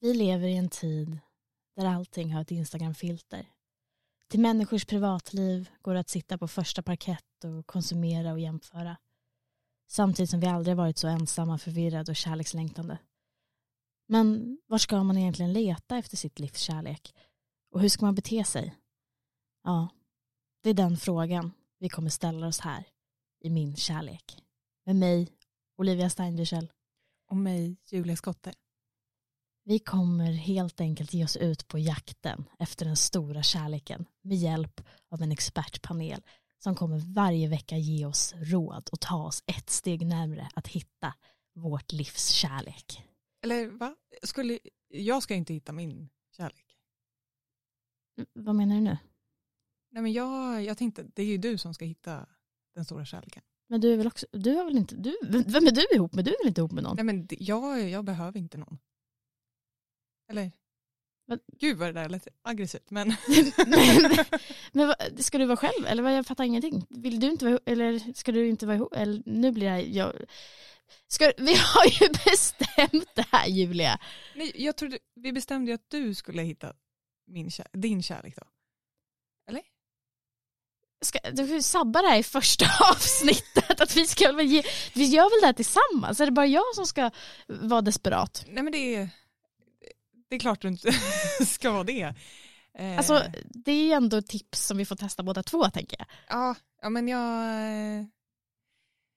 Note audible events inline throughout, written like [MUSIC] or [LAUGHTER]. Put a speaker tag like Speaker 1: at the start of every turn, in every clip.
Speaker 1: Vi lever i en tid där allting har ett Instagram-filter. Till människors privatliv går det att sitta på första parkett och konsumera och jämföra. Samtidigt som vi aldrig varit så ensamma, förvirrade och kärlekslängtande. Men var ska man egentligen leta efter sitt livs kärlek? Och hur ska man bete sig? Ja, det är den frågan vi kommer ställa oss här i Min kärlek. Med mig, Olivia Steindüchel.
Speaker 2: Och mig, Julia Skotte.
Speaker 1: Vi kommer helt enkelt ge oss ut på jakten efter den stora kärleken med hjälp av en expertpanel som kommer varje vecka ge oss råd och ta oss ett steg närmre att hitta vårt livs kärlek.
Speaker 2: Eller va? Skulle, jag ska inte hitta min kärlek.
Speaker 1: Mm, Vad menar du nu?
Speaker 2: Nej men jag, jag tänkte, det är ju du som ska hitta den stora kärleken.
Speaker 1: Men du är väl också, du har väl inte, du, vem är du ihop med? Du är väl inte ihop med [LAUGHS] någon?
Speaker 2: Nej men det- jag, jag behöver inte någon. Eller?
Speaker 1: Men-
Speaker 2: Gud vad det där lät aggressivt men [LAUGHS]
Speaker 1: men men vad- ska du vara själv eller vad, jag fattar ingenting. Vill du inte vara ihop- eller ska du inte vara ihop? Eller nu blir det här, jag... Ska, vi har ju [LAUGHS] bestämt det här Julia.
Speaker 2: nej, jag trodde, vi bestämde ju att du skulle hitta min, kär- din kärlek då.
Speaker 1: Ska, du får ju sabba det här i första [LAUGHS] avsnittet. Att vi, ska, väl ge, vi gör väl det här tillsammans? Är det bara jag som ska vara desperat?
Speaker 2: Nej men det är, det är klart du inte [LAUGHS] ska vara det. Eh,
Speaker 1: Alltså det är ju ändå ett tips som vi får testa båda två tänker jag.
Speaker 2: ja, ja men jag...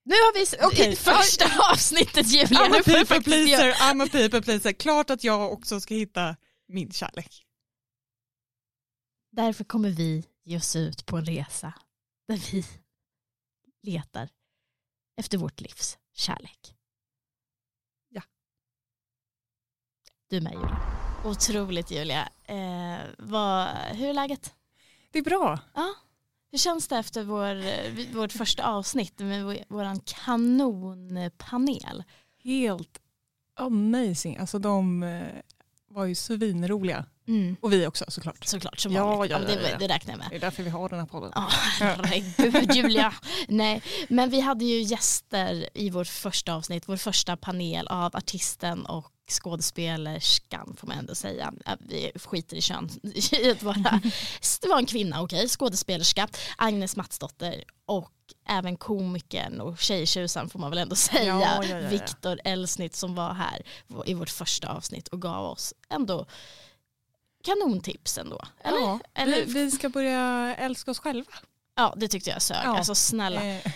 Speaker 1: Nu har vi s-
Speaker 2: Okej.
Speaker 1: i första [LAUGHS] avsnittet Julia.
Speaker 2: I'm a
Speaker 1: Nu får
Speaker 2: people
Speaker 1: du faktiskt göra-
Speaker 2: pleaser, I'm a people pleaser. Klart att jag också ska hitta min kärlek.
Speaker 1: Därför kommer vi ge oss ut på en resa där vi [LAUGHS] letar efter vårt livs kärlek.
Speaker 2: Ja.
Speaker 1: Du med Julia. Otroligt Julia. Eh, vad, hur är läget?
Speaker 2: Det är bra.
Speaker 1: Hur känns det efter vår, eh, vårt första avsnitt med vår våran kanonpanel?
Speaker 2: Helt amazing. Alltså de eh, var ju svinroliga. Och vi också såklart.
Speaker 1: Såklart, som
Speaker 2: Mm. Ja,
Speaker 1: vanligt.
Speaker 2: ja, ja,
Speaker 1: det,
Speaker 2: ja.
Speaker 1: det räknar jag med.
Speaker 2: Det är därför vi har den här podden.
Speaker 1: Ja, herregud Julia. Nej, men vi hade ju gäster i vårt första avsnitt, vår första panel av artisten och skådespelerskan får man ändå säga. Ja, Vi skiter i kön. i att vara- Det var en kvinna, okej, skådespelerska, Agnes Mattsdotter och även komikern och tjejtjusaren får man väl ändå säga,
Speaker 2: Ja, ja, ja, ja.
Speaker 1: Viktor Elsnitt som var här i vårt första avsnitt och gav oss ändå kanontips ändå. Eller?
Speaker 2: Ja,
Speaker 1: Eller-
Speaker 2: Vi, vi ska börja älska oss själva.
Speaker 1: Ja, det tyckte jag sög.
Speaker 2: Ja.
Speaker 1: Alltså snälla.
Speaker 2: Eh,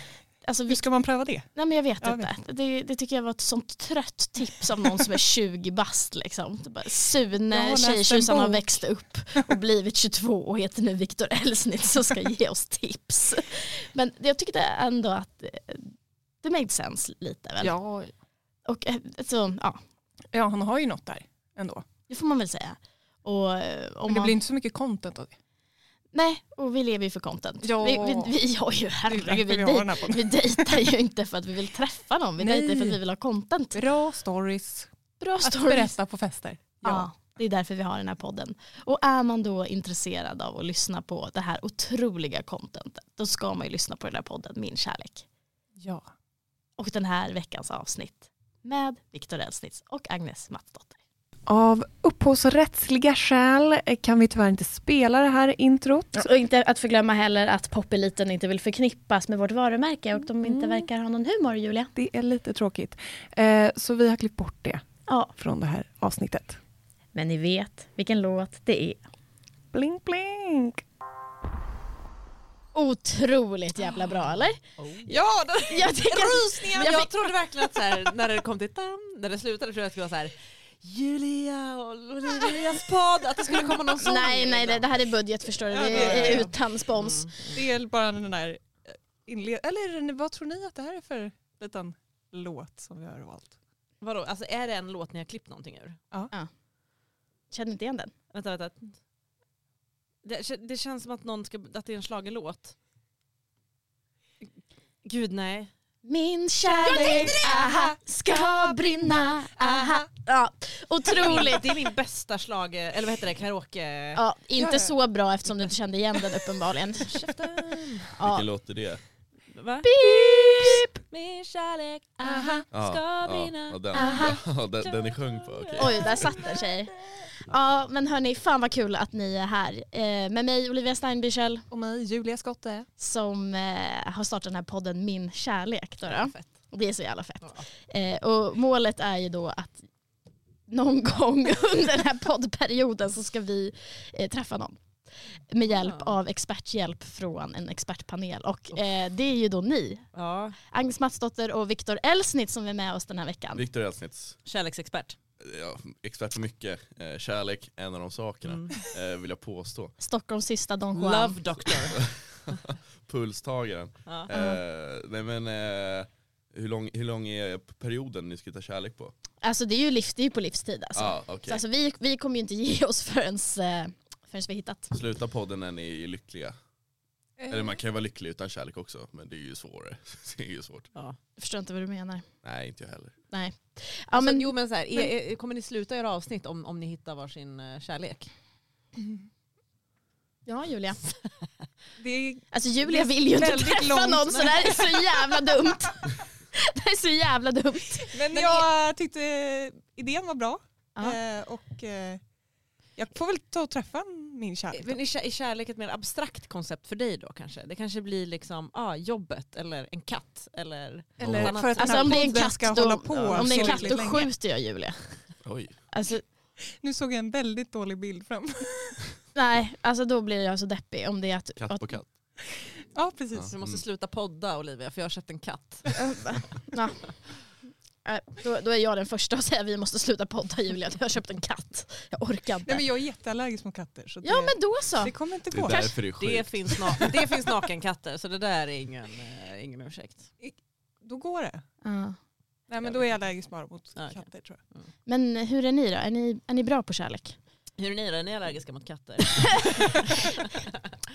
Speaker 1: Alltså,
Speaker 2: hur
Speaker 1: vi,
Speaker 2: ska man pröva det?
Speaker 1: nej men jag vet
Speaker 2: Ja, jag
Speaker 1: inte. Det, det tycker jag var ett sånt trött tips av någon som är 20 bast. Liksom. Det bara,
Speaker 2: Jag har
Speaker 1: Sune,
Speaker 2: läst en
Speaker 1: tjejtjusaren har
Speaker 2: bok. [LAUGHS]
Speaker 1: växt upp och blivit 22 och heter nu Viktor Elsnitt som ska ge oss tips. Men jag tyckte ändå att eh, det made sense lite. Väl?
Speaker 2: Ja.
Speaker 1: Och, eh, så, ja,
Speaker 2: ja, han har ju något där ändå.
Speaker 1: det får man väl säga. Och, eh, om
Speaker 2: Men det
Speaker 1: man,
Speaker 2: blir inte så mycket content av det.
Speaker 1: Nej, och vi lever ju för content.
Speaker 2: Ja.
Speaker 1: Vi, vi, vi har ju,
Speaker 2: Det är
Speaker 1: herregud,
Speaker 2: därför
Speaker 1: vi,
Speaker 2: vi har
Speaker 1: dej,
Speaker 2: den här podden.
Speaker 1: vi dejtar ju inte för att vi vill träffa någon, vi
Speaker 2: Nej.
Speaker 1: dejtar för att vi vill ha content.
Speaker 2: Bra stories
Speaker 1: Bra
Speaker 2: att
Speaker 1: stories.
Speaker 2: berätta på fester.
Speaker 1: Ja. det är därför vi har den här podden. Och är man då intresserad av att lyssna på det här otroliga contentet, då ska man ju lyssna på den här podden, Min kärlek.
Speaker 2: ja.
Speaker 1: Och den här veckans avsnitt med Viktor Elsnitz och Agnes Mattsdotter.
Speaker 3: Av upphovsrättsliga skäl kan vi tyvärr inte spela det här introt.
Speaker 1: Och inte att förglömma heller att popeliten inte vill förknippas med vårt varumärke och de
Speaker 3: inte Mm.
Speaker 1: verkar ha någon humor, Julia.
Speaker 3: Det är lite tråkigt. Eh, så vi har klippt bort det
Speaker 1: Ja,
Speaker 3: från det här avsnittet.
Speaker 1: men ni vet vilken låt det är.
Speaker 3: Blink, blink!
Speaker 1: Otroligt jävla bra, eller?
Speaker 4: Oh. Ja,
Speaker 1: [LAUGHS]
Speaker 4: det,
Speaker 1: Jag tänker att-
Speaker 4: rysningar!
Speaker 1: men jag
Speaker 4: Jag, trodde verkligen att så här, när det kom till tam, när det slutade trodde jag att det skulle vara så här Julia och Olivias podd, att det skulle komma någon sång.
Speaker 1: Nej, nej, det,
Speaker 4: liksom.
Speaker 1: det här är budget förstår du.
Speaker 2: Ja,
Speaker 1: Det
Speaker 2: det är
Speaker 1: är
Speaker 2: det.
Speaker 1: utan spons.
Speaker 4: Mm.
Speaker 2: Det är bara den där inled... Eller vad tror ni att det här är för liten låt som vi har valt?
Speaker 4: Vadå, alltså är det en låt ni har klippt någonting ur?
Speaker 1: Känner inte igen den.
Speaker 4: Vänta, vänta. Det, kä- det känns som att, någon ska, att det är en schlagerlåt. Gud nej.
Speaker 1: Min kärlek, aha, ska brinna, aha. Ja, otroligt.
Speaker 4: Det är min bästa schlager, eller vad heter det, karaoke...
Speaker 1: [LAUGHS] Ja, inte
Speaker 2: Ja.
Speaker 1: [LAUGHS] så bra eftersom du inte kände igen den uppenbarligen.
Speaker 4: Käften.
Speaker 1: Ja,
Speaker 5: Vilken låt är det?
Speaker 4: Va?
Speaker 1: Beep!
Speaker 4: Min kärlek, aha, ska brinna.
Speaker 5: ja, den,
Speaker 1: Aha.
Speaker 5: [LAUGHS] ja, den, den är sjung på. okej.
Speaker 1: Oj, där satt den tjejer. Ja, men hörni, fan vad kul att ni är här. Eh, med mig Olivia Steinbüchel
Speaker 2: Och mig, Julia Skotte.
Speaker 1: som eh, har startat den här podden Min kärlek. Då, då.
Speaker 4: Fett.
Speaker 1: Och det är så jävla fett.
Speaker 4: Ja.
Speaker 1: Eh, och målet är ju då att någon gång [LAUGHS] under den här poddperioden så ska vi eh, träffa någon. Med hjälp
Speaker 4: Ah.
Speaker 1: av experthjälp från en expertpanel. Och eh, det är ju då ni.
Speaker 4: Ja,
Speaker 1: Agnes Matsdotter och Viktor Elsnitz som är med oss den här veckan.
Speaker 5: Viktor Elsnitz,
Speaker 4: kärleksexpert.
Speaker 5: ja, expert på mycket. Eh, kärlek, en av de sakerna
Speaker 4: Mm.
Speaker 5: eh, vill jag påstå.
Speaker 1: Stockholms sista Don Juan.
Speaker 4: Love doctor.
Speaker 5: Pulstagaren.
Speaker 4: Ja.
Speaker 5: Eh, nej men, eh, hur, lång, hur lång är perioden ni ska ta kärlek på?
Speaker 1: Alltså det är ju, liv, det är ju på livstid alltså.
Speaker 5: Ah,
Speaker 1: Så
Speaker 5: okej.
Speaker 1: alltså vi, vi kommer ju inte ge oss förrän, eh, förrän vi har hittat.
Speaker 5: Sluta podden när ni är lyckliga. Eller man kan ju vara lycklig utan kärlek också, men det är ju svårare. [LAUGHS] det är ju svårt.
Speaker 4: Ja.
Speaker 1: Jag förstår inte vad du menar. Alltså,
Speaker 5: Nej, inte jag heller.
Speaker 1: Ja,
Speaker 4: men,
Speaker 1: men,
Speaker 4: jo men så här, är, är, kommer ni sluta göra avsnitt om, om ni hittar varsin eh, kärlek?
Speaker 1: ja Julia.
Speaker 2: Det är
Speaker 1: Alltså Julia
Speaker 2: Det är
Speaker 1: vill ju inte
Speaker 2: väldigt
Speaker 1: träffa
Speaker 2: långt,
Speaker 1: någon så det här är så jävla dumt.
Speaker 2: [LAUGHS]
Speaker 1: Det här är så jävla dumt.
Speaker 2: Men, jag tyckte idén var bra.
Speaker 1: Ja.
Speaker 2: Eh, och eh, jag får väl ta och träffa min kärlek.
Speaker 4: Men är, kär, är kärlek ett mer abstrakt koncept för dig då kanske? Det kanske blir liksom ah, jobbet eller en katt eller...
Speaker 2: Eller
Speaker 4: Något
Speaker 2: för att
Speaker 4: annat.
Speaker 1: Alltså
Speaker 2: den
Speaker 1: om det
Speaker 2: här
Speaker 1: är en
Speaker 2: podden
Speaker 1: katt
Speaker 2: ska
Speaker 1: då,
Speaker 2: hålla på
Speaker 1: om det är en
Speaker 2: så
Speaker 1: katt då
Speaker 2: länge.
Speaker 1: skjuter jag Julia.
Speaker 5: Oj.
Speaker 1: Alltså,
Speaker 2: Nu såg jag en väldigt dålig bild [LAUGHS] fram.
Speaker 1: nej, alltså då blir jag så deppig om det är att...
Speaker 5: Katt på katt.
Speaker 2: ja precis.
Speaker 5: Ja.
Speaker 4: Så vi måste
Speaker 5: Mm.
Speaker 4: sluta podda Olivia för jag har köpt en katt.
Speaker 1: [LAUGHS] Ja. Nej, Då, då är jag den första att säga att vi måste sluta podda Julia, jag har köpt en katt. Jag orkar inte.
Speaker 2: Nej, men jag är jätteallergisk mot katter så
Speaker 1: Ja
Speaker 2: det,
Speaker 1: men då så.
Speaker 2: det kommer inte
Speaker 5: Det är
Speaker 2: gå.
Speaker 5: därför det är
Speaker 4: Det
Speaker 5: sjukt.
Speaker 4: finns, na- det finns nakenkatter så det där är ingen, eh, ingen ursäkt.
Speaker 2: Då går det.
Speaker 1: Ja.
Speaker 2: Nej men då är jag allergisk bara mot
Speaker 4: Ja, okej.
Speaker 2: katter tror jag.
Speaker 1: Men hur är ni då? Är ni, är ni bra på kärlek?
Speaker 4: Hur är ni då? Är ni allergiska mot katter?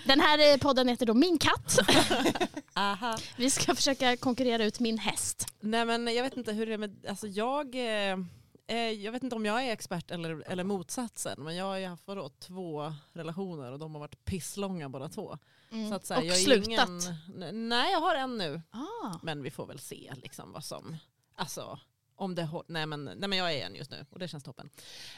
Speaker 1: Den här eh, podden heter då Min katt.
Speaker 4: [LAUGHS] Aha.
Speaker 1: Vi ska försöka konkurrera ut min häst.
Speaker 4: Nej men jag vet inte hur det är med, alltså jag, eh, eh, jag vet inte om jag är expert eller, eller motsatsen men jag har ju haft vadå, två relationer och de har varit pisslånga båda två.
Speaker 2: Mm.
Speaker 4: Så att, så här,
Speaker 1: Mm. Och
Speaker 4: jag är
Speaker 1: slutat.
Speaker 4: Ingen, n- nej jag har en nu
Speaker 1: Ah.
Speaker 4: men vi får väl se liksom vad som, alltså om det hå- nej men, nej men jag är en just nu och det känns toppen.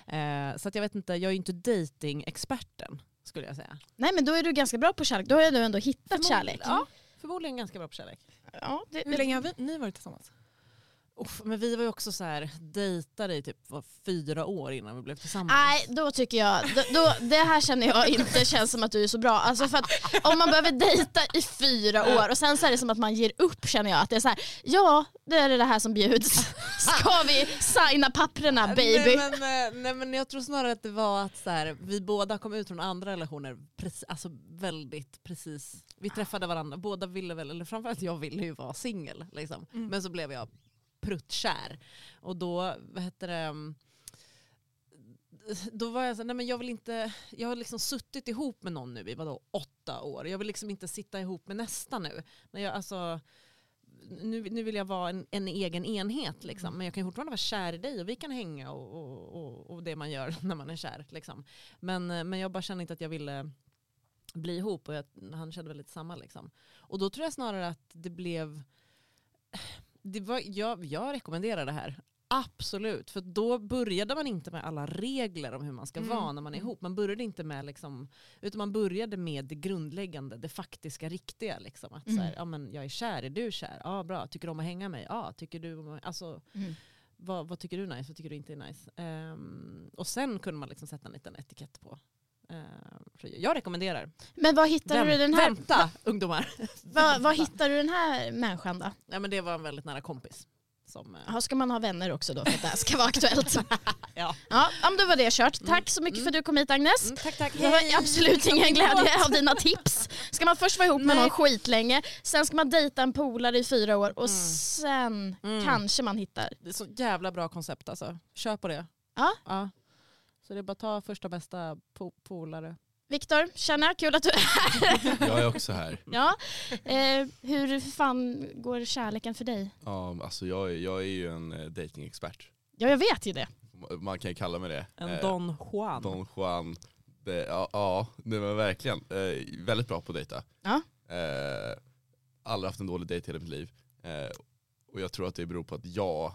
Speaker 4: Eh, så att jag vet inte, jag är ju inte datingexperten skulle jag säga.
Speaker 1: Nej men då är du ganska bra på kärlek. Då har du ändå hittat
Speaker 4: Förmodligen-
Speaker 1: kärlek. Mm.
Speaker 4: Ja, förmodligen ganska bra på kärlek.
Speaker 1: Ja, det,
Speaker 2: Hur länge har vi, ni varit tillsammans?
Speaker 4: Uff, men vi var ju också så här, dejtade i typ var fyra år innan vi blev tillsammans.
Speaker 1: Nej, då tycker jag, då, då, det här känner jag inte känns som att du är så bra. Alltså för att om man behöver dejta i fyra år och sen så är det som att man ger upp känner jag. Att det är så här, ja det är det här som [LAUGHS] bjuds. Ska vi signa papprena baby?
Speaker 4: Nej men, eh, nej, men jag tror snarare att det var att så här, vi båda kom ut från andra relationer precis, alltså väldigt precis. Vi träffade varandra, båda ville väl, eller framförallt jag ville ju vara singel. Liksom.
Speaker 2: Mm.
Speaker 4: Men så blev jag pruttkär. Och då, vad heter det, mm, då var jag så här, nej men jag vill inte, jag har liksom suttit ihop med någon nu i vadå, åtta år. Jag vill liksom inte sitta ihop med nästa nu. När jag, alltså, nu, nu vill jag vara en, en egen enhet liksom. Men jag kan ju fortfarande vara kär i dig och vi kan hänga och, och, och, och det man gör [LAUGHS] när man är kär. Liksom. Men, eh, men jag bara kände inte att jag ville bli ihop och jag, han kände väl lite samma liksom. Och då tror jag snarare att det blev, [SIGHS] det var, jag, jag rekommenderar det här. Absolut, för då började man inte med alla regler om hur man ska
Speaker 2: Mm.
Speaker 4: vara när man är ihop. Man började inte med liksom, utan man började med det grundläggande, det faktiska, riktiga. Liksom. Att så här,
Speaker 1: Mm.
Speaker 4: ja, men jag är kär, är du kär? Ja, bra. Tycker du om att hänga med mig? Ja, tycker du om att... Alltså,
Speaker 1: Mm.
Speaker 4: vad, vad tycker du är nice? Vad tycker du inte är nice? Ehm, och sen kunde man liksom sätta en liten etikett på. Ehm, så jag- jag rekommenderar.
Speaker 1: Men vad hittar
Speaker 4: Vänt-
Speaker 1: du den här,
Speaker 4: Vänta
Speaker 1: [LAUGHS]
Speaker 4: ungdomar!
Speaker 1: vad, vad hittar du den här människan då?
Speaker 4: Ja, men det var en väldigt nära kompis. Som, eh,
Speaker 1: Ja, ska man ha vänner också då för att det här ska vara [LAUGHS] aktuellt?
Speaker 4: Ja.
Speaker 1: Ja, ja, men då var det kört. Tack så mycket för att du kom hit Agnes.
Speaker 4: mm, tack tack.
Speaker 1: Det var absolut
Speaker 4: [LAUGHS]
Speaker 1: ingen glädje av dina tips. Ska man först vara ihop med
Speaker 4: Nej.
Speaker 1: någon skitlänge, sen ska man dejta en polare i fyra år och sen
Speaker 4: Mm.
Speaker 1: kanske man hittar.
Speaker 4: Det är så jävla bra koncept alltså. Kör på det.
Speaker 1: Ja.
Speaker 4: Så det är bara att ta första bästa po- polare.
Speaker 1: Viktor, tjena, kul att du är här.
Speaker 5: Jag är också här.
Speaker 1: [LAUGHS] Ja. Eh, hur fan går kärleken för dig?
Speaker 5: Ja, alltså jag, är- jag är ju en eh, datingexpert.
Speaker 1: Ja, jag vet ju det.
Speaker 5: Man kan ju kalla mig det.
Speaker 4: En
Speaker 5: Eh,
Speaker 4: Don Juan.
Speaker 5: Don Juan. Det, ja, ja, nej men verkligen. Eh, väldigt bra på att dejta.
Speaker 1: Ja.
Speaker 5: Eh, aldrig haft en dålig dejt i hela mitt liv. Eh, och jag tror att det beror på att jag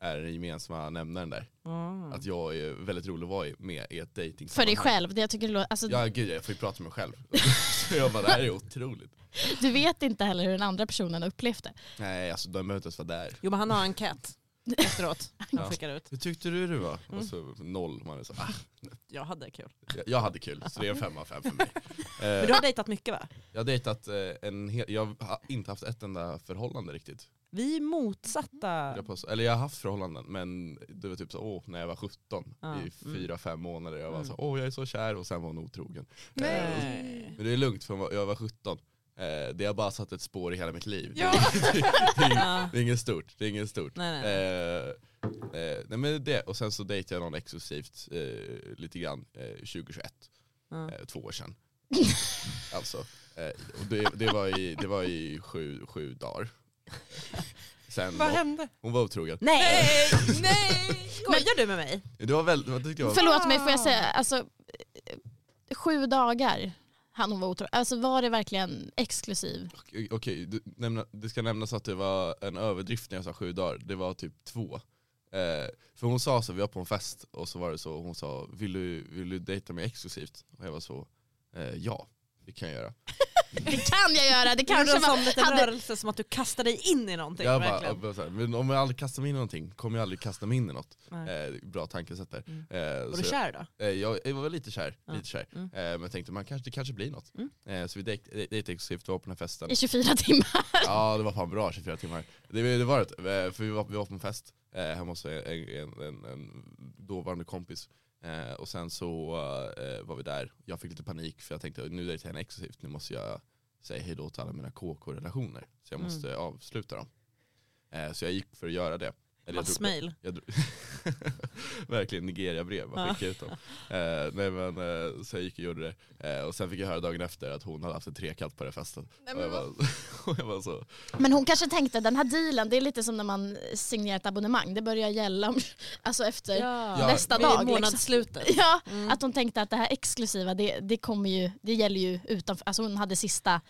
Speaker 5: är den gemensamma nämnaren där.
Speaker 4: Mm.
Speaker 5: Att jag är väldigt rolig att vara i- med i ett dating
Speaker 1: För dig själv, det jag tycker det låter, alltså,
Speaker 5: Ja gud jag får ju prata med mig själv. [LAUGHS] så jag bara det här är otroligt.
Speaker 1: du vet inte heller hur den andra personen har upplevt det.
Speaker 5: Nej alltså de behöver inte ens vara där.
Speaker 4: Jo men han har
Speaker 1: [LAUGHS]
Speaker 4: en enkät efteråt.
Speaker 5: Ja.
Speaker 4: Han skickar ut.
Speaker 5: Hur tyckte du det var?
Speaker 4: Mm.
Speaker 5: Och så noll. Man är så, ah,
Speaker 4: Jag hade kul.
Speaker 5: jag- jag hade kul så det är en femma av fem
Speaker 4: [LAUGHS]
Speaker 5: för mig.
Speaker 4: Men
Speaker 5: Eh,
Speaker 4: du har dejtat mycket va?
Speaker 5: jag har dejtat eh, en hel, jag har inte haft ett enda förhållande riktigt.
Speaker 4: Vi är
Speaker 5: vill
Speaker 4: motsatta.
Speaker 5: Jag påstå. Eller jag har haft förhållanden men det var typ så, åh, när jag var 17
Speaker 4: Ja,
Speaker 5: i
Speaker 4: mm.
Speaker 5: fyra fem månader. Jag var
Speaker 4: Mm.
Speaker 5: så, åh jag är så kär och sen var hon otrogen. Eh, och-
Speaker 4: Nej.
Speaker 5: men det är lugnt för jag var 17. Eh, det har bara satt ett spår i hela mitt liv.
Speaker 4: Ja.
Speaker 5: det, är,
Speaker 4: Ja.
Speaker 5: [LAUGHS] det är inget stort. Det är inget stort.
Speaker 4: Nej, nej, nej.
Speaker 5: Eh, eh, nej men det, och sen så dejtade jag någon exklusivt eh, lite grann eh, 2021,
Speaker 4: Ja.
Speaker 5: eh, två år sedan. alltså, eh, och det, det var i, det var i sju, sju dagar. Sen,
Speaker 3: Vad hände?
Speaker 5: hon var otrogen.
Speaker 4: Nej!
Speaker 5: Nej,
Speaker 1: [LAUGHS]
Speaker 4: Nej! Skojar du med mig?
Speaker 5: Det var väldigt, vad tyckte jag var,
Speaker 1: Förlåt mig, får jag säga, alltså, eh, sju dagar han hon var otrogen. Alltså var det verkligen exklusiv?
Speaker 5: okej, du, nämna, det ska nämnas att det var en överdrift när jag sa sju dagar, det var typ två. Eh, för hon sa så, vi var på en fest och så var det så, hon sa vill du, vill du dejta mig exklusivt? Och jag var så, eh, ja det kan jag göra.
Speaker 1: Det kan jag göra, det
Speaker 4: Kanske
Speaker 1: kanske
Speaker 4: en sån
Speaker 1: var...
Speaker 4: liten
Speaker 1: hade-
Speaker 4: rörelse som att du kastar dig in i någonting.
Speaker 5: Jag bara,
Speaker 4: Typ, verkligen.
Speaker 5: jag bara så här, men om jag aldrig kastar mig in i någonting kommer jag aldrig kasta mig in i något. Eh,
Speaker 4: Nej.
Speaker 5: det är bra tankesätt där.
Speaker 4: Mm.
Speaker 5: Eh,
Speaker 4: Var
Speaker 5: så
Speaker 4: du kär då?
Speaker 5: jag, eh, jag, jag var lite kär,
Speaker 4: Ja.
Speaker 5: lite kär.
Speaker 4: Mm.
Speaker 5: Eh, men jag tänkte man kanske, det kanske blir något.
Speaker 4: Mm.
Speaker 5: Eh, så vi dej- dej- dejtade exklusivt, vi var på den
Speaker 4: [LAUGHS]
Speaker 5: här festen.
Speaker 1: I 24 timmar. [LAUGHS]
Speaker 5: Ja det var fan bra 24 timmar. Det, det var det, eh, för vi var, vi var på en fest eh, hemma hos en, en, en, en dåvarande kompis. Eh, och sen så eh, var vi där, jag fick lite panik för jag tänkte nu dejtar jag henne exklusivt, nu måste jag säga hejdå till alla mina KK-relationer. Så jag
Speaker 4: Mm.
Speaker 5: måste avsluta dem. Eh, så jag gick för att göra det. Eller jag drog-
Speaker 4: Massmail.
Speaker 5: jag drog, [LAUGHS] verkligen Nigeria-brev, man skickade ut dem. Eh, nej, men, eh, så jag gick och gjorde det. Eh, och sen fick jag höra dagen efter att hon hade haft en trekant på den här festen. och, jag bara, [LAUGHS] och jag bara så,
Speaker 1: Men hon kanske tänkte den här dealen, det är lite som när man signerar ett abonnemang, det börjar gälla om, [LAUGHS] alltså efter
Speaker 5: Ja,
Speaker 1: nästa
Speaker 4: Vid
Speaker 1: dag. Liksom.
Speaker 4: månadsslutet.
Speaker 1: [LAUGHS] Ja,
Speaker 4: Mm.
Speaker 1: att hon tänkte att det här exklusiva, det, det, kommer ju, det gäller ju utanför, alltså hon hade sista,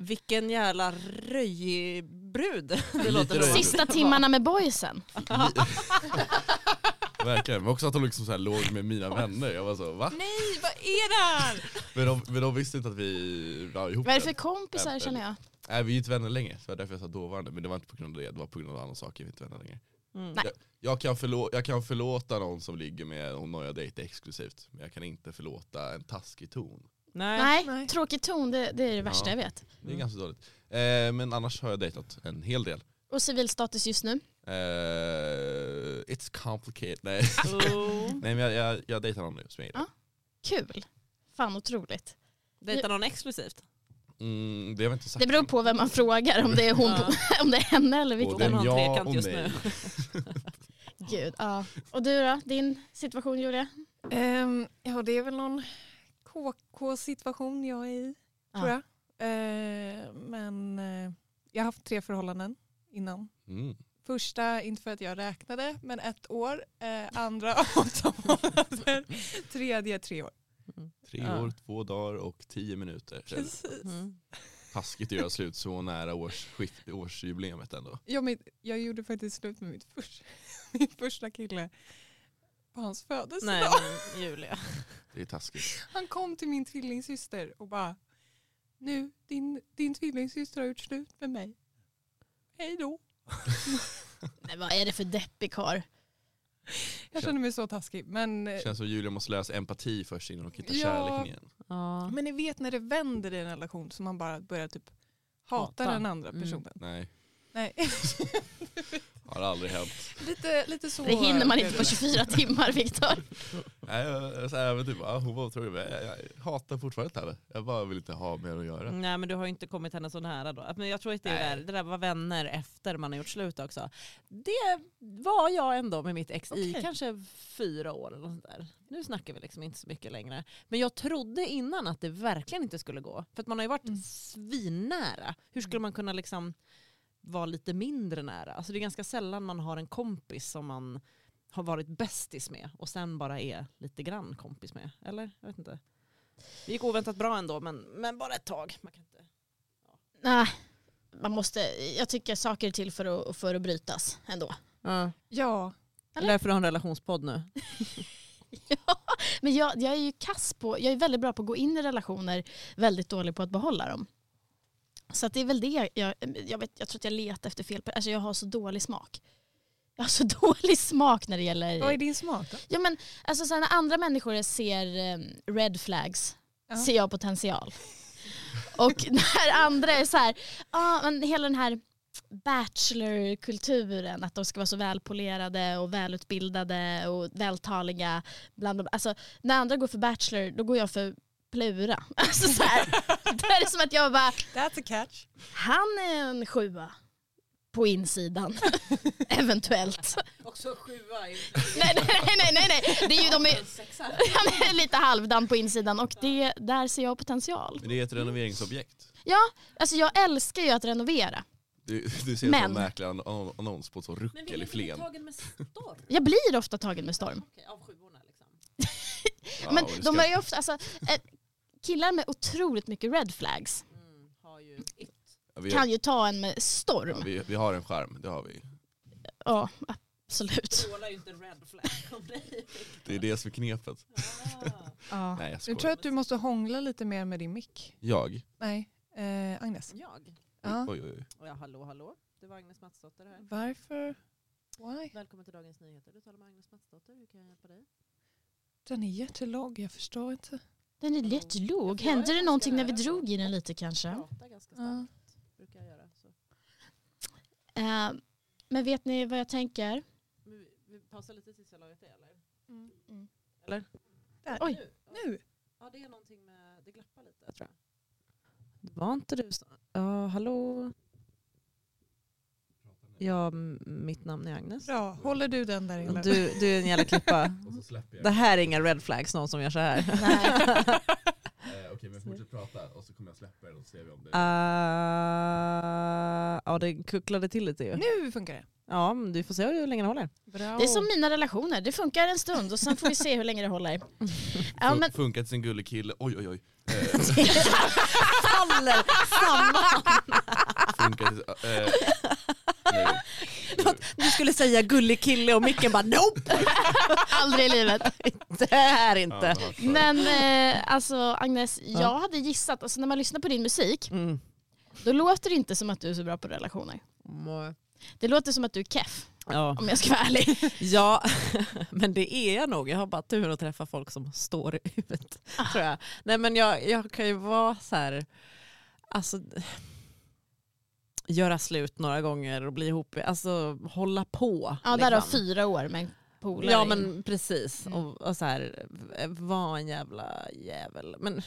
Speaker 4: Vilken jävla röjig brud det
Speaker 5: Lite
Speaker 4: låter
Speaker 5: röjig.
Speaker 4: som.
Speaker 1: sista timmarna med boysen.
Speaker 5: Verkligen, men också att de liksom så här låg med mina vänner. Jag var så va?
Speaker 4: Nej, vad är det här?
Speaker 5: Men de, men de visste inte att vi var ihop
Speaker 1: Vad är det för
Speaker 5: än.
Speaker 1: kompisar känner jag?
Speaker 5: Nej vi är inte vänner längre, så det var därför jag sa dåvarande. Men det var inte på grund av det, det var på grund av andra saker. Vi är inte vänner längre.
Speaker 4: Mm.
Speaker 1: Nej.
Speaker 5: Jag kan, förlå- jag kan förlåta någon som ligger med någon jag dejtar exklusivt. Men jag kan inte förlåta en taskig ton.
Speaker 4: Nej.
Speaker 1: Nej,
Speaker 3: Nej.
Speaker 1: tråkig ton, det, det är det värsta
Speaker 5: Ja.
Speaker 1: jag vet.
Speaker 5: Det är
Speaker 4: Mm.
Speaker 5: ganska dåligt. Eh, men annars har jag dejtat en hel del.
Speaker 1: Och civilstatus just nu?
Speaker 5: Eh, it's complicated. Nej, [LAUGHS]
Speaker 4: Oh.
Speaker 5: Nej men jag, jag, jag dejtar någon nu som jag gillar.
Speaker 1: Kul. Fan otroligt.
Speaker 4: Dejtar någon exklusivt?
Speaker 5: Mm, det har jag inte sagt.
Speaker 1: Det beror på vem man frågar, om det är, hon,
Speaker 4: Ja.
Speaker 1: [LAUGHS] om det är henne eller
Speaker 5: Och
Speaker 1: vilken.
Speaker 5: det är
Speaker 4: Hon har en
Speaker 5: jag
Speaker 4: trekant
Speaker 5: och
Speaker 4: just
Speaker 5: mig.
Speaker 4: nu.
Speaker 1: Gud, ja. Och du då, din situation Julia?
Speaker 3: Ehm, ja, det är väl någon KK-situation jag är i, tror
Speaker 1: Ja.
Speaker 3: jag. Ehm, men eh, jag har haft tre förhållanden innan.
Speaker 5: [LAUGHS] Mm.
Speaker 3: Första, inte för att jag räknade, men ett år. Eh, andra, [LAUGHS] åtta månader. Tredje, tre år.
Speaker 5: Tre
Speaker 4: Ja.
Speaker 5: år, två dagar och tio minuter.
Speaker 3: Precis.
Speaker 4: Mm.
Speaker 5: taskigt att göra slut så nära årsskift, årsjubileet ändå.
Speaker 3: Ja, men jag gjorde faktiskt slut med mitt första, [LAUGHS] min första kille på hans födelsedag.
Speaker 4: Nej, men Julia.
Speaker 5: Det är taskigt.
Speaker 3: [LAUGHS] Han kom till min tvillingsyster och bara Nu, din, din tvillingsyster har gjort slut med mig. Hej då.
Speaker 1: Men vad är det för deppig karl?
Speaker 3: Jag känner mig så taskig. Men, eh,
Speaker 5: Känns som Julia måste läsa empati först innan hon hittar
Speaker 3: Ja.
Speaker 5: kärleken igen.
Speaker 4: Ja.
Speaker 3: men ni vet när det vänder i en relation så man bara börjar typ hata,
Speaker 4: Hata.
Speaker 3: den andra
Speaker 4: Mm.
Speaker 3: personen.
Speaker 5: Nej,
Speaker 3: Nej. [LAUGHS]
Speaker 5: har aldrig hänt.
Speaker 3: lite, lite så.
Speaker 1: Det hinner man
Speaker 3: är
Speaker 1: inte på 24
Speaker 5: [LAUGHS]
Speaker 1: timmar Viktor.
Speaker 5: Nej, jag, jag, så här, men typ, ah, hon var otrolig. men Jag, jag hatar fortfarande henne. Jag bara vill inte ha mer att göra.
Speaker 4: Nej men du har ju inte kommit henne så nära då. Men jag tror att det, är det, där, det där var vänner efter man har gjort slut också. Det var jag ändå med mitt ex i
Speaker 3: Okej.
Speaker 4: kanske fyra år eller något sånt där. Nu snackar vi liksom inte så mycket längre. Men jag trodde innan att det verkligen inte skulle gå. För att man har ju varit
Speaker 3: Mm.
Speaker 4: svinnära. Hur skulle man kunna liksom vara lite mindre nära? Alltså det är ganska sällan man har en kompis som man har varit bästis med och sen bara är lite grann kompis med. Eller? Jag vet inte. Det gick oväntat bra ändå men, men bara ett tag. Man kan inte
Speaker 1: Nej, man måste, jag tycker saker är till för att, för att brytas ändå. [LAUGHS]
Speaker 4: Ja.
Speaker 2: Ja.
Speaker 4: Det är därför du har en relationspodd nu.
Speaker 1: Ja, men jag, jag är ju kass på, jag är väldigt bra på att gå in i relationer, väldigt dålig på att behålla dem. Så att det är väl det, jag, jag, vet, jag tror att jag letar efter fel, pe- alltså jag har så dålig smak. Jag har så [LAUGHS] dålig smak när det
Speaker 2: Vad är
Speaker 1: gäller...
Speaker 2: din smak då?
Speaker 1: Ja, men, alltså, så här, när andra människor ser eh, red flags
Speaker 2: Ja.
Speaker 1: ser jag potential. Och [LAUGHS] när andra är så här, ah, men hela den här bachelorkulturen, att de ska vara så välpolerade och välutbildade och vältaliga. Bland de, alltså, när andra går för bachelor, då går jag för plura. [LAUGHS] Alltså, så här, det här är som att jag bara,
Speaker 2: That's a catch.
Speaker 1: han är en sjua på insidan, [LAUGHS] eventuellt.
Speaker 4: Också sjua.
Speaker 1: Nej, nej, nej, nej, nej. Det är ju, de är,
Speaker 4: [LAUGHS]
Speaker 1: han är [LAUGHS] lite halvdan på insidan och det, där ser jag potential.
Speaker 5: Men det är ett renoveringsobjekt.
Speaker 1: Alltså jag älskar ju att renovera.
Speaker 5: Du, du ser
Speaker 1: Men-
Speaker 5: en sån märklig an- an- annons på ett sånt
Speaker 4: Men
Speaker 5: ruckel
Speaker 4: vill
Speaker 5: i
Speaker 4: inte bli
Speaker 5: Flen.
Speaker 4: tagen med storm?
Speaker 1: Jag blir ofta tagen med storm.
Speaker 4: Okej, av sjuorna liksom.
Speaker 5: Ja,
Speaker 1: Men
Speaker 5: och du
Speaker 1: de
Speaker 5: ska-
Speaker 1: är ju ofta, alltså, eh, killar med otroligt mycket red flags
Speaker 4: Mm, har ju it.
Speaker 5: ja, vi,
Speaker 1: kan ju ta en med
Speaker 5: ja,
Speaker 1: storm.
Speaker 5: vi, vi har en skärm, det har vi.
Speaker 1: Ja, absolut.
Speaker 4: Strålar ju inte red flag [LAUGHS] om dig. [LAUGHS]
Speaker 5: Det är det som är knepet.
Speaker 4: Ah.
Speaker 1: Ja.
Speaker 5: Nej
Speaker 2: Nu
Speaker 5: jag
Speaker 2: tror jag
Speaker 5: skojar.
Speaker 2: att du måste hångla lite mer med din mick.
Speaker 5: Jag?
Speaker 2: Nej, eh, Agnes.
Speaker 4: Jag?
Speaker 2: Ja.
Speaker 5: Oj, oj, oj.
Speaker 4: Och ja, hallå hallå. Det var Agnes Mattsdotter här.
Speaker 2: Varför? Why?
Speaker 4: Välkommen till Dagens Nyheter. Du talar med Agnes Mattsdotter. Hur kan jag hjälpa dig?
Speaker 2: Den är jättelåg, jag förstår inte.
Speaker 1: Den är jättelåg. Hände det någonting när vi drog i den lite kanske?
Speaker 4: Prata ganska
Speaker 2: Ja.
Speaker 4: starkt. Brukar jag göra. Så.
Speaker 1: Eh, men vet ni vad jag tänker?
Speaker 4: Men Vi, vi pausar lite tills jag lagat det eller?
Speaker 1: Oj.
Speaker 4: Nu? Ja.
Speaker 2: Nu?
Speaker 4: Ja det är någonting med, det glappar lite tror jag. Det var inte du som... Ja hallå? Ja m- mitt namn är Agnes.
Speaker 2: Bra, håller du den där inne?
Speaker 4: Du, du är en jävla klippa.
Speaker 5: Och så släpper jag.
Speaker 4: Det här är inga red flags någon som gör så här.
Speaker 5: Eh, Okej men fortsätt prata och så kommer jag släppa den och så ser vi om det
Speaker 4: [LAUGHS] Ah, ja det kucklade till lite ju.
Speaker 2: Nu funkar det.
Speaker 4: Ja men du får se hur länge det håller.
Speaker 2: Bra.
Speaker 1: Det är som mina relationer, det funkar en stund och sen får vi se hur länge det håller. Ja,
Speaker 5: Fun-
Speaker 1: men,
Speaker 5: Funkar till sin gullig kille, oj oj oj.
Speaker 4: Faller samman.
Speaker 5: Funkar till...
Speaker 1: [LAUGHS]
Speaker 5: Eh, nej.
Speaker 4: Du skulle säga gullig kille och micken bara nope. [LAUGHS]
Speaker 1: aldrig i livet.
Speaker 4: Det här
Speaker 5: Ja,
Speaker 4: inte.
Speaker 5: men vad fan.
Speaker 1: Men eh, alltså Agnes, jag hade gissat, alltså när man lyssnar på din musik,
Speaker 4: Mm.
Speaker 1: då låter det inte som att du är så bra på relationer. Det låter som att du är keff,
Speaker 4: Ja.
Speaker 1: om jag ska vara ärlig.
Speaker 4: Ja, [LAUGHS] men det är jag nog. Jag har bara tur att träffa folk som står [LAUGHS] ut. Tror jag. Nej, men jag, jag kan ju vara så här, alltså, göra slut några gånger och bli ihop, alltså hålla på.
Speaker 1: [LAUGHS] Ja, där har
Speaker 4: liksom.
Speaker 1: fyra år med en polare.
Speaker 4: Ja
Speaker 1: in.
Speaker 4: men precis.
Speaker 1: Mm.
Speaker 4: Och, och så här, var en jävla jävel. Men, [LAUGHS]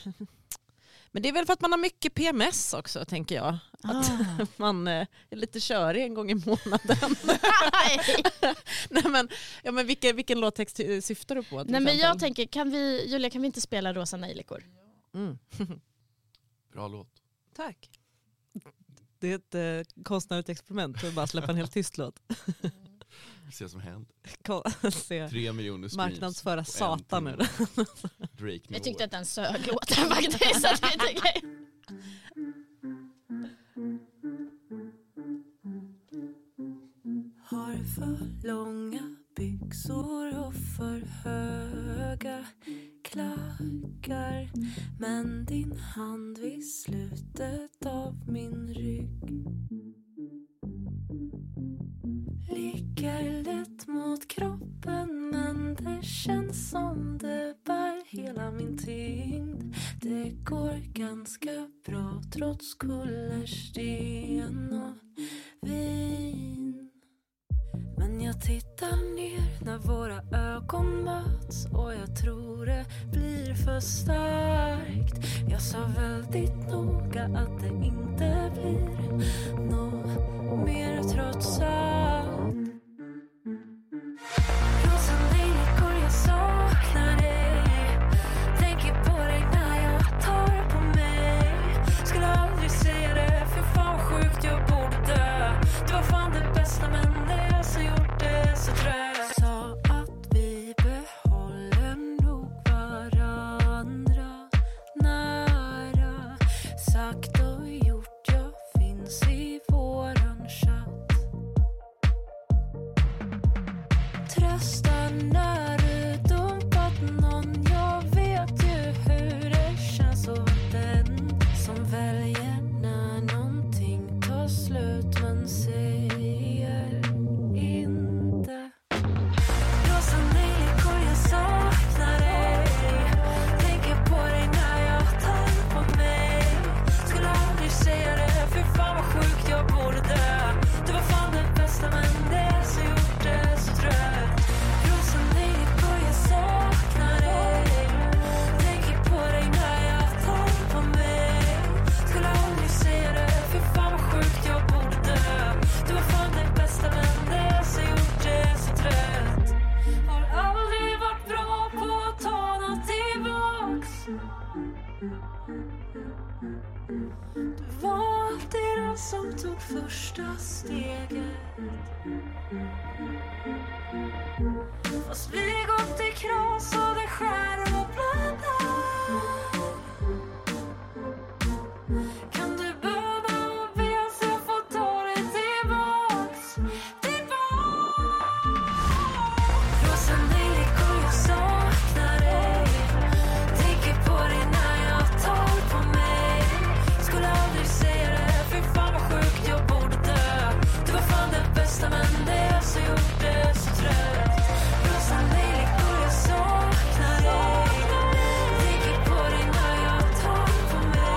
Speaker 4: men det är väl för att man har mycket PMS också tänker jag.
Speaker 1: [LAUGHS] Ah.
Speaker 4: Man eh, är lite körig en gång i
Speaker 1: [LAUGHS]
Speaker 4: månaden. [LAUGHS] Nej, men, ja, men vilken, vilken låttext eh, syftar du på? till
Speaker 1: Nej men jag
Speaker 4: exempel?
Speaker 1: tänker, kan vi, Julia kan vi inte spela Rosa nejlikor?
Speaker 4: Mm.
Speaker 5: Bra låt.
Speaker 4: Tack. Det är ett eh, konstnärligt experiment att bara släppa en helt tyst låt. [LAUGHS]
Speaker 5: Vi ser vad som händer.
Speaker 4: Ko- [LAUGHS] Se.
Speaker 5: Tre miljoner streams.
Speaker 4: Marknadsföra
Speaker 5: på en
Speaker 4: Satan nu.
Speaker 5: timme.
Speaker 1: Jag
Speaker 5: Drake
Speaker 1: tyckte
Speaker 5: nivåer.
Speaker 1: att den sög låten [LAUGHS] faktiskt. så att jag tycker-
Speaker 6: Har för långa byxor och för höga klackar Men din hand vid slutet av min rygg Ligger lätt mot kroppen men det känns som det bär hela min tyngd Det går ganska bra trots kullersten och vin men jag tittar ner när våra ögon möts och jag tror det blir för starkt. Jag sa väldigt noga att det inte blir något mer trots allt. Rosenliljor, jag saknar dig. Tänker på dig när jag tar på mig. Skulle aldrig säga det, för fan vad sjukt, jag borde dö. Du var fan den bästa men det är jag som gjort det så trött Sa att vi behåller nog varandra nära Sagt och gjort, jag finner Du valde den som tog första steget Fast vi gått i kras och det skär och blandar Kan du böna och be så jag får ta dig tillbaks Tillbaks Rosenliljekor, jag saknar dig Tänker på dig när jag tar på mig Skulle aldrig säga det, fy fan vad sjukt jag borde dö Du var fan den bästa men det jag så gjorde så trött Rosa liljekor, jag saknar dig Tänker på dig när jag tar på mig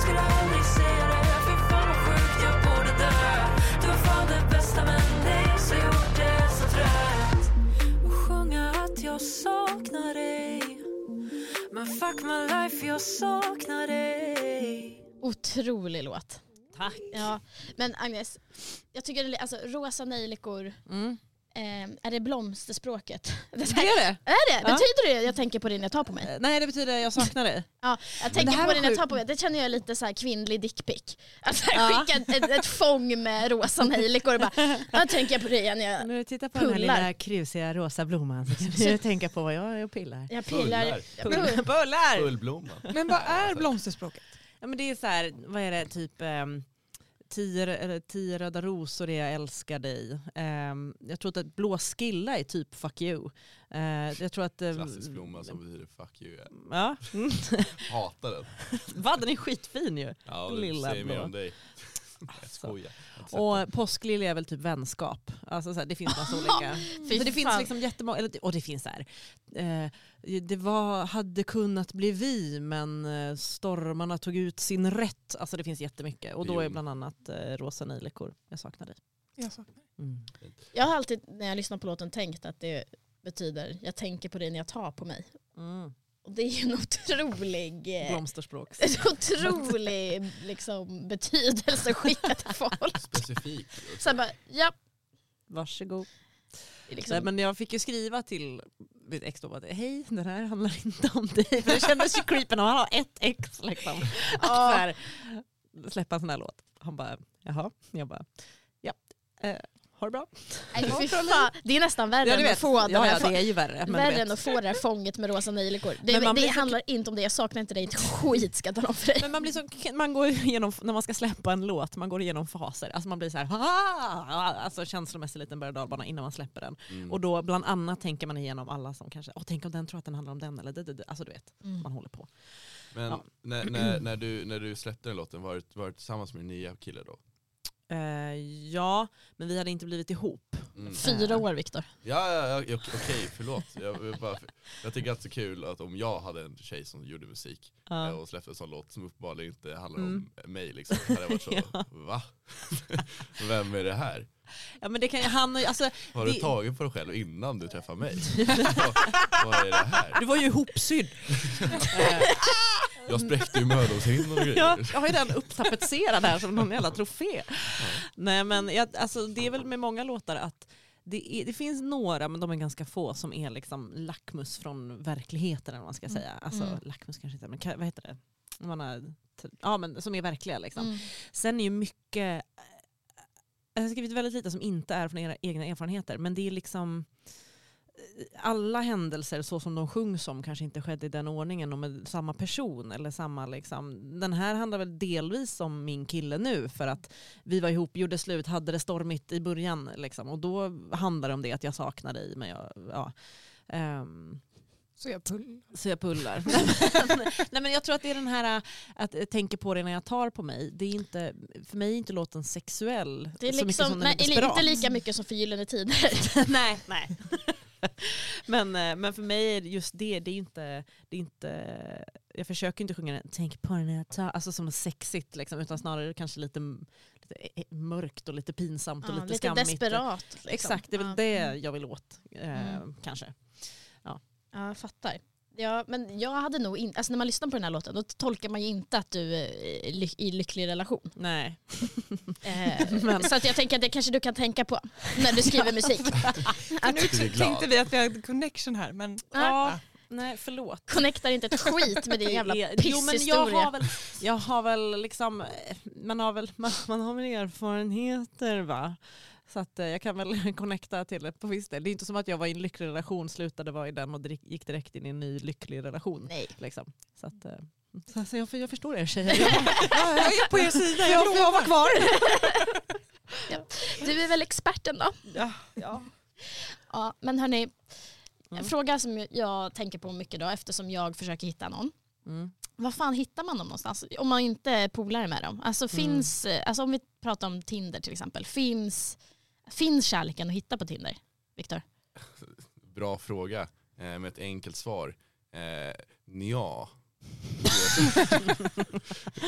Speaker 6: Skulle aldrig säga det, fy fan vad sjukt jag borde dö Du var fan den bästa men det jag så gjorde så trött Och sjunga att jag saknar dig men fuck my life, jag saknar dig
Speaker 1: Otrolig låt.
Speaker 4: Tack.
Speaker 1: Ja. Men Agnes, jag tycker det är- alltså, rosa nejlikor,
Speaker 4: Mm.
Speaker 1: eh, är det blomsterspråket?
Speaker 4: Det [LAUGHS] är det.
Speaker 1: Är det?
Speaker 4: Ja.
Speaker 1: Betyder det jag tänker på det när jag tar på mig?
Speaker 4: Eh, Nej det betyder jag saknar dig.
Speaker 1: Ja, jag
Speaker 4: det
Speaker 1: tänker
Speaker 4: här
Speaker 1: på
Speaker 4: var
Speaker 1: det när jag
Speaker 4: sjukt.
Speaker 1: tar på mig. Det känner jag är lite så här kvinnlig dickpic. Att så här
Speaker 4: Ja.
Speaker 1: [LAUGHS] skicka ett, ett, ett fång med rosa nejlikor och
Speaker 4: [LAUGHS]
Speaker 1: bara, ja, tänker jag på det när jag,
Speaker 7: När du tittar på den
Speaker 1: Pullar.
Speaker 7: här lilla krusiga rosa
Speaker 1: [LAUGHS]
Speaker 7: blomman så kan du tänka på vad jag, jag pillar.
Speaker 1: jag pillar.
Speaker 4: Bullar. Bullar.
Speaker 5: Fullblomma.
Speaker 2: Men vad är blomsterspråket?
Speaker 4: Ja, men det är så här, vad är det, typ ehm, tio, rö- eller tio röda rosor är jag älskar dig. Ehm, jag tror att ett blå skilla är typ fuck you. Eh, jag tror att... ehm,
Speaker 5: Klassisk blomma alltså. som betyder fuck you. Jag
Speaker 4: Ja. Mm.
Speaker 5: hatar den.
Speaker 4: Va, den är skitfin ju.
Speaker 5: Ja,
Speaker 4: Lilla
Speaker 5: Lilla säger mer
Speaker 4: blå.
Speaker 5: om dig. Jag skojar. Jag har inte sett den.
Speaker 4: Och påsklilja är väl typ vänskap. Alltså så här, det
Speaker 1: [LAUGHS]
Speaker 4: finns massa olika.
Speaker 1: Fy
Speaker 4: Så det finns
Speaker 1: fan.
Speaker 4: liksom jättemånga, eller, och det finns så här. Eh, det var, hade kunnat bli vi men eh, stormarna tog ut sin rätt. Alltså det finns jättemycket. Och då är
Speaker 5: Jo.
Speaker 4: bland annat eh, rosa nejlikor. Jag saknar dig.
Speaker 2: Jag saknar.
Speaker 1: Jag har alltid när jag lyssnar på låten tänkt att det betyder, jag tänker på det när jag tar på mig.
Speaker 4: Mm.
Speaker 1: Och det är ju en otrolig, eh,
Speaker 4: Blomsterspråk.
Speaker 1: en otrolig liksom, betydelse att skicka till folk.
Speaker 5: Specifik.
Speaker 1: Så jag bara, ja.
Speaker 4: Varsågod.
Speaker 1: det är
Speaker 4: Nej,
Speaker 1: Liksom,
Speaker 4: men jag fick ju skriva till mitt ex då att hej den här handlar inte om dig. För det kändes ju creepy när man har ett ex. Liksom. Att så här, släppa en sån här låt. Han bara jaha. Jag bara ja. Eh, ha det bra.
Speaker 1: nej, fy fan, det är nästan värre
Speaker 4: Ja, du
Speaker 1: än att
Speaker 4: vet.
Speaker 1: få den
Speaker 4: Ja,
Speaker 1: här
Speaker 4: ja, det är ju värre. Men du
Speaker 1: Värre än
Speaker 4: vet.
Speaker 1: att få det här fånget med rosa nejlikor. Det,
Speaker 4: Men man
Speaker 1: det
Speaker 4: blir så-
Speaker 1: handlar inte om det, jag saknar inte dig [LAUGHS] ett skit ska jag tala om för dig.
Speaker 4: Men man, blir så, man går igenom, när man ska släppa en låt, man går igenom faser. Alltså man blir så här, "Ah!" alltså känslomässigt liten berg och dalbana innan man släpper den.
Speaker 5: Mm.
Speaker 4: Och då bland annat tänker man igenom alla som kanske, åh tänk om den tror att den handlar om den eller det, det, det. Alltså du vet, man håller på.
Speaker 5: Men
Speaker 4: Ja.
Speaker 5: när, när, när, du, när du släppte den låten, var du, var du tillsammans med din nya kille då?
Speaker 4: Eh, ja, men vi hade inte blivit ihop.
Speaker 5: Mm.
Speaker 1: Fyra år Viktor.
Speaker 5: Ja, ja, ja okej, okej, förlåt. Jag, jag, bara, jag tycker att det är kul att om jag hade en tjej som gjorde musik eh,
Speaker 4: Ja.
Speaker 5: och släppte en sån låt som uppenbarligen inte handlar
Speaker 4: Mm.
Speaker 5: om mig liksom, hade jag varit så,
Speaker 4: [LAUGHS] Ja.
Speaker 5: va? [LAUGHS] Vem är det här?
Speaker 4: ja men det kan ju, han, har ju- alltså,
Speaker 5: Har du
Speaker 4: Det-
Speaker 5: tagit på dig själv innan du
Speaker 4: [LAUGHS]
Speaker 5: träffade mig? Vad- Vad är det här?
Speaker 4: du var ju ihopsydd. Eh,
Speaker 5: Jag spräckte ju mödomshinnan och grejer.
Speaker 4: Ja, jag har ju den upptapetserad här som någon jävla trofé. Nej men jag, alltså, det är väl med många låtar att det, är, det finns några, men de är ganska få, som är liksom lackmus från verkligheten eller vad man ska säga. Alltså
Speaker 1: Mm.
Speaker 4: lackmus kanske inte, men ka- vad heter det? När Man har, t- ja men som är verkliga liksom.
Speaker 1: Mm.
Speaker 4: Sen är ju mycket, eh, jag har skrivit väldigt lite som inte är från era egna erfarenheter, men det är liksom eh, alla händelser så som de sjungs om kanske inte skedde i den ordningen och med samma person. Eller samma liksom. Den här handlar väl delvis om min kille nu för att vi var ihop, gjorde slut, hade det stormigt i början. Liksom. Och då handlar det om det att jag saknar dig men jag, ja. Ehm,
Speaker 2: Så jag pull.
Speaker 4: så
Speaker 1: [LAUGHS]
Speaker 4: jag pullar. [LAUGHS] Nej, men- Nej, men jag tror att det är den här äh, att jag tänker på det när jag tar på mig. Det är inte, för mig är inte låten sexuell
Speaker 1: Det är
Speaker 4: så mycket
Speaker 1: liksom,
Speaker 4: som den
Speaker 1: nej,
Speaker 4: är desperat.
Speaker 1: inte lika mycket som för Gyllene Tider.
Speaker 4: nej, nej. [LAUGHS] men, eh, men för mig är det just det, det är ju inte, det är inte jag försöker inte sjunga den, tänk på den när jag tar, alltså som sexigt liksom, utan snarare kanske lite, lite eh, mörkt och lite pinsamt
Speaker 1: Ja,
Speaker 4: och lite,
Speaker 1: lite
Speaker 4: skammigt.
Speaker 1: desperat. Liksom.
Speaker 4: Exakt, det är väl
Speaker 1: ja.
Speaker 4: det jag vill åt eh,
Speaker 1: Mm.
Speaker 4: kanske.
Speaker 1: Ja, jag fattar. Ja, men jag hade nog in, alltså när man lyssnar på den här låten då tolkar man ju inte att du är i ly- i lycklig
Speaker 4: [LAUGHS]
Speaker 1: relation.
Speaker 4: Nej.
Speaker 1: Eh,
Speaker 4: Men-
Speaker 1: Så att jag tänker att det kanske du kan tänka på
Speaker 4: [LAUGHS]
Speaker 1: när du skriver musik.
Speaker 2: Nu
Speaker 5: du är glad.
Speaker 2: tänkte vi att vi hade connection här men
Speaker 1: Ja.
Speaker 2: Ja.
Speaker 4: Nej, förlåt.
Speaker 1: Connectar inte ett skit med din jävla
Speaker 4: Det är- Jo, men jag har
Speaker 1: pisshistoria.
Speaker 4: väl, jag har väl liksom, eh, man har väl, man, man har väl erfarenheter va? Så att eh, jag kan väl [LAUGHS] connecta till det på viss del. Det är inte som att jag var i en lycklig relation, slutade vara i den och drick, gick direkt in i en ny lycklig relation.
Speaker 1: Nej.
Speaker 4: Liksom. Så att, eh, så, så jag, jag förstår
Speaker 1: [LAUGHS]
Speaker 4: er tjejer. Jag, jag, är på er sida,
Speaker 1: jag
Speaker 4: jag får vara kvar.
Speaker 1: Du är väl experten då?
Speaker 4: Ja, ja.
Speaker 1: Ja, men hörni, en
Speaker 4: Mm.
Speaker 1: fråga som jag tänker på mycket då eftersom jag försöker hitta någon.
Speaker 4: Mm.
Speaker 1: Vad fan hittar man dem någonstans? Om man inte är polare med dem. Alltså, finns, alltså om vi pratar om Tinder till exempel. Finns, finns kärleken att hitta på Tinder? Viktor? [LAUGHS]
Speaker 5: Bra fråga eh, med ett enkelt svar. Eh, ja. [LAUGHS]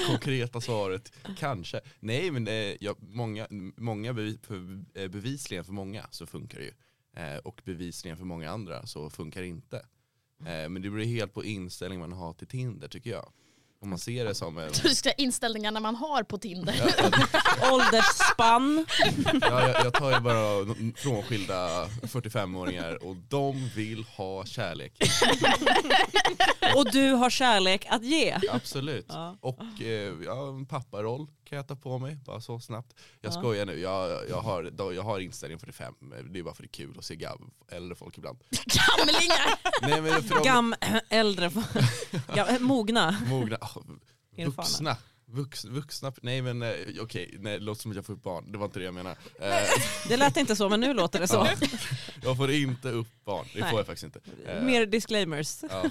Speaker 5: Konkreta svaret, kanske. Nej men eh, ja, många, många bevi, för- eh, bevisligen för många så funkar det ju. Eh, och bevisligen för många andra så funkar det inte. Eh, men det beror helt på inställning man har till Tinder tycker jag. Om man ser det som en...
Speaker 1: Jag tror du ska säga inställningarna man har på Tinder.
Speaker 5: Ja, ja,
Speaker 4: Åldersspann.
Speaker 5: Ja, jag, jag tar ju bara n- frånskilda 45-åringar och de vill ha kärlek.
Speaker 4: Och du har kärlek att ge.
Speaker 5: Absolut.
Speaker 4: Ja.
Speaker 5: Och eh, ja, en papparoll kan jag ta på mig, bara så snabbt. Jag
Speaker 4: Ja.
Speaker 5: skojar nu, jag, jag, har, då- jag har inställningen 45, men det är bara för det är kul att se gav, äldre folk ibland.
Speaker 1: [LAUGHS] Gamlingar!
Speaker 5: Nej men för de
Speaker 4: Gam, äldre, [LAUGHS] gam, mogna.
Speaker 5: mogna, ah,
Speaker 4: Erfarna.
Speaker 5: vuxna. Vux, vuxna, nej men eh, okej, nej, det låter som att jag får upp barn, det var inte det jag menade. Eh,
Speaker 4: Det lät inte så men nu låter det så.
Speaker 5: ja. jag får inte upp barn, det
Speaker 4: Nej.
Speaker 5: får jag faktiskt inte. Eh,
Speaker 4: Mer disclaimers.
Speaker 5: Ja.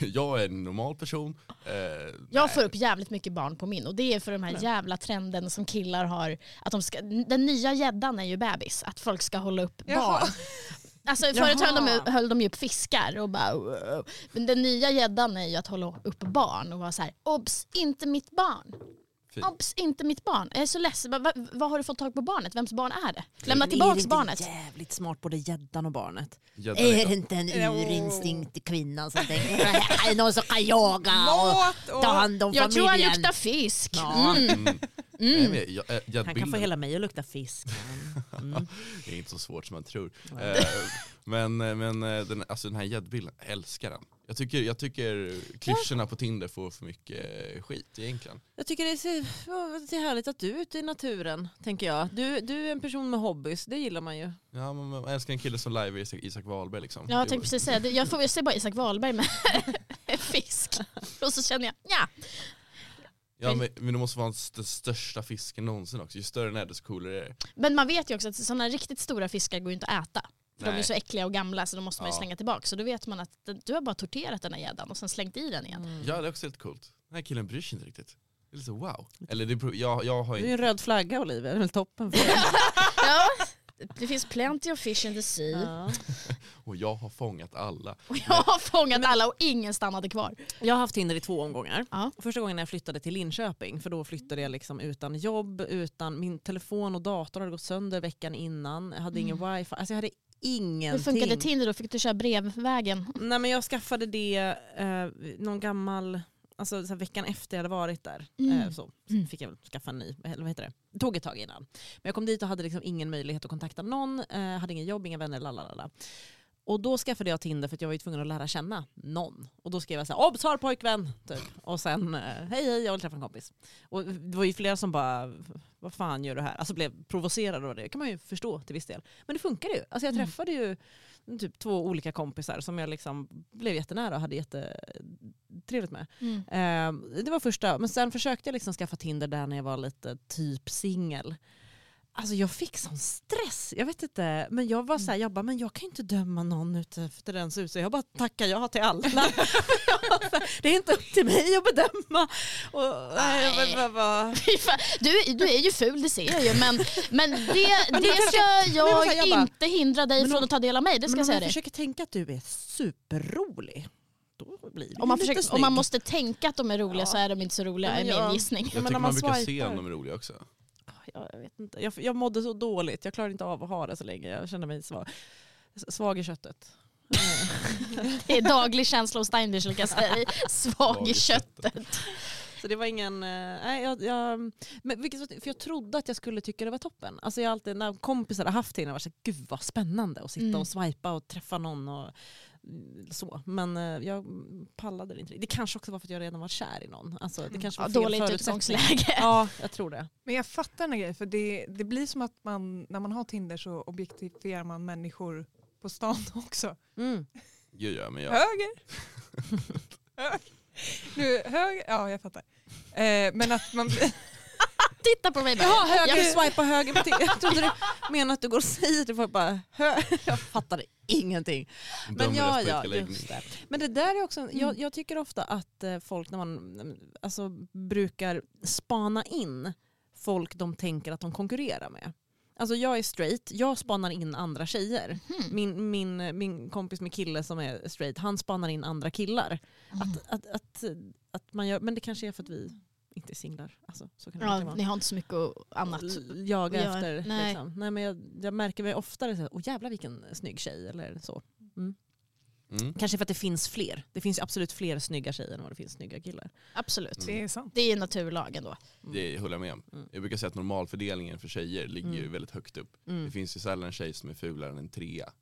Speaker 5: Jag är en normal person. Eh,
Speaker 1: Jag
Speaker 5: nej.
Speaker 1: får upp jävligt mycket barn på min och det är för de här jävla trenden som killar har. Att de ska, den nya gäddan är ju bebis, att folk ska hålla upp barn. Alltså förut höll de, höll de ju upp fiskar och bara wow. Men den nya gäddan är ju att hålla upp barn och vara så här obs, inte mitt barn.
Speaker 5: Fint.
Speaker 1: Obs, inte mitt barn. Jag är så ledsen, vad, vad, vad har du fått tag på barnet? Vems barn är det? Lämna tillbaka barnet.
Speaker 4: jävligt smart både gäddan och barnet?
Speaker 5: Gäddan
Speaker 8: Är
Speaker 5: är-
Speaker 8: det inte en urinstinkt i kvinnan som tänker här är någon som kan jaga och
Speaker 3: Mat och...
Speaker 8: ta hand om
Speaker 1: Jag tror han
Speaker 8: familjen?
Speaker 1: luktar fisk.
Speaker 4: Ja.
Speaker 1: Mm.
Speaker 5: Mm. Nej, men jag- eh,
Speaker 4: Han kan
Speaker 5: jag-
Speaker 4: få
Speaker 5: Gäddbilden
Speaker 4: hela mig att lukta [LAUGHS] fisk. Mm.
Speaker 5: Det är inte så svårt som man tror.
Speaker 4: Nej.
Speaker 5: Eh, Men, men eh, den, alltså den här gäddbilden, jag älskar den. Jag tycker, jag tycker klyschorna på Tinder får för mycket eh, skit egentligen.
Speaker 4: Jag tycker det är, så- ja, det är härligt att du är ute i naturen, tänker jag. Du, du är en person med hobbys, det gillar man ju.
Speaker 5: Ja, man, man älskar en kille som live Isak, Isak Wahlberg liksom.
Speaker 1: Ja, jag
Speaker 5: Det-
Speaker 1: tänkte precis säga det. Jag, får, jag ser bara Isak Wahlberg med [LAUGHS] en fisk. Och så känner jag, ja.
Speaker 5: ja men, men det måste vara den största fisken någonsin också. Ju större den är desto coolare är det.
Speaker 1: Men man vet ju också att sådana riktigt stora fiskar går ju inte att äta. För de är
Speaker 5: Nej.
Speaker 1: så äckliga och gamla så de måste man ju
Speaker 5: Ja.
Speaker 1: slänga tillbaka. Så då vet man att den- du har bara torterat den här gäddan och sen slängt i den igen.
Speaker 4: Mm.
Speaker 5: Ja det är också helt coolt. Den här killen bryr sig inte riktigt. Det är lite så wow. Eller det, beror- jag, jag har
Speaker 4: Du är ju en
Speaker 5: inte...
Speaker 4: röd flagga Olivia, det är väl toppen för dig.
Speaker 1: Ja, det finns plenty of fish in the sea.
Speaker 4: Ja.
Speaker 5: Och jag har fångat alla.
Speaker 1: Och jag har fångat alla och ingen stannade kvar.
Speaker 4: Jag har haft Tinder i två omgångar.
Speaker 1: Ja.
Speaker 4: Första gången när jag flyttade till Linköping, för då flyttade jag liksom utan jobb, utan min telefon och dator hade gått sönder veckan innan, jag hade ingen wifi, alltså jag hade
Speaker 1: Mm. Hur
Speaker 4: ingenting.
Speaker 1: funkade Tinder då? Fick du köra brevvägen?
Speaker 4: Nej men jag skaffade det eh, någon gammal, alltså så här, veckan efter jag hade varit där. Eh,
Speaker 1: Mm.
Speaker 4: så fick jag väl skaffa en ny, eller vad heter det, Det tog ett tag innan. Men jag kom dit och hade liksom ingen möjlighet att kontakta någon, eh, hade ingen jobb, inga vänner, lalalala. Och då skaffade jag Tinder för att jag var ju tvungen att lära känna någon. Och då skrev jag så här, obs har pojkvän! Typ. Och sen, eh, hej hej jag vill träffa en kompis. Och det var ju flera som bara, vad fan gör du här? Alltså blev provocerade av det. Det kan man ju förstå till viss del. Men det funkar ju. Alltså jag
Speaker 1: Mm.
Speaker 4: träffade ju typ två olika kompisar som jag liksom blev jättenära och hade jättetrevligt med.
Speaker 1: Mm.
Speaker 4: Eh, det var första, men sen försökte jag liksom skaffa Tinder där när jag var lite typ singel. Alltså jag fick sån stress, jag vet inte, men jag var såhär, jag bara, men jag kan ju inte döma någon efter dens hus. Jag bara tackar ja till alla. [LAUGHS] det är inte upp till mig att bedöma. Och, nej, jag bara, bara,
Speaker 1: [LAUGHS]
Speaker 4: bara.
Speaker 1: Fy fan, Du, du är ju ful, det ser jag ju. Men, men det, det ska
Speaker 4: kanske- [LAUGHS] men jag
Speaker 1: jag
Speaker 4: säger bara-
Speaker 1: inte hindra dig
Speaker 4: Men
Speaker 1: från
Speaker 4: om-
Speaker 1: att ta del av mig. Det ska
Speaker 4: Men
Speaker 1: jag
Speaker 4: om
Speaker 1: säga
Speaker 4: jag
Speaker 1: dig.
Speaker 4: försöker tänka att du är superrolig, då blir du
Speaker 1: Om man,
Speaker 4: lite
Speaker 1: försöker, om
Speaker 4: snygg.
Speaker 1: man måste tänka att de är roliga
Speaker 4: Ja.
Speaker 1: så är de inte så roliga,
Speaker 4: Ja,
Speaker 1: är
Speaker 4: men
Speaker 1: min
Speaker 4: jag-
Speaker 1: gissning.
Speaker 5: Jag
Speaker 4: men
Speaker 5: tycker
Speaker 4: om
Speaker 5: man
Speaker 4: man
Speaker 5: brukar se
Speaker 4: swipar.
Speaker 5: om de är roliga också.
Speaker 4: jag, jag vet inte. Jag, jag mådde så dåligt, jag klarade inte av att ha det så länge. Jag kände mig svag, svag i köttet.
Speaker 1: Det är daglig känsla hos Steinbich, kan jag säga dig. Svag i köttet.
Speaker 4: Så det var ingen... eh, Nej, jag, jag, men vilket, var- för jag trodde att jag skulle tycka det var toppen. Alltså jag har alltid, när kompisar har haft det innan, jag var så här, gud vad spännande att sitta
Speaker 1: Mm.
Speaker 4: och swipa och träffa någon. Och, Så. Men eh, jag pallade det inte. Det kanske också var för att jag redan var kär i någon. Alltså, det kanske var
Speaker 1: Mm. Ja,
Speaker 4: fel
Speaker 1: dåligt
Speaker 4: förutsättning.
Speaker 1: utgångsläge.
Speaker 4: Ja, jag tror det.
Speaker 2: Men jag fattar den här grejen, för det, det blir som att man, när man har Tinder så objektifierar man människor på stan [LAUGHS] också.
Speaker 4: Mm.
Speaker 5: Gud ja, men jag,
Speaker 2: Höger! höger. Nu, höger, ja jag fattar. Eh, men att man blir...
Speaker 3: [LAUGHS]
Speaker 1: Titta på mig bara.
Speaker 4: Jaha, höger.
Speaker 1: Jag-
Speaker 4: Jag swipar höger. på Tinder. Jag trodde du menade att du går och säger det. Var bara, hö- jag fattade ingenting. Men
Speaker 5: dömer
Speaker 4: ja,
Speaker 5: efter
Speaker 4: ja,
Speaker 5: utläggning.
Speaker 4: just det. Men det där är också, en- jag, jag tycker ofta att eh, folk när man mm, alltså, brukar spana in folk de tänker att de konkurrerar med. Alltså jag är straight, jag spanar in andra tjejer. Min, min, min kompis med kille som är straight, han spanar in andra killar.
Speaker 1: Hmm.
Speaker 4: Att, att, att, att man gör, men det kanske är för att vi inte är singlar. Alltså, så kan det verkligen
Speaker 1: Ja,
Speaker 4: vara
Speaker 1: ni har inte så mycket och- annat.
Speaker 4: l- jaga
Speaker 1: gör.
Speaker 4: efter.
Speaker 1: Nej.
Speaker 4: Nej. Liksom. Nej, men jag, jag märker mig oftare så här, åh jävlar vilken snygg tjej eller så.
Speaker 5: Mm.
Speaker 4: Kanske för att det finns fler. Det finns ju absolut fler snygga tjejer än vad det finns snygga killar.
Speaker 1: Absolut.
Speaker 5: Mm.
Speaker 2: Det är sant.
Speaker 1: Det är naturlagen då.
Speaker 5: Det håller jag med om.
Speaker 4: Mm.
Speaker 5: Jag brukar säga att normalfördelningen för tjejer ligger ju
Speaker 4: Mm.
Speaker 5: väldigt högt upp. Det
Speaker 4: Mm.
Speaker 5: finns ju sällan en tjej som är fulare än en trea.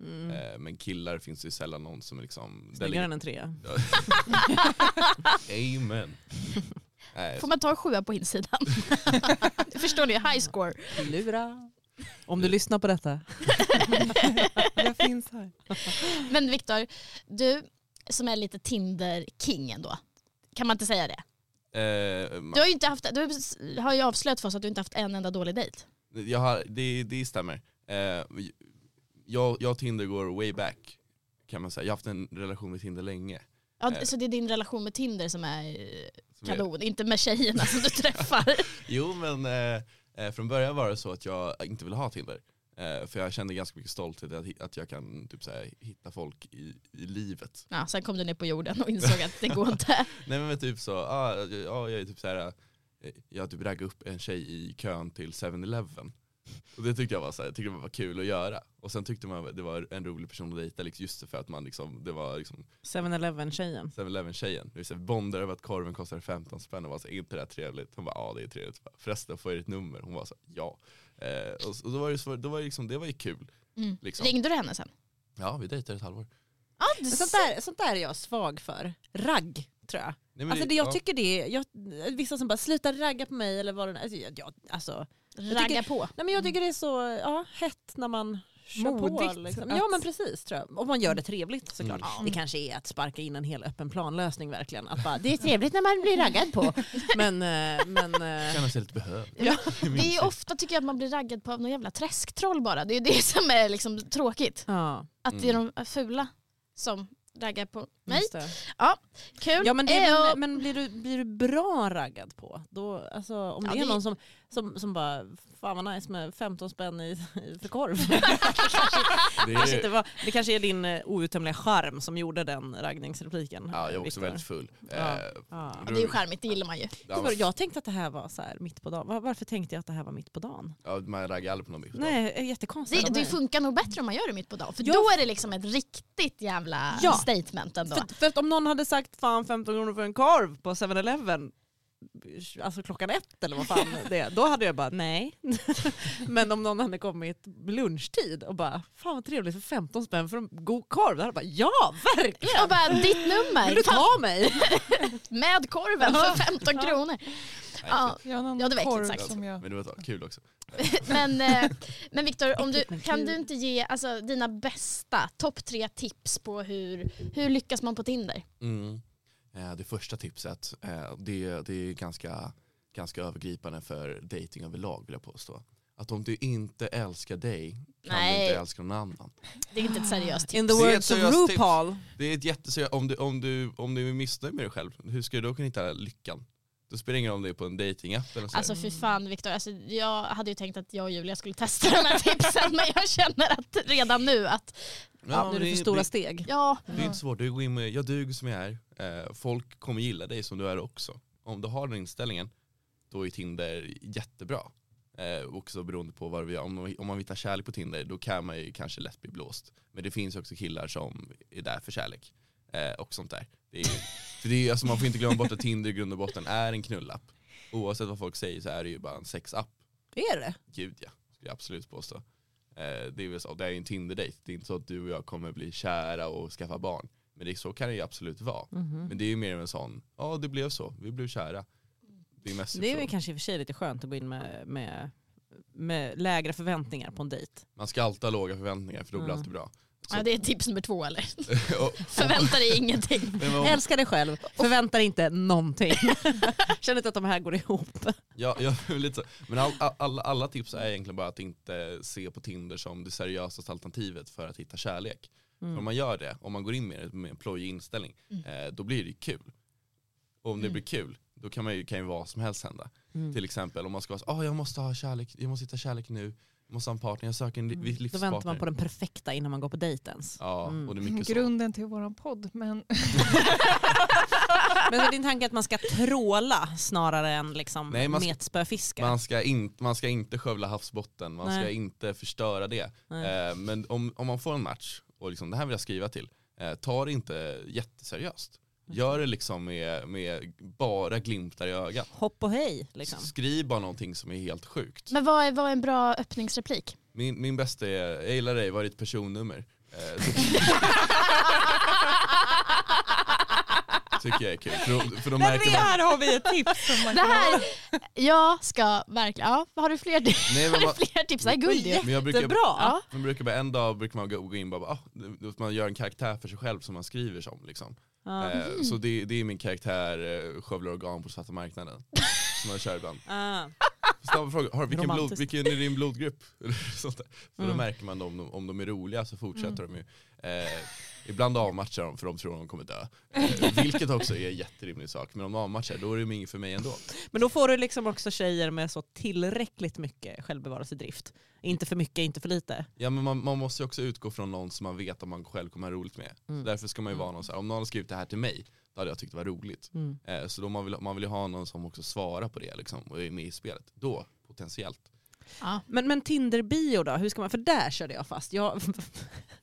Speaker 4: Mm.
Speaker 5: Eh, Men killar finns ju sällan någon som är liksom... där
Speaker 4: Snyggare än en trea.
Speaker 5: ligger-
Speaker 4: [LAUGHS]
Speaker 5: Amen. Nej,
Speaker 1: Får man ta en sjua på insidan? Förstår ni? High score.
Speaker 4: Lura. Om du lyssnar på detta.
Speaker 2: Jag finns här.
Speaker 1: Men Viktor, du som är lite Tinder-king ändå. Kan man inte säga det?
Speaker 5: eh,
Speaker 1: Du har ju, inte haft, du har ju avslöjat för oss att du inte haft en enda dålig dejt.
Speaker 5: Jag har, det, det stämmer. Eh, jag, jag och Tinder går way back kan man säga. Jag har haft en relation med Tinder länge.
Speaker 1: Ja,
Speaker 5: Eh.
Speaker 1: Så det är din relation med Tinder som är
Speaker 5: Som är-
Speaker 1: kanon, inte med tjejerna som du träffar.
Speaker 5: Jo men eh, eh, från början var det så att jag inte ville ha Tinder. Eh, för jag kände ganska mycket stolthet att, hi- att jag kan typ, så här, hitta folk i, i livet.
Speaker 1: Ja, sen kom du ner på jorden och insåg att det går inte.
Speaker 5: Nej men typ så, ah, ja, jag är typ så här, eh, jag typ raggade upp en tjej i kön till 7-Eleven. Och det tyckte jag var, så här, jag tyckte det var kul att göra. Och sen tyckte man det var en rolig person att dejta liksom, just för att man liksom, det var liksom
Speaker 4: 7-Eleven-tjejen.
Speaker 5: 7-Eleven-tjejen. Du bondar över att korven kostar 15 spänn och var så inte det här trevligt? Hon bara ja det är trevligt. Jag bara, Förresten får jag ditt nummer? Hon var så ja. Eh, och, och då var det, så, då var det, liksom, det var ju kul.
Speaker 1: Mm.
Speaker 5: Liksom.
Speaker 1: Ringde du henne sen?
Speaker 5: Ja vi dejtade ett halvår.
Speaker 1: Ja, du
Speaker 4: Sånt
Speaker 1: ser.
Speaker 4: där, sånt där är jag svag för. Ragg, tror jag.
Speaker 5: Nej, men
Speaker 4: Alltså det, jag
Speaker 5: ja.
Speaker 4: tycker det är, jag, vissa som bara sluta ragga på mig eller vad det nu alltså, jag, jag, alltså,
Speaker 1: Ragga
Speaker 4: tycker-
Speaker 1: på.
Speaker 4: Nej, men jag
Speaker 5: Mm.
Speaker 4: tycker det är så ja, hett när man kör
Speaker 2: Modigt
Speaker 4: på. Liksom.
Speaker 2: att-
Speaker 4: Ja men precis tror jag. Om man gör det trevligt såklart.
Speaker 5: Mm.
Speaker 4: Det kanske är att sparka in en hel öppen planlösning verkligen. Att bara, det är trevligt när man blir raggad
Speaker 5: [LAUGHS]
Speaker 4: på. Men, eh, men eh,
Speaker 5: Känner sig lite behövd. [LAUGHS]
Speaker 1: Ja.
Speaker 5: I min
Speaker 4: Mm.
Speaker 1: Det är
Speaker 5: syn.
Speaker 1: ofta tycker jag att man blir raggad på av någon jävla träsktroll bara. Det är ju det [LAUGHS] som är liksom tråkigt.
Speaker 4: ja,
Speaker 1: Att det
Speaker 4: Mm.
Speaker 1: är de fula som raggar på mig.
Speaker 4: just det.
Speaker 1: Kul.
Speaker 4: Mm.
Speaker 1: Eh,
Speaker 4: Ja, men det
Speaker 5: Eh,
Speaker 4: är
Speaker 1: Ejo.
Speaker 4: väl, Mm. men blir, du, blir du bra raggad på, då, alltså, om
Speaker 1: Ja,
Speaker 4: det är
Speaker 1: det-
Speaker 4: någon som, som, som bara, fan vad nice med 15 spänn i, [LAUGHS] i- för korv.
Speaker 5: Det
Speaker 4: [LAUGHS] Det kanske, inte
Speaker 5: är,
Speaker 4: var, det kanske är din eh, outtömliga charm som gjorde den raggningsrepliken.
Speaker 5: ja, jag var också
Speaker 4: Viktor.
Speaker 5: väldigt full.
Speaker 4: Ja.
Speaker 5: Eh,
Speaker 4: Ja.
Speaker 1: Ja, det är ju charmigt, det gillar man ju.
Speaker 5: ja,
Speaker 4: Gud, Jag tänkte att det här var så här mitt på dagen. Var- Varför tänkte jag att det här var mitt på dagen?
Speaker 5: ja, man raggar aldrig på någon.
Speaker 4: Nej, det är jättekonstigt.
Speaker 1: Det, det funkar nog bättre om man gör det mitt på dagen. För
Speaker 4: Ja.
Speaker 1: då är det liksom ett riktigt jävla
Speaker 4: Ja.
Speaker 1: statement ändå.
Speaker 4: för, för att om någon hade sagt fan 15 kronor för en korv på 7-Eleven, alltså klockan ett eller vad fan det är, då hade jag bara nej. [LAUGHS] Men om någon hade kommit lunchtid och bara fan vad trevligt för 15 spänn för en god korv, då hade jag bara ja verkligen!
Speaker 1: Och bara ditt
Speaker 4: Vill du
Speaker 1: nummer, fan,
Speaker 4: ta
Speaker 1: [LAUGHS]
Speaker 4: mig?
Speaker 1: med korven för 15 kronor.
Speaker 5: Nej,
Speaker 1: Ja.
Speaker 2: Jag har någon
Speaker 1: Ja, det var äckligt
Speaker 2: korv
Speaker 1: sagt.
Speaker 2: som jag...
Speaker 5: Men det var så kul också.
Speaker 1: Men, eh, men Viktor, om du,
Speaker 4: Äckligt, men
Speaker 1: kan
Speaker 4: kul.
Speaker 1: du inte ge alltså, dina bästa topp tre tips på hur, hur lyckas man på Tinder?
Speaker 5: Mm. Eh, Det första tipset, eh, det, det är ganska, ganska övergripande för dating överlag vill jag påstå. Att om du inte älskar dig kan du
Speaker 1: Nej.
Speaker 5: inte älska någon annan.
Speaker 1: Det är inte ett seriöst tips.
Speaker 4: In the
Speaker 5: Det är ett
Speaker 4: words of
Speaker 5: seriöst tips.
Speaker 4: RuPaul.
Speaker 5: Det är ett jättesö- om, du, om, du, om du är missnöjd med dig själv, hur ska du då kunna hitta lyckan? Då spelar det ingen roll om det är på en datingapp eller så.
Speaker 1: Alltså fy fan Viktor, alltså, jag hade ju tänkt att jag och Julia skulle testa de här tipsen [LAUGHS] men jag känner att redan nu att
Speaker 5: Ja,
Speaker 4: nu är
Speaker 5: det
Speaker 4: det för stora steg.
Speaker 1: ja,
Speaker 5: Det, det är inte svårt, du går in med, jag duger som jag är. Eh, Folk kommer gilla dig som du är också. Om du har den inställningen, då är Tinder jättebra. Eh, också beroende på vad vi gör. Om, man- om man hittar kärlek på Tinder då kan man ju kanske lätt bli blåst. Men det finns ju också killar som är där för kärlek. Eh, och sånt där. Det är, ju- för det är, ju- alltså, man får inte glömma bort att Tinder i grund och botten är en knullapp. Oavsett vad folk säger så är det ju bara en sexapp.
Speaker 4: Är det?
Speaker 5: Gud ja, skulle jag absolut påstå. Eh, Eh, det är väl så, det är en Tinder-date, det är inte så att du och jag kommer bli kära och skaffa barn. Men det, så kan det ju absolut vara. Men det är ju mer en sån, ja det blev så, vi blev kära. Det är mest
Speaker 4: Det är
Speaker 5: Typ så.
Speaker 4: väl kanske i och för sig lite skönt att gå in med, med, med lägre förväntningar på en dejt.
Speaker 5: Man ska alltid ha låga förväntningar för då blir
Speaker 4: Ja. [LAUGHS]
Speaker 5: alltid bra.
Speaker 1: Ja, det är tips nummer två eller?
Speaker 5: Och-
Speaker 1: Förvänta dig ingenting.
Speaker 5: Nej, [LAUGHS] men om-
Speaker 4: Älskar dig själv, förväntar dig inte någonting. [LAUGHS] Känner inte att de här går ihop.
Speaker 5: Ja, ja [LAUGHS] lite så. Men all, all, alla- alla tips är egentligen bara att inte se på Tinder som det seriösaste alternativet för att hitta kärlek.
Speaker 4: Mm.
Speaker 5: För om man gör det, om man går in med, det med en plojig inställning, eh, då blir det ju kul. Och om det
Speaker 1: Mm.
Speaker 5: blir kul, då kan, man ju, kan ju vad som helst hända.
Speaker 4: Mm.
Speaker 5: Till exempel om man ska vara så, ah, jag måste ha kärlek, jag måste hitta kärlek nu, jag måste ha en partner, jag söker en li-
Speaker 4: Mm. Då
Speaker 5: livspartner.
Speaker 4: väntar man på den perfekta innan man går på dejt ens.
Speaker 5: Ja,
Speaker 4: Mm.
Speaker 5: och det är mycket så.
Speaker 3: Grunden till våran podd. Men
Speaker 4: Men så din tanke är att man ska tråla snarare än liksom
Speaker 5: Nej, man ska-
Speaker 4: metspöfiska?
Speaker 5: Man ska, in, man ska inte skövla havsbotten, man ska
Speaker 4: Nej.
Speaker 5: inte förstöra det.
Speaker 4: Nej.
Speaker 5: Eh, men om, om man får en match och liksom, det här vill jag skriva till, eh, ta det inte jätteseriöst. Gör det liksom med, med bara glimtar i ögat.
Speaker 4: Hopp och hej liksom.
Speaker 5: Skriv bara någonting som är helt sjukt.
Speaker 1: Men vad är, vad är en bra öppningsreplik?
Speaker 5: Min, min bästa är, jag gillar dig, vad är ditt personnummer? Eh, så- tycker jag är kul. För, då- för då märker man,
Speaker 3: här har vi ett
Speaker 5: [LAUGHS]
Speaker 3: tips. Som man
Speaker 1: Det här, jag ska verkligen, ja, har du fler,
Speaker 5: nej, men
Speaker 1: har
Speaker 5: man,
Speaker 1: du fler tips? [LAUGHS] Det här är guld ju.
Speaker 5: men jag
Speaker 4: Det är
Speaker 5: brukar,
Speaker 4: bra.
Speaker 1: Ja.
Speaker 5: Man brukar bara en dag brukar man gå gå in och bara, ah, det- man gör en karaktär för sig själv som man skriver som. Liksom.
Speaker 4: Ja.
Speaker 5: Eh, så det, det är min karaktär, eh, skövlar organ på
Speaker 1: [LAUGHS]
Speaker 5: svarta marknaden. som man kör ibland.
Speaker 4: Ah.
Speaker 5: Snabb fråga, har, vilken, blod,
Speaker 4: Romantiskt.
Speaker 5: vilken är din blodgrupp? [LAUGHS] Eller Sånt där. För
Speaker 4: Mm.
Speaker 5: då märker man om de, om de är roliga så fortsätter de ju. Eh, ibland avmatchar de för de tror de kommer dö. Eh, vilket också är en jätterimlig sak. Men om de avmatchar då är det inget för mig ändå.
Speaker 4: Men då får du liksom också tjejer med så tillräckligt mycket självbevarelsedrift. Inte för mycket, inte för lite.
Speaker 5: Ja men man, man måste ju också utgå från någon som man vet att man själv kommer ha roligt med.
Speaker 4: Mm.
Speaker 5: Så därför ska man ju vara någon så här, om någon har skrivit det här till mig, då hade jag tyckt det var roligt.
Speaker 4: Mm.
Speaker 5: Eh, så då man vill, man vill ju ha någon som också svarar på det liksom, och är med i spelet. Då, potentiellt.
Speaker 4: Men, men Tinder-bio då, hur ska man, för där körde jag fast. Jag, [LAUGHS]
Speaker 5: Nej.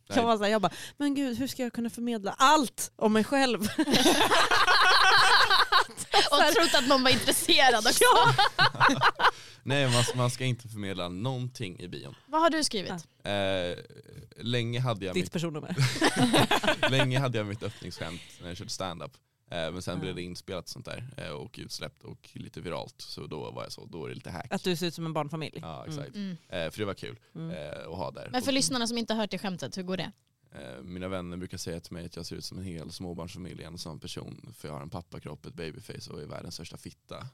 Speaker 4: jag, var så här, jag bara, men gud hur ska jag kunna förmedla allt om mig själv?
Speaker 1: Och trott att någon var intresserad också.
Speaker 5: Nej man, man ska inte förmedla någonting i bion.
Speaker 1: Vad har du skrivit?
Speaker 5: Eh, länge, hade jag
Speaker 4: Ditt
Speaker 5: mitt,
Speaker 4: personnummer.
Speaker 5: länge hade jag mitt [LAUGHS] öppningsskämt när jag körde stand-up. Eh, men sen
Speaker 4: Ja.
Speaker 5: blev det inspelat sånt där eh, och utsläppt och lite viralt. Så då var jag så, då är det lite hack.
Speaker 4: Att du ser ut som en barnfamilj.
Speaker 5: Ja exakt.
Speaker 1: Mm.
Speaker 5: Eh, för det var kul
Speaker 4: Mm.
Speaker 5: eh, att ha där.
Speaker 1: Men för
Speaker 5: Och-
Speaker 1: lyssnarna som inte har hört det skämtet, hur går det?
Speaker 5: Eh, Mina vänner brukar säga till mig att jag ser ut som en hel småbarnsfamilj, en sån person. För jag har en pappakropp, ett babyface och är världens största fitta.
Speaker 1: [LAUGHS]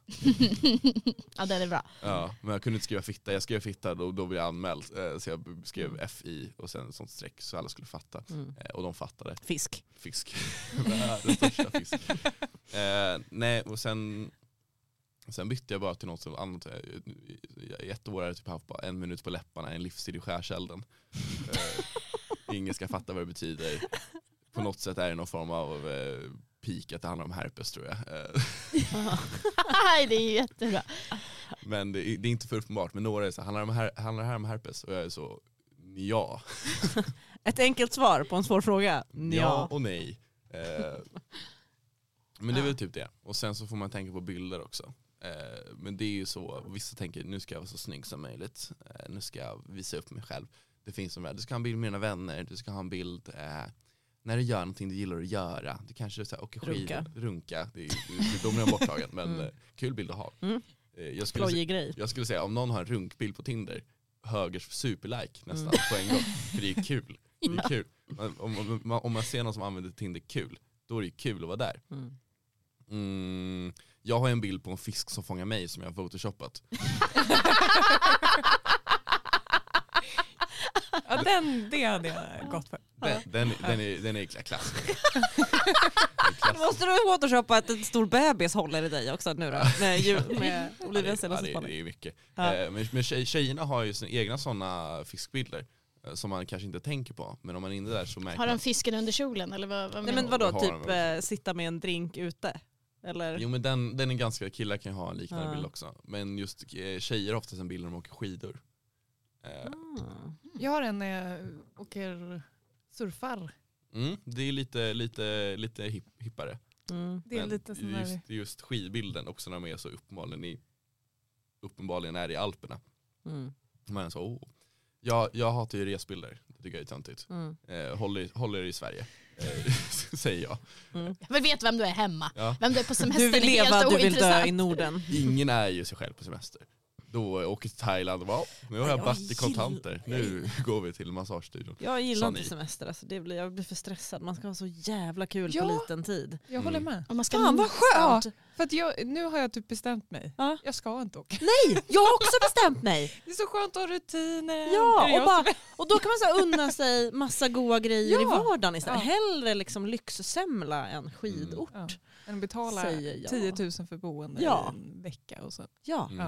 Speaker 1: ja, det är bra.
Speaker 4: Mm.
Speaker 5: Ja, men jag kunde inte skriva fitta, jag skrev fitta och då, då blev jag anmäld. Eh, Så jag b- skrev FI och sen ett sånt streck så alla skulle fatta.
Speaker 4: Mm.
Speaker 5: Eh, Och de fattade.
Speaker 4: Fisk. [LAUGHS]
Speaker 5: Fisk. [LAUGHS] världens största fisk. Eh, nej, och sen, sen bytte jag bara till något som annat. Eh, jag- Ett år är typ haft bara en minut på läpparna, en livstid i skärselden. Eh, ingen ska fatta vad det betyder. På något sätt är det någon form av eh, peak att det handlar om herpes tror jag. Eh, [LAUGHS]
Speaker 1: Nej, det är jättebra.
Speaker 5: men det, är- det är inte för uppenbart. Men några är så här, handlar det om her- handlar det här om herpes? Och jag är så, ja.
Speaker 4: Ett enkelt svar på en svår fråga.
Speaker 5: Ja
Speaker 4: Ja.
Speaker 5: och nej. Eh, men det är väl typ det. Och sen så får man tänka på bilder också. Eh, men det är ju så, vissa tänker nu ska jag vara så snygg som möjligt. Eh, nu ska jag visa upp mig själv. Det finns de där, du ska ha en bild med dina vänner, du ska ha en bild eh, när du gör någonting du gillar att göra. Du kanske så här, åker skidor, runka. Det är, det, de är redan borttagen men
Speaker 4: Mm.
Speaker 5: eh, kul bild att ha.
Speaker 4: Mm.
Speaker 5: Eh, jag, skulle, se-
Speaker 4: Plojig grej.
Speaker 5: jag skulle säga om någon har en runkbild på Tinder, högers superlike nästan
Speaker 4: Mm.
Speaker 5: på en gång. För det är kul.
Speaker 1: [LAUGHS]
Speaker 5: [LAUGHS] Det är kul. Man- Om, om, man- om man ser någon som använder Tinder kul, då är det ju kul att vara där.
Speaker 4: Mm.
Speaker 5: Mm, jag har en bild på en fisk som fångar mig som jag har photoshoppat.
Speaker 3: ja, den, det hade jag gått för.
Speaker 5: Den, den, den, är, den är klass.
Speaker 4: Då Alltså, måste du återköpa att en stor bebis håller i dig också nu då. Med, djur- med
Speaker 5: [LAUGHS] Ja, det,
Speaker 4: Olivia
Speaker 5: är- ja,
Speaker 4: senaste
Speaker 5: det, är- det
Speaker 4: spaning.
Speaker 5: är mycket.
Speaker 4: Ja.
Speaker 5: Eh, Men, men tjej, tjejerna har ju sina egna sådana fiskbilder eh, som man kanske inte tänker på. Men om man är inne där så märker
Speaker 1: Har
Speaker 5: man.
Speaker 1: de fisken under kjolen eller vad, vad
Speaker 4: Nej
Speaker 1: menar
Speaker 4: men
Speaker 1: du?
Speaker 4: vadå,
Speaker 5: Har de
Speaker 4: typ
Speaker 5: också.
Speaker 4: eh, sitta med en drink ute? Eller?
Speaker 5: Jo men den, den är ganska, killar kan ju ha en liknande
Speaker 4: Ja.
Speaker 5: bild också. Men just eh, tjejer har oftast en bild när de åker skidor. Eh,
Speaker 4: Ah.
Speaker 3: Jag har en när jag åker surfar.
Speaker 5: Mm, det är lite, lite, lite hip, hippare.
Speaker 4: Mm.
Speaker 3: Det är
Speaker 5: Men
Speaker 3: lite sån där...
Speaker 5: just, just skidbilden också när de är så uppenbarligen, i, uppenbarligen är i Alperna.
Speaker 4: Mm.
Speaker 5: Man är så, åh. Jag, jag hatar ju resbilder, det tycker jag är töntigt.
Speaker 4: Mm.
Speaker 5: Eh, håll, i- håll er i Sverige, eh, [LAUGHS] säger jag.
Speaker 4: mm.
Speaker 1: Jag vill veta vem du är hemma.
Speaker 5: Ja.
Speaker 1: Vem du är på semester
Speaker 4: Du vill leva, du vill dö i Norden.
Speaker 5: Ingen är ju sig själv på semester. Då åker till Thailand och bara, "Åh, nu har jag
Speaker 4: Jag
Speaker 5: batt i kontanter,
Speaker 4: gillar-
Speaker 5: nu [LAUGHS] går vi till massagestudion.
Speaker 4: Jag gillar
Speaker 5: Sa
Speaker 4: inte
Speaker 5: ni.
Speaker 4: semester, alltså det blir, jag blir för stressad. Man ska ha så jävla kul
Speaker 3: Ja.
Speaker 4: på liten tid. Mm.
Speaker 3: Jag håller med.
Speaker 1: Om man ska
Speaker 4: Fan vad skönt!
Speaker 3: För att jag, nu har jag typ bestämt mig.
Speaker 4: Ja.
Speaker 3: Jag ska inte åka.
Speaker 4: Nej, jag har också bestämt [LAUGHS] mig.
Speaker 3: Det är så skönt att ha rutiner. Är det
Speaker 4: Ja,
Speaker 3: jag
Speaker 4: och,
Speaker 3: som-
Speaker 4: bara, och då kan man så här unna sig massa goda grejer i
Speaker 3: Ja.
Speaker 4: vardagen istället.
Speaker 3: Ja.
Speaker 4: Hellre liksom lyxsemla än skidort.
Speaker 3: Ja. Än att betala
Speaker 4: Säger jag.
Speaker 3: 10 000 för boende
Speaker 4: Ja.
Speaker 3: i en vecka. Och så.
Speaker 4: Ja.
Speaker 5: Mm.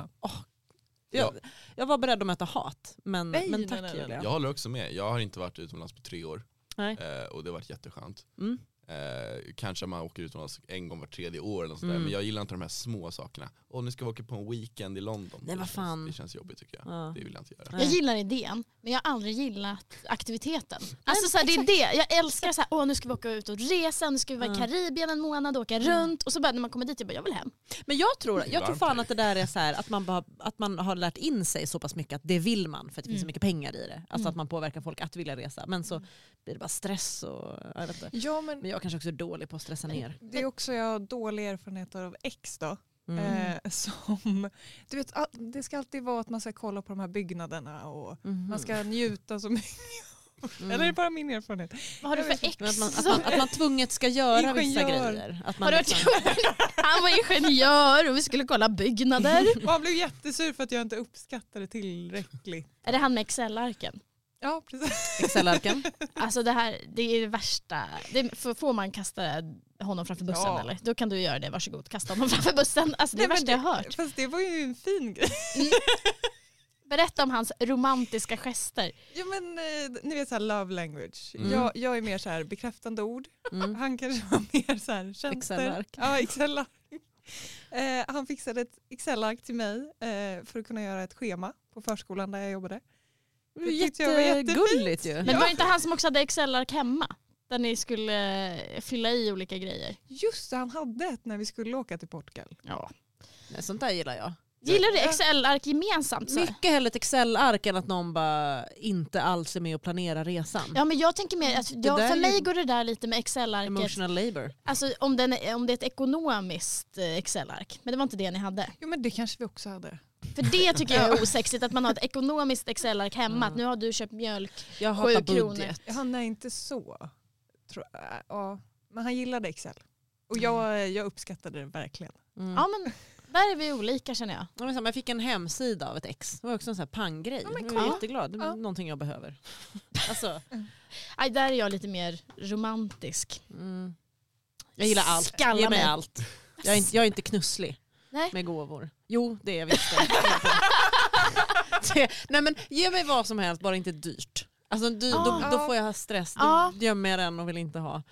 Speaker 4: Jag, jag var beredd att möta hat, men,
Speaker 3: Nej,
Speaker 4: men
Speaker 3: nej,
Speaker 4: tack
Speaker 3: nej, nej.
Speaker 4: Julia.
Speaker 5: Jag håller också med, jag har inte varit utomlands på tre år
Speaker 4: Nej.
Speaker 5: eh, och det har varit jätteskönt.
Speaker 4: Mm.
Speaker 5: Eh, kanske man åker utomlands en gång var tredje år eller något sånt där,
Speaker 4: Mm.
Speaker 5: men jag gillar inte de här små sakerna. Åh nu ska vi åka på en weekend i London.
Speaker 4: Nej,
Speaker 5: det,
Speaker 4: vad fan.
Speaker 5: Känns, det känns jobbigt tycker jag.
Speaker 4: Ja.
Speaker 5: Det vill jag inte göra.
Speaker 1: Jag gillar idén, men jag har aldrig gillat aktiviteten. Alltså
Speaker 4: men
Speaker 1: så här, det är det. Jag älskar så här, åh nu ska vi åka ut och resa, nu ska vi vara i
Speaker 4: Ja. Mm.
Speaker 1: Karibien en månad och åka runt. Och så bara när man kommer dit, jag bara, jag vill hem.
Speaker 4: Men jag tror,
Speaker 5: Det är
Speaker 4: jag tror
Speaker 5: varmt
Speaker 4: fan
Speaker 5: här.
Speaker 4: att det där är så här, att, man bara, att man har lärt in sig så pass mycket att det vill man för att det finns så
Speaker 1: Mm.
Speaker 4: mycket pengar i det. Alltså
Speaker 1: Mm.
Speaker 4: att man påverkar folk att vilja resa. Men så blir det bara stress och jag vet inte.
Speaker 3: Ja, men
Speaker 4: Men jag kanske också är dålig på att stressa ner.
Speaker 3: det är också jag har dålig erfarenhet av ex då.
Speaker 4: Mm.
Speaker 3: Eh, [LAUGHS] som, du vet, all- det ska alltid vara att man ska kolla på de här byggnaderna och
Speaker 4: Mhm.
Speaker 3: man ska njuta så mycket.
Speaker 4: Mm.
Speaker 3: Eller är det bara min erfarenhet?
Speaker 1: Vad har du
Speaker 3: Jag vet
Speaker 1: för ex?
Speaker 3: inte,
Speaker 4: Men att, man, att,
Speaker 1: som-
Speaker 4: man, att man tvunget ska göra vissa
Speaker 3: Ingenjör.
Speaker 4: grejer. Att man
Speaker 1: Har du hört?
Speaker 4: liksom,
Speaker 1: [LAUGHS] Han var ingenjör och vi skulle kolla
Speaker 4: [LAUGHS]
Speaker 1: byggnader.
Speaker 3: Och han blev jättesur för att jag inte uppskattade tillräckligt.
Speaker 1: är det han med Excel-arken?
Speaker 3: Ja, precis.
Speaker 4: Excelarken.
Speaker 1: Alltså det här, det är det värsta. Det är, för- får man kasta honom framför bussen
Speaker 3: Ja.
Speaker 1: eller? Då kan du göra det, varsågod. Kasta honom [LAUGHS] framför bussen. Alltså det är det
Speaker 3: Nej, men
Speaker 1: värsta jag har hört.
Speaker 3: [LAUGHS] Fast det var ju en fin grej.
Speaker 1: Berätta om hans romantiska gester.
Speaker 3: Ja, men, eh, ni vet så här love language.
Speaker 4: Mm.
Speaker 3: Jag, jag är mer så här bekräftande ord.
Speaker 4: Mm.
Speaker 3: Han kanske var mer så här tjänster.
Speaker 4: Excelark.
Speaker 3: [LAUGHS] Ja, Excel-ark. Eh, han fixade ett Excel-ark till mig eh, för att kunna göra ett schema på förskolan där jag jobbade.
Speaker 4: Det är
Speaker 3: tyckte jag var jättefint.
Speaker 4: Jättegulligt eh, ju.
Speaker 1: Men var det inte han som också hade Excel-ark hemma? Där ni skulle eh, fylla i olika grejer.
Speaker 3: Just det, han hade ett när vi skulle åka till Portugal.
Speaker 1: Ja.
Speaker 4: Nej, sånt där gillar jag.
Speaker 1: Gillar du Excel-ark gemensamt? Så? här?
Speaker 4: Mycket hellre ett Excel-ark än att någon bara inte alls är med och planerar resan.
Speaker 1: Ja men jag tänker mer, att jag,
Speaker 4: där
Speaker 1: för
Speaker 4: är
Speaker 1: mig
Speaker 4: ju-
Speaker 1: går det där lite med Excel-arket,
Speaker 4: Emotional labor.
Speaker 1: alltså om, den är, om det är ett ekonomiskt eh, Excel-ark. Men det var inte det ni hade.
Speaker 3: Jo men det kanske vi också hade.
Speaker 1: För det tycker jag är osexigt, att man har ett ekonomiskt Excel-ark hemma. Att nu har du köpt mjölk.
Speaker 4: Jag
Speaker 1: Sju
Speaker 4: hatar
Speaker 1: kronor.
Speaker 4: budget. Mm.
Speaker 3: Han är inte så. Tror jag. Äh, Ja. Men han gillade Excel. Och jag, jag uppskattade det verkligen.
Speaker 4: Mm.
Speaker 1: Ja men där är vi olika känner jag.
Speaker 4: Ja, men så här, man fick en hemsida av ett ex. Det var också en sån här panggrej.
Speaker 3: men
Speaker 4: jag
Speaker 1: kolla.
Speaker 4: är jätteglad. Det är
Speaker 3: Ja.
Speaker 4: någonting
Speaker 1: [LAUGHS]
Speaker 4: jag behöver. Alltså,
Speaker 1: Aj, där är jag lite mer romantisk.
Speaker 4: mm. Jag gillar allt.
Speaker 1: Skalla
Speaker 4: Ge mig
Speaker 1: mig.
Speaker 4: allt. Jag är, inte, jag är inte knusslig
Speaker 1: Nej.
Speaker 4: med gåvor. Jo, det är jag visst.
Speaker 1: [LAUGHS]
Speaker 4: det, nej men ge mig vad som helst, bara inte dyrt. Alltså, dy,
Speaker 1: Ah.
Speaker 4: då, då får jag stress. Då
Speaker 1: Ah.
Speaker 4: gömmer jag den och vill inte ha.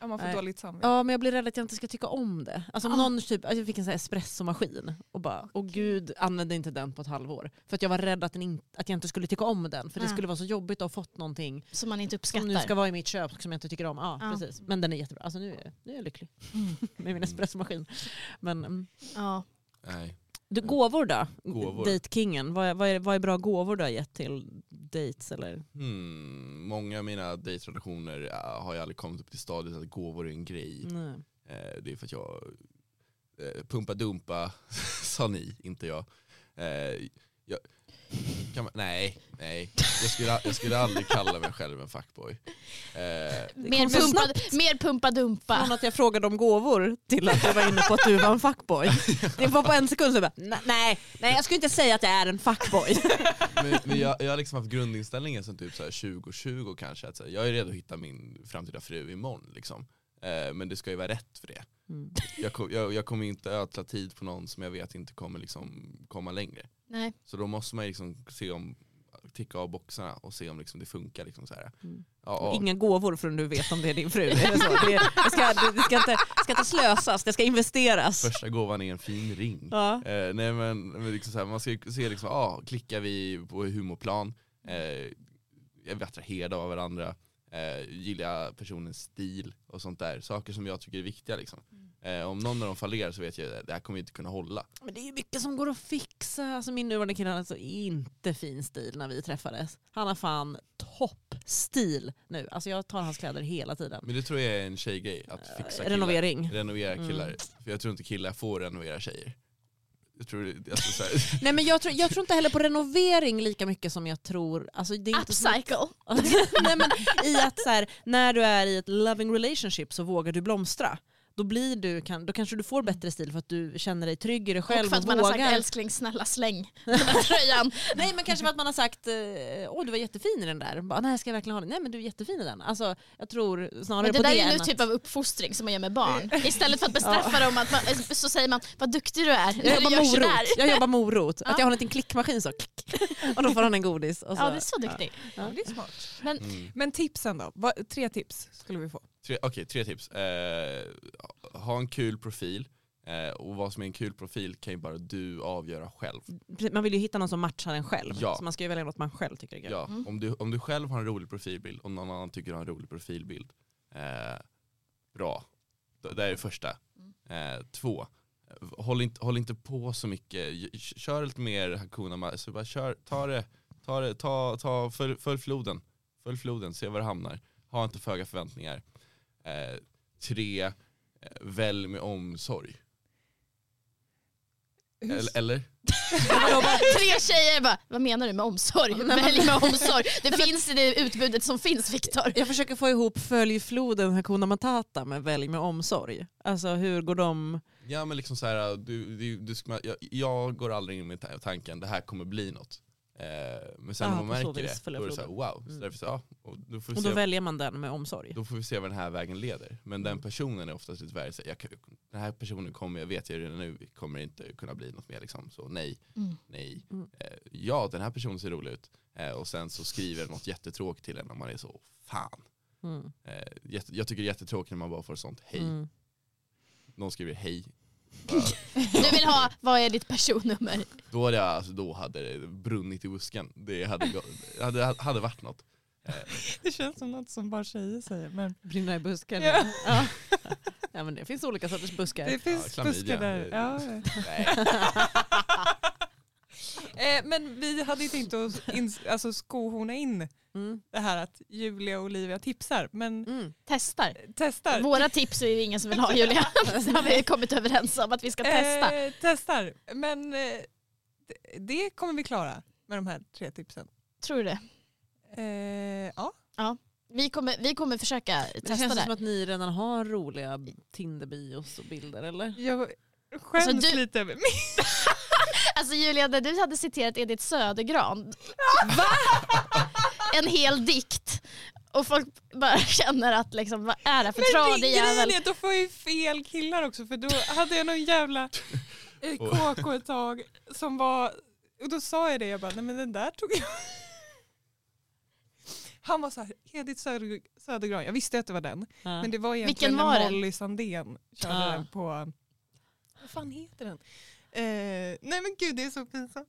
Speaker 3: Ja, man får
Speaker 4: Nej.
Speaker 3: dåligt samvete.
Speaker 4: Ja men jag blir rädd att jag inte ska tycka om det. Alltså om
Speaker 1: Ah.
Speaker 4: någon typ, alltså, jag fick en sån här espressomaskin och bara, åh gud använde inte den på ett halvår. För att jag var rädd att, den in, att jag inte skulle tycka om den. För det
Speaker 1: Ah.
Speaker 4: skulle vara så jobbigt att ha fått någonting
Speaker 1: Som man inte
Speaker 4: som nu
Speaker 1: uppskattar.
Speaker 4: ska vara i mitt köp som jag inte tycker om. Ja,
Speaker 1: Ah. Mm.
Speaker 4: precis. Men den är jättebra. Alltså nu är, nu är jag lycklig [LAUGHS] med min espressomaskin. Men mm.
Speaker 1: Ja.
Speaker 5: Nej.
Speaker 4: du, gåvor då?
Speaker 5: Gåvor.
Speaker 4: Datekingen. Vad, är- vad, är, vad är bra gåvor du har gett till dates eller?
Speaker 5: Hmm. Många av mina dejtrelationer eh, har jag aldrig kommit upp till stadiet att gåvor är en grej.
Speaker 4: Nej.
Speaker 5: Eh, det är för att jag, eh, pumpa dumpa [LAUGHS] sa ni, inte jag. Eh, jag kan man, nej, nej. Jag skulle, jag skulle aldrig kalla mig själv en fuckboy. Eh,
Speaker 1: Mer,
Speaker 4: kom
Speaker 1: pumpa, mer pumpa dumpa.
Speaker 4: Från att jag frågade om gåvor till att du var inne på att du var en fuckboy. Det var på en sekund så jag bara, "Nej, nej, nej jag skulle inte säga att jag är en fuckboy.
Speaker 5: men, men jag, jag har liksom haft grundinställningen sen typ så här 2020 kanske, att så här, jag är redo att hitta min framtida fru imorgon. Liksom. Eh, men det ska ju vara rätt för det.
Speaker 4: Mm.
Speaker 5: Jag, kom, jag, jag kommer inte ödla tid på någon som jag vet inte kommer liksom komma längre.
Speaker 1: Nej.
Speaker 5: Så då måste man ju liksom se om, ticka av boxarna och se om liksom det funkar. Liksom så här.
Speaker 4: Mm.
Speaker 5: Ja, ja.
Speaker 4: Inga gåvor förrän du vet om det är din fru. Är det, så? Det, är- det, ska, det, det ska, inte, ska inte slösas, det ska investeras.
Speaker 5: Första gåvan är en fin ring.
Speaker 4: Ja.
Speaker 5: Eh, nej men, men liksom så här, man ska ju se liksom, ah, klickar vi på humorplan,
Speaker 4: Mm.
Speaker 5: eh, är vi attraherade av varandra, eh, gillar personens stil och sånt där. Saker som jag tycker är viktiga liksom.
Speaker 4: Mm.
Speaker 5: Eh, om någon av dem fallerar så vet jag att det här kommer inte kunna hålla.
Speaker 4: Men det är ju mycket som går att fixa. Alltså min nuvarande kille hade alltså inte fin stil när vi träffades. Han har fan toppstil nu. Alltså jag tar hans kläder hela tiden.
Speaker 5: Men det tror jag är en tjejgrej, att fixa killar.
Speaker 4: Eh, Renovering.
Speaker 5: Renovera
Speaker 4: Mm.
Speaker 5: killar. För jag tror inte killar får renovera tjejer. Jag tror det, alltså,
Speaker 4: [LAUGHS]
Speaker 5: så här,
Speaker 4: Nej men jag tror, jag tror inte heller på renovering lika mycket som jag tror... Alltså det är inte så-
Speaker 1: Upcycle.
Speaker 4: [LAUGHS] Nej, men I att så här, när du är i ett loving relationship så vågar du blomstra. Då, blir du, kan, då kanske du får bättre stil för att du känner dig trygg i dig själv
Speaker 1: Mm. Och
Speaker 4: och,
Speaker 1: för att man
Speaker 4: vågar.
Speaker 1: har sagt älskling snälla
Speaker 4: [LAUGHS]
Speaker 1: släng den där tröjan.
Speaker 4: Nej men kanske för att man har sagt eh, åh du var jättefin i den där. Bara, Nej ska jag verkligen ha den? Nej men du är jättefin i den. Alltså jag tror snarare
Speaker 1: Men det
Speaker 4: på
Speaker 1: där
Speaker 4: det Mm.
Speaker 1: är ju
Speaker 4: än
Speaker 1: en typ av uppfostring som man gör med barn. Istället för att bestraffa dem att man, så säger man vad duktig du är när
Speaker 4: [LAUGHS] jag
Speaker 1: du
Speaker 4: jobbar
Speaker 1: gör sådär.
Speaker 4: morot. Jag jobbar morot. Att jag har en liten klickmaskin så. Klick. Och då får han en godis. Och
Speaker 1: [LAUGHS]
Speaker 4: så.
Speaker 1: Ja, du är så duktig.
Speaker 3: Ja, det är smart.
Speaker 5: mm.
Speaker 3: Men tipsen då? Va- Tre tips skulle vi få.
Speaker 5: tre, okej, tre tips. Eh, ha en kul profil. Eh, och vad som är en kul profil kan ju bara du avgöra själv.
Speaker 4: Precis, Man vill ju hitta någon som matchar en själv.
Speaker 5: Ja.
Speaker 4: Så man ska ju välja något man själv tycker är gött.
Speaker 5: Ja, om, du, om du själv har en rolig profilbild och någon annan tycker du har en rolig profilbild, eh, bra. D- Det är det första. Eh, två, eh, håll inte, håll inte på så mycket. J- k- Kör lite mer Hakuna Ma- så bara kör, ta det, ta det, ta, ta, följ, följ floden. Följ floden, se var det hamnar. Ha inte för höga förväntningar. Eh, tre, eh, välj med omsorg. Eller? eller?
Speaker 1: Tre tjejer bara, vad menar du med omsorg? Välj med omsorg. Det finns i det utbudet som finns Viktor.
Speaker 4: Jag försöker få ihop följ floden Hakuna Matata med välj med omsorg. Alltså hur går de...
Speaker 5: Ja men liksom så här, du, du, du ska, jag, jag går aldrig in med ta- tanken det här kommer bli något. Eh, men sen
Speaker 4: Ah,
Speaker 5: när man
Speaker 4: på så
Speaker 5: märker
Speaker 4: vis
Speaker 5: det,
Speaker 4: följer
Speaker 5: då är det så här,
Speaker 4: floden.
Speaker 5: wow. Så
Speaker 4: Mm.
Speaker 5: därför så, ja, och då, får vi
Speaker 4: Och då
Speaker 5: se,
Speaker 4: väljer man den med omsorg.
Speaker 5: då får vi se vad den här vägen leder. Men
Speaker 4: Mm.
Speaker 5: den personen är oftast lite värre, så här, jag, kan- den här personen kommer, jag vet ju redan nu, kommer inte kunna bli något mer liksom. Så nej,
Speaker 1: Mm.
Speaker 5: nej.
Speaker 4: Mm.
Speaker 5: Eh, ja den här personen ser rolig ut. Eh, och sen så skriver den något jättetråkigt till en och man är så, fan.
Speaker 4: Mm.
Speaker 5: Eh, jätte, jag tycker det är jättetråkigt när man bara får sånt, hej.
Speaker 4: Mm.
Speaker 5: Någon
Speaker 4: [LAUGHS]
Speaker 5: skriver hej.
Speaker 1: Du vill ha, vad är ditt personnummer?
Speaker 5: Då hade, jag, alltså, då hade det brunnit i busken. Det hade, gå- det hade, hade varit något.
Speaker 3: [LAUGHS] Det känns som något som bara tjejer säger. Men
Speaker 4: Brinna i busken.
Speaker 3: Ja.
Speaker 4: [LAUGHS] Ja. ja men det finns olika sorters buskar.
Speaker 3: det finns
Speaker 5: klamydia.
Speaker 3: buskar där. Ja.
Speaker 5: Nej.
Speaker 3: [LAUGHS] Eh, men vi hade ju tänkt att ins- alltså, skohorna in
Speaker 4: Mm.
Speaker 3: det här att Julia och Olivia tipsar. Men
Speaker 4: Mm.
Speaker 1: Testar.
Speaker 3: testar.
Speaker 1: Våra tips är ju ingen som vill ha Julia. Så har vi kommit överens om att vi ska testa.
Speaker 3: Eh, testar. Men eh, d- det kommer vi klara med de här tre tipsen.
Speaker 1: Tror du det?
Speaker 3: Eh, ja.
Speaker 1: Vi kommer, vi kommer försöka
Speaker 4: Det
Speaker 1: testa
Speaker 4: känns
Speaker 1: det.
Speaker 4: som
Speaker 1: här.
Speaker 4: att ni redan har roliga Tinder-bios och bilder eller?
Speaker 3: Jag skäms
Speaker 1: Alltså, du-
Speaker 3: lite över mig.
Speaker 1: Alltså Julia, när du hade citerat Edith Södergran. [LAUGHS] En hel dikt. Och folk bara känner att liksom, vad är det för tradig jävel?
Speaker 3: då får jag ju fel killar också för då hade jag någon jävla eh, KK ett tag som var, och då sa jag det, jag bara nej men den där tog jag. [LAUGHS] Han var så här, Edith Söder- Södergran, jag visste att det var den.
Speaker 4: Ja.
Speaker 3: Men det var
Speaker 1: Vilken
Speaker 3: egentligen
Speaker 1: var
Speaker 3: när
Speaker 1: den?
Speaker 3: Molly Sandén körde
Speaker 4: Ah.
Speaker 3: den på... Vad fan heter den? Eh, nej men gud det är så pinsamt.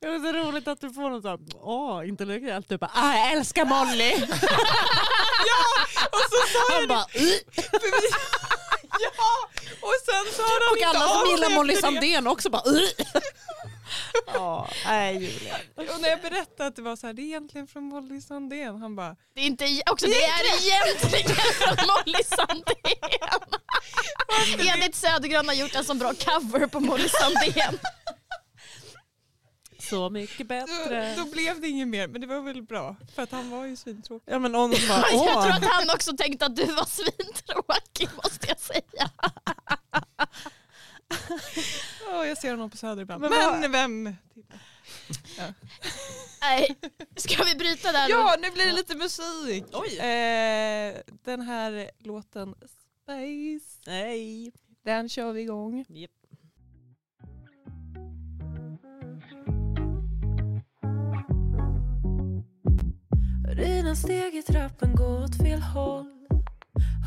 Speaker 4: Det är så roligt att du får något sånt, åh intellektuellt, du bara ah, jag älskar Molly. [LAUGHS] ja, och så sa Han jag bara, "Ugh."
Speaker 3: Ja! Och sen så har han
Speaker 4: och
Speaker 3: inte
Speaker 4: alla
Speaker 3: av
Speaker 4: som
Speaker 3: sig
Speaker 4: gillar
Speaker 3: efter
Speaker 4: Molly
Speaker 3: det.
Speaker 4: Sandén också bara "Ugh." Ja, nej Julia.
Speaker 3: Och när jag berättade att det var så här, det är egentligen från Molly Sandén. Han bara,
Speaker 1: Det är inte, också det är egentligen från Molly Sandén. Edith Södergran har gjort en sån bra cover på Molly Sandén.
Speaker 4: Så mycket bättre.
Speaker 3: då, då blev det inget mer. Men det var väl bra. För att han var ju svintråkig.
Speaker 4: Ja
Speaker 7: [LAUGHS]
Speaker 4: men någon som bara
Speaker 1: Jag tror
Speaker 4: åh.
Speaker 1: att han också tänkte att du var svintråkig måste jag säga.
Speaker 3: Oh, jag ser honom på Söder ibland.
Speaker 4: Men
Speaker 3: Men,
Speaker 4: vad-
Speaker 3: vem?
Speaker 1: Nej. Ska vi bryta där
Speaker 3: Ja, nu blir det lite musik.
Speaker 4: Oj.
Speaker 3: Eh, den här låten Space,
Speaker 4: Nej.
Speaker 3: den kör vi igång.
Speaker 4: Japp.
Speaker 6: Redan steg i trappen, gå åt fel håll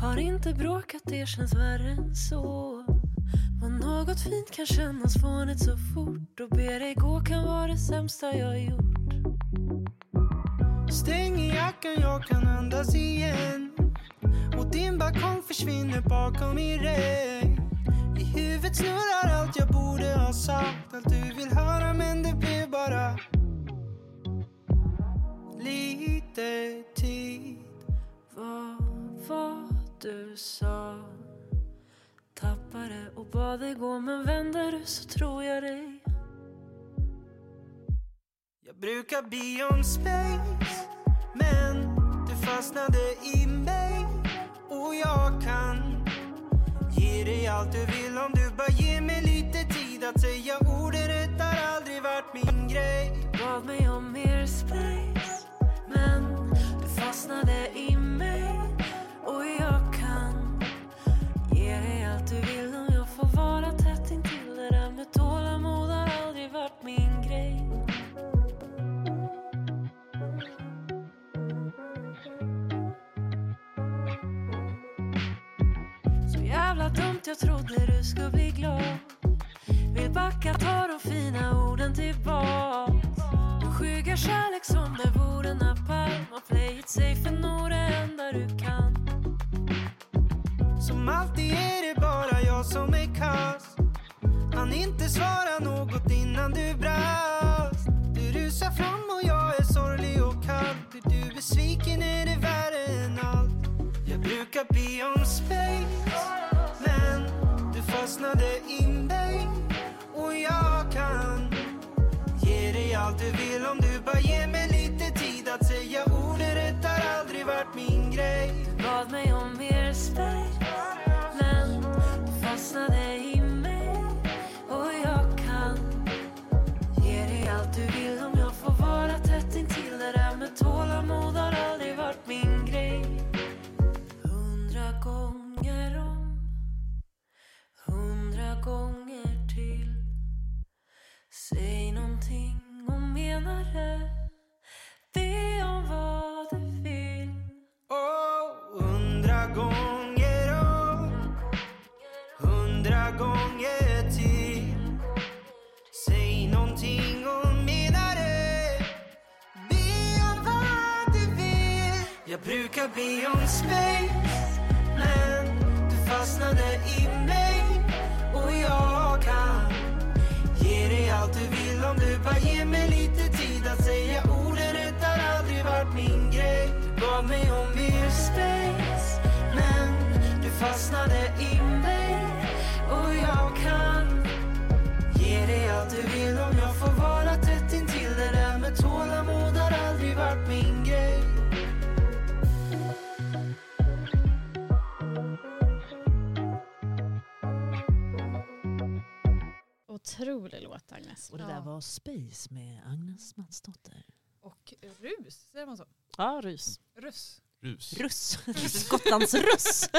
Speaker 6: Har inte bråkat, det känns värre än så Vad något fint kan kännas fånigt så fort Och be dig gå kan vara det sämsta jag gjort
Speaker 9: Stäng i jackan, jag kan andas igen. Och Din balkong försvinner bakom min regn I huvudet snurrar allt jag borde ha sagt Allt du vill höra men det blev bara Lite tid
Speaker 6: Vad var du sa? Tappade och bad dig gå men vänder du så tror jag dig.
Speaker 9: Jag brukar be om space Men du fastnade i mig Och jag kan ge dig allt du vill om du bara ger mig lite tid Att säga orden rätt har aldrig varit min grej
Speaker 6: Bad mig om mer space men du fastnade i mig. Och jag kan ge dig allt du vill om jag får vara tätt intill. Det där med tålamod har aldrig varit min grej. Så jävla dumt jag trodde du skulle bli glad Vill backa, ta de fina orden tillbaks Och skyggar kärlek som det vore en napalm Och play it safe and nå det enda du kan
Speaker 9: Som alltid är det bara jag som är kass Han inte svara något innan du brast Du rusar fram och jag är sorglig och kall Blir du besviken är det värre än allt Jag brukar be om space Men du fastnade i mig Och jag kan Ge dig allt du vill om du bara ger mig lite tid Att säga orden rätt har aldrig varit min grej
Speaker 6: Bad mig om mer space Men du fastnade i mig Och jag kan Ge dig allt du vill om jag får vara tätt intill Det där med tålamod har aldrig varit min grej Hundra gånger om Hundra gånger till Säg någonting och mena det Be om vad du vill
Speaker 9: Oh, hundra gånger om, hundra gånger till. Säg någonting och mena det. Be om vad du vill. Jag brukar be om space, men du fastnade i mig. Och jag kan ge dig allt du vill om du bara ger mig lite tid att säga orden rätt har aldrig varit min grej. Du bad mig om mer space, men du fastnade i mig. Och jag kan ge dig allt du vill om jag får vara tätt intill. Det där med tålamod har aldrig varit min grej.
Speaker 1: Otrolig låt Agnes.
Speaker 7: Och det där var Space med Agnes Matsdotter.
Speaker 3: Och rus, säger man så?
Speaker 4: Ja, rus.
Speaker 3: Russ.
Speaker 5: Rus.
Speaker 7: Russ. [LAUGHS] Gotlandsruss.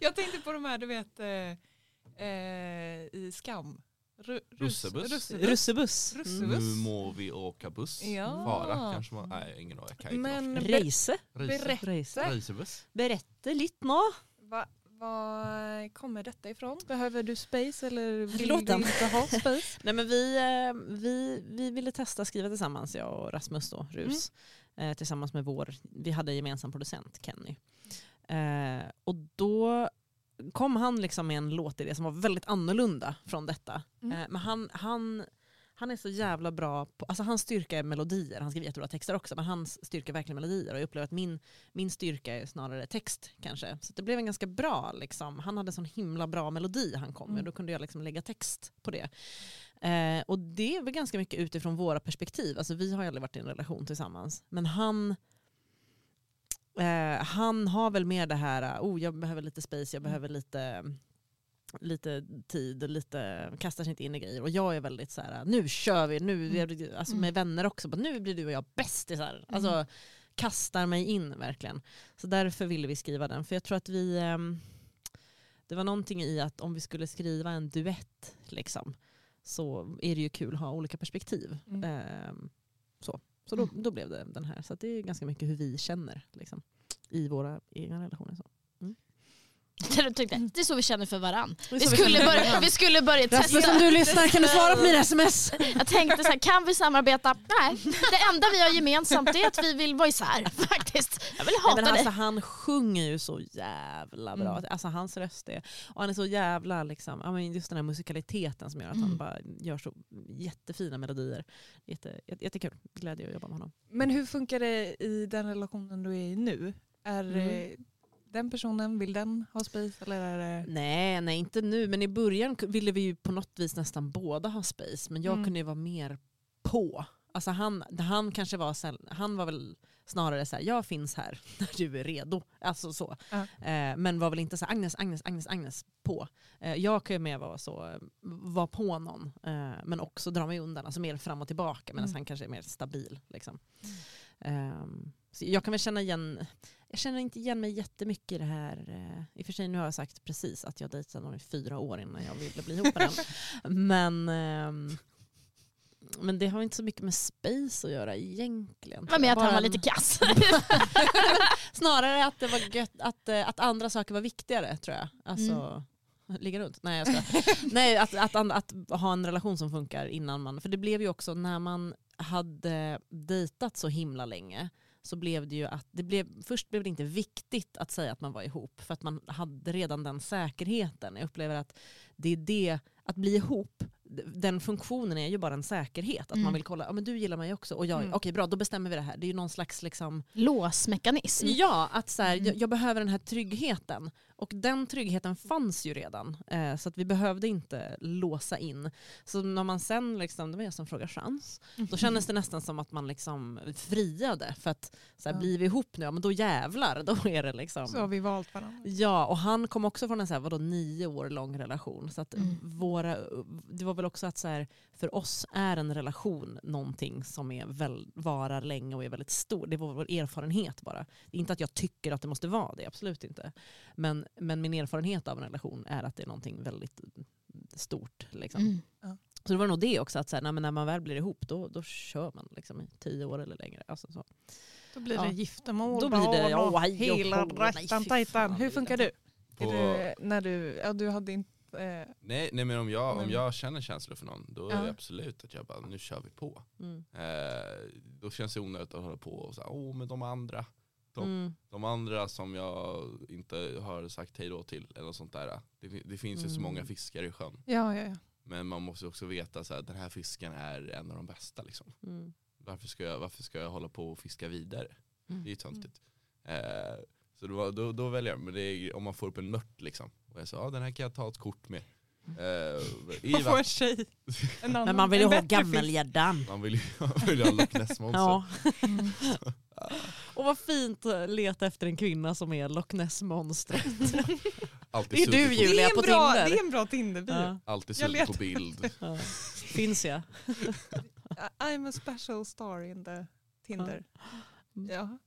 Speaker 3: Jag tänkte på de här, du vet, eh, eh, i Skam. Ru- rus-
Speaker 5: Russebuss.
Speaker 3: Russebuss.
Speaker 7: Russebuss.
Speaker 3: Russebuss.
Speaker 5: Nu må vi åka buss.
Speaker 3: Ja.
Speaker 5: Fara kanske man... Nej, ingen aning. Jag kan inte
Speaker 3: Men ber-
Speaker 7: Reise.
Speaker 5: Reise.
Speaker 3: berätta,
Speaker 5: Reisebuss.
Speaker 7: Berätta lite nå.
Speaker 3: va, var kommer detta ifrån? Behöver du space eller vill
Speaker 7: Låt
Speaker 3: du
Speaker 7: den.
Speaker 3: inte ha space?
Speaker 4: Nej, men vi, eh, vi, vi ville testa skriva tillsammans, jag och Rasmus då, Rus.
Speaker 3: Mm.
Speaker 4: Eh, tillsammans med vår, vi hade en gemensam producent, Kenny. Eh, och då kom han liksom med en låtidé som var väldigt annorlunda från detta.
Speaker 3: Mm.
Speaker 4: Eh, men han, han, han är så jävla bra på, alltså hans styrka är melodier, han skriver jättebra texter också, men hans styrka är verkligen melodier. Och jag upplever att min, min styrka är snarare text kanske. Så det blev en ganska bra, liksom. han hade sån himla bra melodi han kom med,
Speaker 3: Mm.
Speaker 4: då kunde jag liksom lägga text på det. Eh, och det är väl ganska mycket utifrån våra perspektiv. Alltså, vi har ju aldrig varit i en relation tillsammans. Men han, eh, han har väl mer det här, eh, oh, jag behöver lite space, jag behöver lite, lite tid, och lite, kastar sig inte in i grejer. Och jag är väldigt så här, eh, nu kör vi, nu, är det- alltså med vänner också, bara, nu blir du och jag bästisar. Alltså, kastar mig in verkligen. Så därför ville vi skriva den. För jag tror att vi, ehm, det var någonting i att om vi skulle skriva en duett liksom, så är det ju kul att ha olika perspektiv.
Speaker 3: Mm.
Speaker 4: Ehm, så så då, då blev det den här. Så att det är ganska mycket hur vi känner liksom, i våra egna relationer. Så.
Speaker 1: Där de tyckte, det är så vi känner för varann.
Speaker 7: är
Speaker 1: Vi
Speaker 7: så vi
Speaker 1: skulle
Speaker 7: känner för
Speaker 1: börja, vi skulle börja testa.
Speaker 7: Rasmus om du lyssnar kan du svara på mina sms?
Speaker 1: Jag tänkte så här, kan vi samarbeta? Nej, det enda vi har gemensamt är att vi vill vara isär faktiskt. Jag vill
Speaker 4: Nej,
Speaker 1: hata
Speaker 4: men
Speaker 1: dig.
Speaker 4: alltså, han sjunger ju så jävla bra.
Speaker 1: Mm.
Speaker 4: Alltså, hans röst är... Och han är så jävla... Liksom, ja, men just den här musikaliteten som gör att
Speaker 1: Mm.
Speaker 4: han bara gör så jättefina melodier. Jätte, jätte, jättekul. Glädje att jobba med honom.
Speaker 3: Men hur funkar det i den relationen du är i nu? Är
Speaker 4: Mm.
Speaker 3: eh, den personen, vill den ha space eller är det...
Speaker 4: Nej, nej inte nu. Men i början ku- ville vi ju på något vis nästan båda ha space. Men jag
Speaker 3: Mm.
Speaker 4: kunde ju vara mer på. Alltså han, han kanske var, säll- han var väl snarare så här, jag finns här [LAUGHS] när du är redo. Alltså så.
Speaker 3: Ja.
Speaker 4: Eh, men var väl inte så här, Agnes, Agnes, Agnes, Agnes på. Eh, jag kan ju mer vara så, eh, vara på någon. Eh, men också dra mig undan, alltså mer fram och tillbaka. Medan
Speaker 3: Mm.
Speaker 4: han kanske är mer stabil. Liksom. Ehm, så jag kan väl känna igen, jag känner inte igen mig jättemycket i det här. eh, I och för sig nu har jag sagt precis att jag dejtade någon i fyra år innan jag ville bli ihop med den. Men, ehm, men det har inte så mycket med space att göra egentligen.
Speaker 1: Det var med att han
Speaker 4: Bara
Speaker 1: var
Speaker 4: en-
Speaker 1: lite kass.
Speaker 4: Snarare att det var gött, att, eh, att andra saker var viktigare tror jag. Alltså, Ligga runt? Nej jag skojar. Nej, att, att, an- att ha en relation som funkar innan man... För det blev ju också när man hade dejtat så himla länge så blev det ju att, det blev, först blev det inte viktigt att säga att man var ihop för att man hade redan den säkerheten. Jag upplever att det är det, att bli ihop, d- den funktionen är ju bara en säkerhet. Att
Speaker 1: Mm.
Speaker 4: man vill kolla, ja men du gillar mig också och jag,
Speaker 3: Mm.
Speaker 4: okej bra då bestämmer vi det här. Det är ju någon slags liksom,
Speaker 1: Låsmekanism.
Speaker 4: Ja, att så här,
Speaker 1: Mm.
Speaker 4: jag, jag behöver den här tryggheten. Och den tryggheten fanns ju redan. Eh, så att vi behövde inte låsa in. Så när man sen, liksom, det var jag som frågade chans, då
Speaker 3: Mm.
Speaker 4: kändes det nästan som att man liksom friade. För att så här,
Speaker 3: Ja.
Speaker 4: blir vi ihop nu, ja, men då jävlar, [LAUGHS] då är det liksom.
Speaker 3: Så har vi valt varandra.
Speaker 4: Ja, och han kom också från en så här, vadå, nio år lång relation. Så att
Speaker 1: Mm.
Speaker 4: våra, det var väl också att så här, för oss är en relation någonting som är väl, varar länge och är väldigt stor. Det var vår erfarenhet bara. Det är inte att jag tycker att det måste vara det, absolut inte. Men, men min erfarenhet av en relation är att det är någonting väldigt stort. Liksom.
Speaker 1: Mm.
Speaker 4: Så det var nog det också, att så här, nej, men när man väl blir ihop då, då kör man liksom, i tio år eller längre. Alltså, så.
Speaker 3: Då blir
Speaker 4: Ja.
Speaker 3: det giftermål,
Speaker 4: Då blir det,
Speaker 3: barn och
Speaker 4: ja, hej och
Speaker 3: hela
Speaker 4: hå, nej,
Speaker 3: rattan
Speaker 4: fy
Speaker 3: tajtan.
Speaker 4: fan,
Speaker 3: Hur
Speaker 4: det
Speaker 3: funkar
Speaker 4: vill
Speaker 3: du?
Speaker 4: jag
Speaker 5: På-
Speaker 3: Är du, när du, ja, du hade inte... Eh,
Speaker 5: Nej, nej men om jag, om
Speaker 3: Men-
Speaker 5: jag känner känslor för någon då är
Speaker 3: Ja.
Speaker 5: det absolut att jag bara, nu kör vi på.
Speaker 4: Mm.
Speaker 5: Eh, då känns det onödigt att hålla på och säga, åh men de andra. Topp.
Speaker 4: Mm.
Speaker 5: De andra som jag inte har sagt hej då till eller något sånt där. Det, fin- det finns ju så
Speaker 4: Mm.
Speaker 5: många fiskar i sjön.
Speaker 3: ja, ja, ja.
Speaker 5: Men man måste också veta så här, den här fisken är en av de bästa. Liksom.
Speaker 4: Mm.
Speaker 5: Varför, ska jag, varför ska jag hålla på och fiska vidare?
Speaker 4: Mm.
Speaker 5: Det är ju töntigt. Eh, så det var, då, då väljer jag, men det är, om man får upp en mört liksom. Och jag sa, ah, den här kan jag ta ett kort med. Eh, i
Speaker 3: Man
Speaker 5: vattnet.
Speaker 3: får en tjej. En annan,
Speaker 4: Men man vill ju
Speaker 3: en
Speaker 4: ha
Speaker 3: bättre fisk. Mm.
Speaker 4: gammelgäddan.
Speaker 5: Man vill ju [LAUGHS] man vill ju ha Loch Ness-monster.
Speaker 4: Ja. Och vad fint att leta efter en kvinna som är Loch Ness-monstret.
Speaker 5: Alltid
Speaker 4: Det är du,
Speaker 5: sugit på-
Speaker 4: Julia.
Speaker 3: Det är en
Speaker 4: på
Speaker 3: bra,
Speaker 4: Tinder.
Speaker 3: det är en bra Tinder-bio.
Speaker 4: [LAUGHS] Ja,
Speaker 5: Alltid
Speaker 3: Jag
Speaker 5: sugit på
Speaker 3: letar.
Speaker 5: bild.
Speaker 4: ja. Finns jag?
Speaker 3: I'm a special star in the Tinder.
Speaker 4: Mm.
Speaker 3: Ja.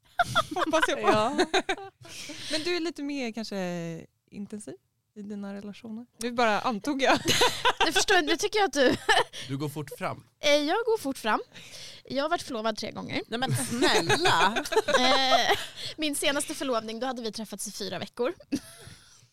Speaker 3: Hoppas jag på.
Speaker 4: Ja.
Speaker 3: [LAUGHS] Men du är lite mer kanske intensiv i dina relationer? Nu bara antog jag.
Speaker 1: Du förstår, nu tycker jag att du...
Speaker 5: Du går fort fram.
Speaker 1: Eh, Jag går fort fram. Jag har varit förlovad tre gånger.
Speaker 4: Nej [LAUGHS] men snälla!
Speaker 1: Eh, Min senaste förlovning, då hade vi träffats i fyra veckor.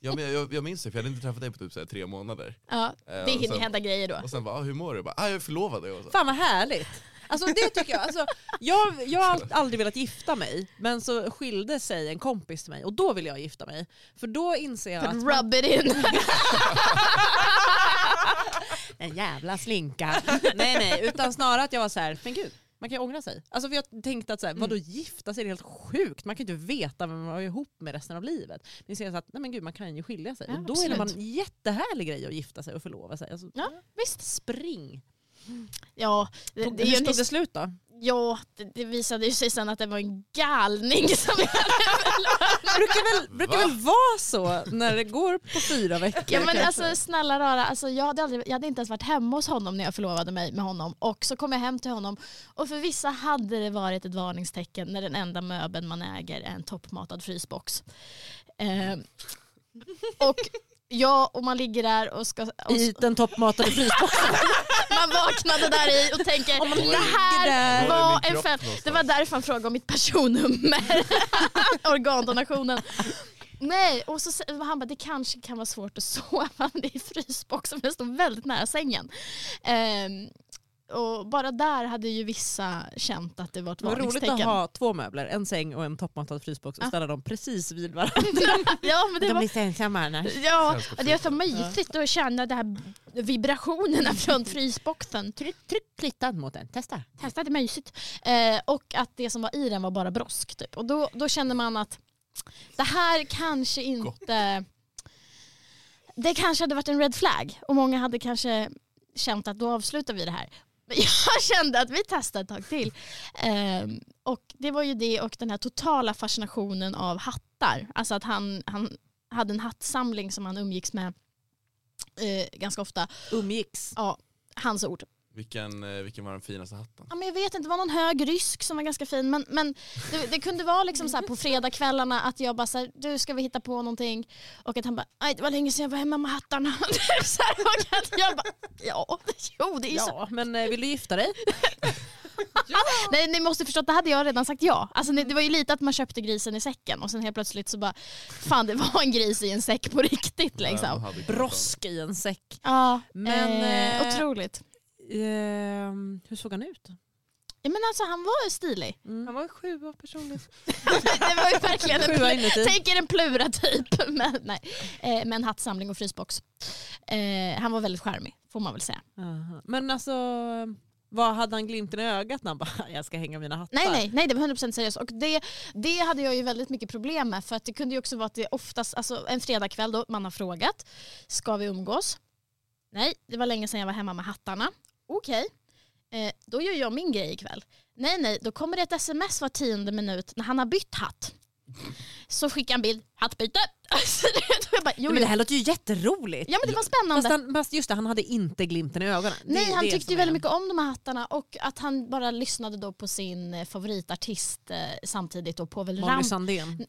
Speaker 5: Ja, men jag, jag minns det, för jag hade inte träffat dig på typ så här tre månader.
Speaker 1: Ja,
Speaker 5: Eh,
Speaker 1: det
Speaker 5: och
Speaker 1: hinner
Speaker 5: sen-
Speaker 1: hända grejer då.
Speaker 5: Och sen bara, ah, hur mår du? Bara, ah, jag är förlovad. Och jag så,
Speaker 4: Fan vad härligt. Alltså det tycker jag. Alltså, jag, jag har all- aldrig velat gifta mig men så skilde sig en kompis till mig och då ville jag gifta mig. För då inser jag att...
Speaker 1: Rub it in.
Speaker 4: En jävla slinka. [LAUGHS] nej nej, utan snarare att jag var så här, men gud. Man kan ju ångra sig. Alltså för jag tänkte att så här,
Speaker 1: Mm.
Speaker 4: vadå gifta sig, det är helt sjukt. Man kan ju inte veta vem man är ihop med resten av livet. Men sen så att, nej men gud man kan ju skilja sig.
Speaker 1: Ja,
Speaker 4: och då är det
Speaker 1: absolut.
Speaker 4: en jättehärlig grej att gifta sig och förlova sig. Alltså,
Speaker 1: [LAUGHS] Visst.
Speaker 4: spring.
Speaker 1: Ja, det,
Speaker 4: Tog,
Speaker 1: det, är
Speaker 4: hur
Speaker 1: ju en
Speaker 4: stod det
Speaker 1: his-
Speaker 4: slut då?
Speaker 1: ja, det, det visade ju sig sen att det var en galning som
Speaker 4: Det
Speaker 1: [LAUGHS]
Speaker 4: brukar väl, brukar
Speaker 5: Va?
Speaker 4: väl vara så när det går på fyra veckor.
Speaker 1: Ja men
Speaker 4: kanske.
Speaker 1: alltså snälla rara, alltså, jag, hade aldrig, jag hade inte ens varit hemma hos honom när jag förlovade mig med honom och så kom jag hem till honom och för vissa hade det varit ett varningstecken när den enda möbeln man äger är en toppmatad frysbox. Eh, och ja, och man ligger där och ska... Och,
Speaker 4: I
Speaker 1: s- [LAUGHS]
Speaker 4: den toppmatade frysboxen.
Speaker 1: man vaknade där i och tänker
Speaker 4: Om man
Speaker 1: det
Speaker 4: ligger
Speaker 1: här
Speaker 5: där." Var är
Speaker 1: var
Speaker 5: min
Speaker 1: en
Speaker 5: kropp
Speaker 1: fäll. Det
Speaker 5: någonstans?
Speaker 1: var därför han frågade om mitt personnummer. [LAUGHS] Organdonationen. Nej, och så, sä- han bara det kanske kan vara svårt att sova [LAUGHS] men det är frysboxen, den stod väldigt nära sängen. Ehm, och bara där hade ju vissa känt att det var ett
Speaker 4: Det var roligt att
Speaker 1: varningstecken.
Speaker 4: ha två möbler, en säng och en toppmattad frysbox och
Speaker 1: Ja.
Speaker 4: ställa dem precis vid varandra.
Speaker 1: [LAUGHS] ja, men det
Speaker 7: De
Speaker 1: var,
Speaker 7: blir så ensamma annars.
Speaker 1: ja,
Speaker 5: Sällskapsresa.
Speaker 1: och det var så mysigt att känna de här vibrationerna från frysboxen.
Speaker 7: Tryck, tryck klittan mot den, testa.
Speaker 1: Testa, det är mysigt. Eh, och att det som var i den var bara brosk. Typ. Och då, då känner man att det här kanske inte... Det kanske hade varit en red flag och många hade kanske känt att då avslutar vi det här. [LAUGHS] Men jag kände att vi testar ett tag till. Eh, och det var ju det och den här totala fascinationen av hattar. Alltså att han, han hade en hattsamling som han umgicks med eh, ganska ofta.
Speaker 4: Umgicks.
Speaker 1: Hans ord.
Speaker 5: Vilken, eh, vilken var den finaste hatten?
Speaker 1: Ja, men jag vet inte, det var någon hög rysk som var ganska fin. Men, men det, det kunde vara liksom så här på fredagskvällarna att jag bara så här, du ska vi hitta på någonting? Och att han bara, nej det var länge sedan jag var hemma med hattarna. [LAUGHS] Typ så här, och att jag bara, ja, jo det är ju så.
Speaker 4: Ja, men eh, vill du
Speaker 1: [LAUGHS]
Speaker 4: gifta dig?
Speaker 1: Nej ni måste förstå att det hade jag redan sagt ja. Alltså, det det var ju lite att man köpte grisen i säcken och sen helt plötsligt så bara, fan det var en gris i en säck på riktigt
Speaker 5: Vem
Speaker 1: liksom.
Speaker 5: Eh, hade kunnat
Speaker 4: Brosk i en säck.
Speaker 1: Ja,
Speaker 4: Men,
Speaker 1: men, eh,
Speaker 4: eh,
Speaker 1: otroligt.
Speaker 4: Ehm, hur såg han ut?
Speaker 1: Ja, men alltså han var
Speaker 4: [LAUGHS]
Speaker 1: stilig.
Speaker 3: Han var en sjua personligt.
Speaker 1: Det var ju verkligen en
Speaker 4: Sjua inuti.
Speaker 1: Tänk er en plura typ. [LAUGHS] Men, nej. Eh, men hattsamling och frysbox. Eh, han var väldigt charmig får man väl säga.
Speaker 4: Aha. Men alltså, vad hade han glimten i ögat när han bara [LAUGHS] “jag ska hänga mina hattar”?
Speaker 1: Nej, nej, nej det var 100% seriöst. Och det, det hade jag ju väldigt mycket problem med för att det kunde ju också vara att det oftast, alltså en fredagkväll då man har frågat, ska vi umgås? Nej, det var länge sedan jag var hemma med hattarna. Okej, eh, då gör jag min grej ikväll. Nej, nej, då kommer det ett sms var tionde minut när han har bytt hatt. Så skickar han bild, hattbyte. [LAUGHS] Alltså, det- jag bara, jo,
Speaker 4: Men det
Speaker 1: jo.
Speaker 4: här låter ju jätteroligt.
Speaker 1: Ja men det var spännande.
Speaker 4: Fast, han, fast just det, han hade inte glimten i ögonen. Det är
Speaker 1: Nej, han
Speaker 4: det
Speaker 1: tyckte
Speaker 4: som
Speaker 1: ju
Speaker 4: är-
Speaker 1: väldigt mycket om de här hattarna och att han bara lyssnade då på sin eh, favoritartist eh, samtidigt då, Povel
Speaker 4: Molly
Speaker 1: Ramp. [LAUGHS]
Speaker 4: Sandén.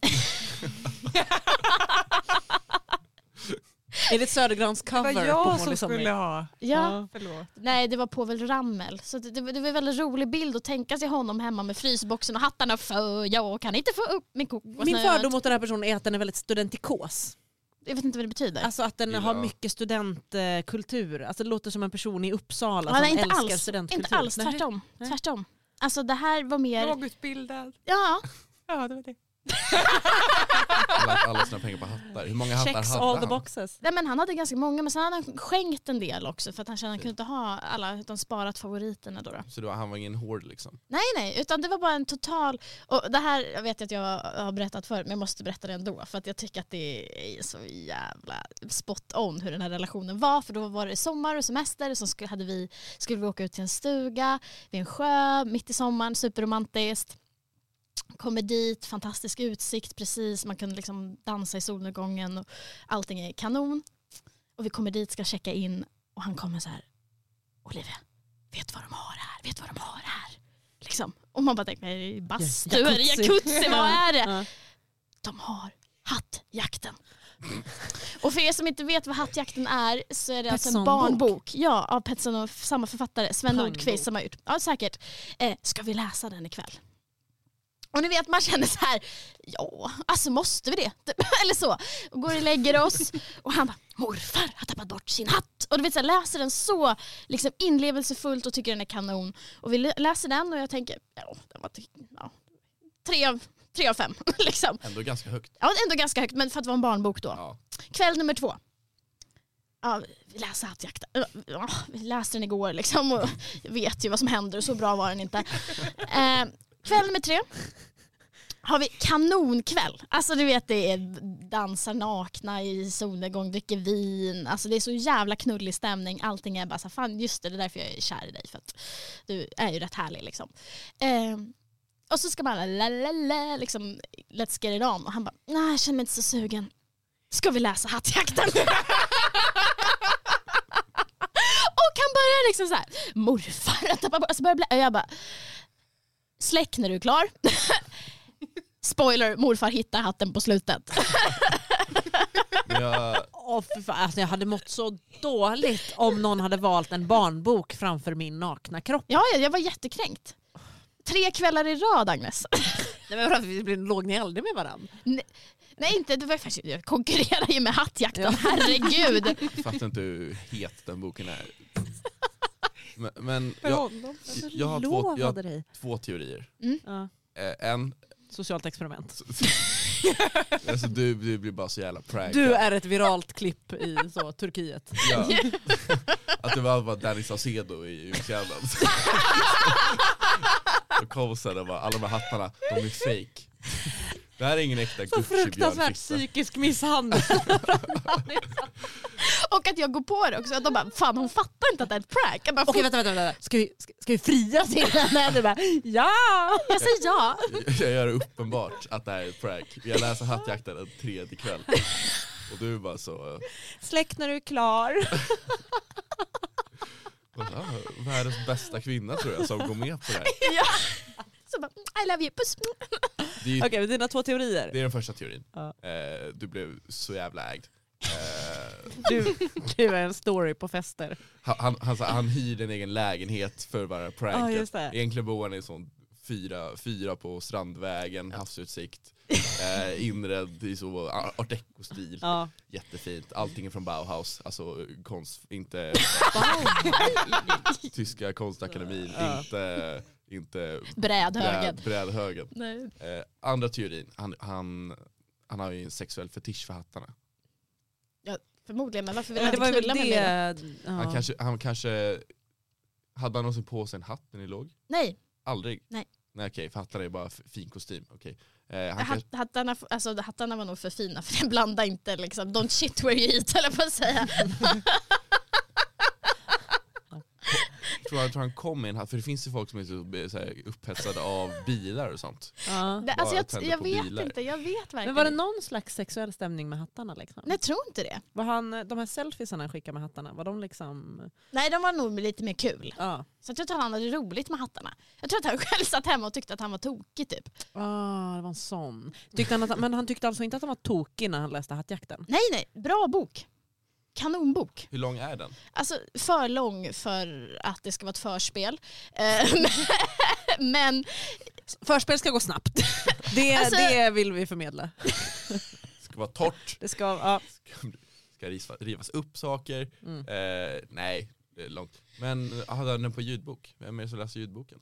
Speaker 4: Edith Södergrans
Speaker 3: Det var
Speaker 4: cover på
Speaker 3: jag
Speaker 4: Molly
Speaker 3: som skulle
Speaker 4: Sandén.
Speaker 3: ha.
Speaker 1: Ja,
Speaker 3: Förlåt.
Speaker 1: nej det var Povel Ramel. Så det, det, var- det var en väldigt rolig bild att tänka sig honom hemma med frysboxen och hattarna för jag kan inte få upp min kokosnöt.
Speaker 4: Min fördom mot den här personen är att den är väldigt studentikos.
Speaker 1: Jag vet inte vad det betyder.
Speaker 4: Alltså att den
Speaker 5: Gillar.
Speaker 4: har mycket studentkultur. Alltså det låter som en person i Uppsala
Speaker 1: Ja,
Speaker 4: som
Speaker 1: nej, inte,
Speaker 4: älskar
Speaker 1: alls,
Speaker 4: studentkultur.
Speaker 1: inte alls,
Speaker 4: Nej.
Speaker 1: tvärtom.
Speaker 4: Nej.
Speaker 1: tvärtom. Alltså det här var mer...
Speaker 3: Lågutbildad.
Speaker 1: Ja,
Speaker 3: Ja, det var det.
Speaker 5: ha lagt alla sina pengar på hattar? Hur många hattar
Speaker 4: Checks
Speaker 5: hade
Speaker 4: all the
Speaker 5: han?
Speaker 4: boxes.
Speaker 1: nej, men han hade ganska många men sen hade han skänkt en del också för att han kände att han kunde inte ha alla utan sparat favoriterna då. då.
Speaker 5: Så då, han var ingen hård liksom?
Speaker 1: Nej nej, utan det var bara en total, och det här jag vet jag att jag har berättat förut men jag måste berätta det ändå för att jag tycker att det är så jävla spot on hur den här relationen var för då var det sommar och semester och så skulle, hade vi, skulle vi åka ut till en stuga vid en sjö mitt i sommaren, superromantiskt. Kommer dit, fantastisk utsikt precis, man kunde liksom dansa i solnedgången och allting är kanon. Och vi kommer dit, ska checka in och han kommer så här, Olivia, vet vad de har här? Vet vad de har här? Liksom. Och man bara tänker, är det bastu, är det jacuzzi, vad är
Speaker 4: [LAUGHS]
Speaker 1: det?
Speaker 4: Ja.
Speaker 1: De har hattjakten. och för er som inte vet vad hattjakten är så är det alltså en
Speaker 4: Pettersson-bok.
Speaker 1: barnbok ja, av Pettersson och f- samma författare, Sven
Speaker 4: Pannbok.
Speaker 1: Nordqvist som har gjort. Ja säkert. Eh, ska vi läsa den ikväll? Och ni vet man känner så här, ja alltså måste vi det? [LAUGHS] Eller så. Och går och lägger oss och han bara morfar har tappat bort sin hatt. Och du vet så här, läser den så liksom inlevelsefullt och tycker den är kanon. Och vi lä- läser den och jag tänker, ja den var ty- ja, tre, av, tre av fem [LAUGHS] liksom.
Speaker 5: Ändå ganska högt.
Speaker 1: Ja, ändå ganska högt, men för att vara en barnbok då.
Speaker 5: Ja.
Speaker 1: Kväll nummer två. Ja, vi läser hattjakten. Ja, vi läste den igår liksom och [LAUGHS] vet ju vad som händer och så bra var den inte. Eh, kväll nummer tre. Har vi kanonkväll. Alltså du vet det är dansar nakna i solnedgång, dricker vin. Alltså det är så jävla knullig stämning. Allting är bara så här, fan just det, det är därför jag är kär i dig. För att du är ju rätt härlig liksom. Eh, och så ska man la la la, liksom, let's get it on. Och han bara, nej jag känner mig inte så sugen. Ska vi läsa Hattjakten? [LAUGHS] och han börjar liksom så här, morfar att tappa bort, alltså börjar bli, och jag bara, släck när du är klar. [LAUGHS] Spoiler, morfar hittar hatten på slutet.
Speaker 5: Men jag,
Speaker 4: Åh, fy fan. Alltså, jag hade mått så dåligt om någon hade valt en barnbok framför min nakna kropp.
Speaker 1: Ja, ja, jag var jättekränkt. Tre kvällar i rad Agnes. [LAUGHS]
Speaker 4: Nej, men vadå, vi blir- låg ni aldrig med varandra?
Speaker 1: Nej inte, det var ju faktiskt, jag konkurrerar ju med hattjakten, herregud.
Speaker 5: [LAUGHS] Jag fattar inte hur het den boken är. Men, men
Speaker 3: För
Speaker 5: jag,
Speaker 3: honom.
Speaker 5: jag har två, jag har
Speaker 4: Lovade dig.
Speaker 5: två teorier.
Speaker 4: Ja.
Speaker 5: Eh, en, [LAUGHS]
Speaker 4: Socialt experiment.
Speaker 5: alltså du, du blir bara så jävla prankad.
Speaker 4: Du är ett viralt klipp i så,
Speaker 5: [LAUGHS]
Speaker 4: Turkiet. [LAUGHS]
Speaker 5: Ja. Att det var bara Danny Saucedo i
Speaker 4: [LAUGHS]
Speaker 5: julkalendern. Och kom sen och bara, alla de här hattarna, de är fake. Det här är ingen äkta
Speaker 4: Så fruktansvärt
Speaker 5: Gucci-björnfitta.
Speaker 4: psykisk
Speaker 5: [LAUGHS]
Speaker 4: misshandel.
Speaker 1: Och att jag går på det också, att de bara fan hon fattar inte att det är ett prank. Jag, bara,
Speaker 7: Okej
Speaker 1: "Fort."
Speaker 7: vänta, vänta, vänta. Ska vi, ska, ska vi fria till
Speaker 4: [LAUGHS]
Speaker 7: henne? Du bara, ja!
Speaker 1: [LAUGHS] jag säger ja.
Speaker 5: [LAUGHS] Jag gör det uppenbart att det här är ett prank. Jag läser Hattjakten en tredje kväll. Och du är bara så, eh,
Speaker 7: Släck när du är
Speaker 5: [LAUGHS]
Speaker 7: klar.
Speaker 5: ah, världens bästa kvinna tror jag som går med på det här.
Speaker 1: ja. Så bara, "Mm, I love you, puss.
Speaker 5: Det är, ju-
Speaker 4: [LAUGHS] Okej, men dina två teorier.
Speaker 5: det är den första teorin.
Speaker 4: Ja.
Speaker 5: Eh, du blev så jävla ägd. Eh,
Speaker 4: Du, du är en story på fester.
Speaker 5: han, han, han, sa- han hyrde en egen lägenhet för bara
Speaker 4: Ja,
Speaker 5: pranket.
Speaker 4: just det.
Speaker 5: Egentligen bor han i en sån fyra, fyra på Strandvägen, havsutsikt, eh, inredd i så a- art deco-stil.
Speaker 4: Ja.
Speaker 5: Jättefint. Allting är från Bauhaus, alltså konst, inte tyska konstakademin,
Speaker 4: Ja.
Speaker 5: inte, inte
Speaker 1: Brädhögen.
Speaker 5: bräd, brädhögen.
Speaker 1: Nej.
Speaker 5: Eh, andra teorin, han, han, han har ju en sexuell fetisch för hattarna.
Speaker 1: Förmodligen, men varför vill
Speaker 4: Men
Speaker 1: han
Speaker 4: det var
Speaker 1: inte
Speaker 4: väl
Speaker 1: knulla med
Speaker 4: det...
Speaker 1: mig?
Speaker 5: Han,
Speaker 4: Ja.
Speaker 5: kanske, han kanske, hade han någonsin på sig en hatt när ni låg?
Speaker 1: Nej,
Speaker 5: Aldrig?
Speaker 1: Nej.
Speaker 5: Nej okej, för hattarna är bara f- fin kostym. Okej. Eh, han kanske,
Speaker 1: hat, hattarna, alltså, hattarna var nog för fina för den blandar inte liksom, don't shit where you eat höll jag på att
Speaker 4: [LAUGHS]
Speaker 1: säga.
Speaker 5: tror, han, tror han kom med en hatt, för det finns ju folk som är så, eh, så här, upphetsade av bilar och sånt.
Speaker 4: Ja.
Speaker 1: Det, alltså,
Speaker 5: Bara
Speaker 1: jag,
Speaker 5: tända
Speaker 1: jag
Speaker 5: på
Speaker 1: vet
Speaker 5: bilar.
Speaker 1: inte, jag vet verkligen
Speaker 4: Men var det
Speaker 1: inte.
Speaker 4: någon slags sexuell stämning med hattarna? Liksom?
Speaker 1: Nej, jag tror inte det.
Speaker 4: Var han, de här selfiesarna han skickade med hattarna, var de liksom...
Speaker 1: Nej, de var nog lite mer kul.
Speaker 4: Ja.
Speaker 1: Så jag tror att han hade roligt med hattarna. Jag tror att han [LAUGHS] själv satt hemma och tyckte att han var tokig typ.
Speaker 4: Ah, det var en sån. Tyckte han att, men han tyckte alltså inte att han var tokig när han läste Hattjakten?
Speaker 1: Nej, nej, bra bok. Kanonbok.
Speaker 5: Hur lång är den?
Speaker 1: Alltså för lång för att det ska vara ett förspel. Eh, [LAUGHS] Men
Speaker 4: Förspel ska gå snabbt. [LAUGHS] Det,
Speaker 1: Alltså-
Speaker 4: det vill vi förmedla.
Speaker 5: Ska vara torrt,
Speaker 4: Det ska, ja.
Speaker 5: ska rivas, rivas upp saker.
Speaker 4: Mm.
Speaker 5: Eh, nej, det är långt. Men eh, hade han den på ljudbok? Vem är det som läser
Speaker 1: Eh,
Speaker 5: ljudboken?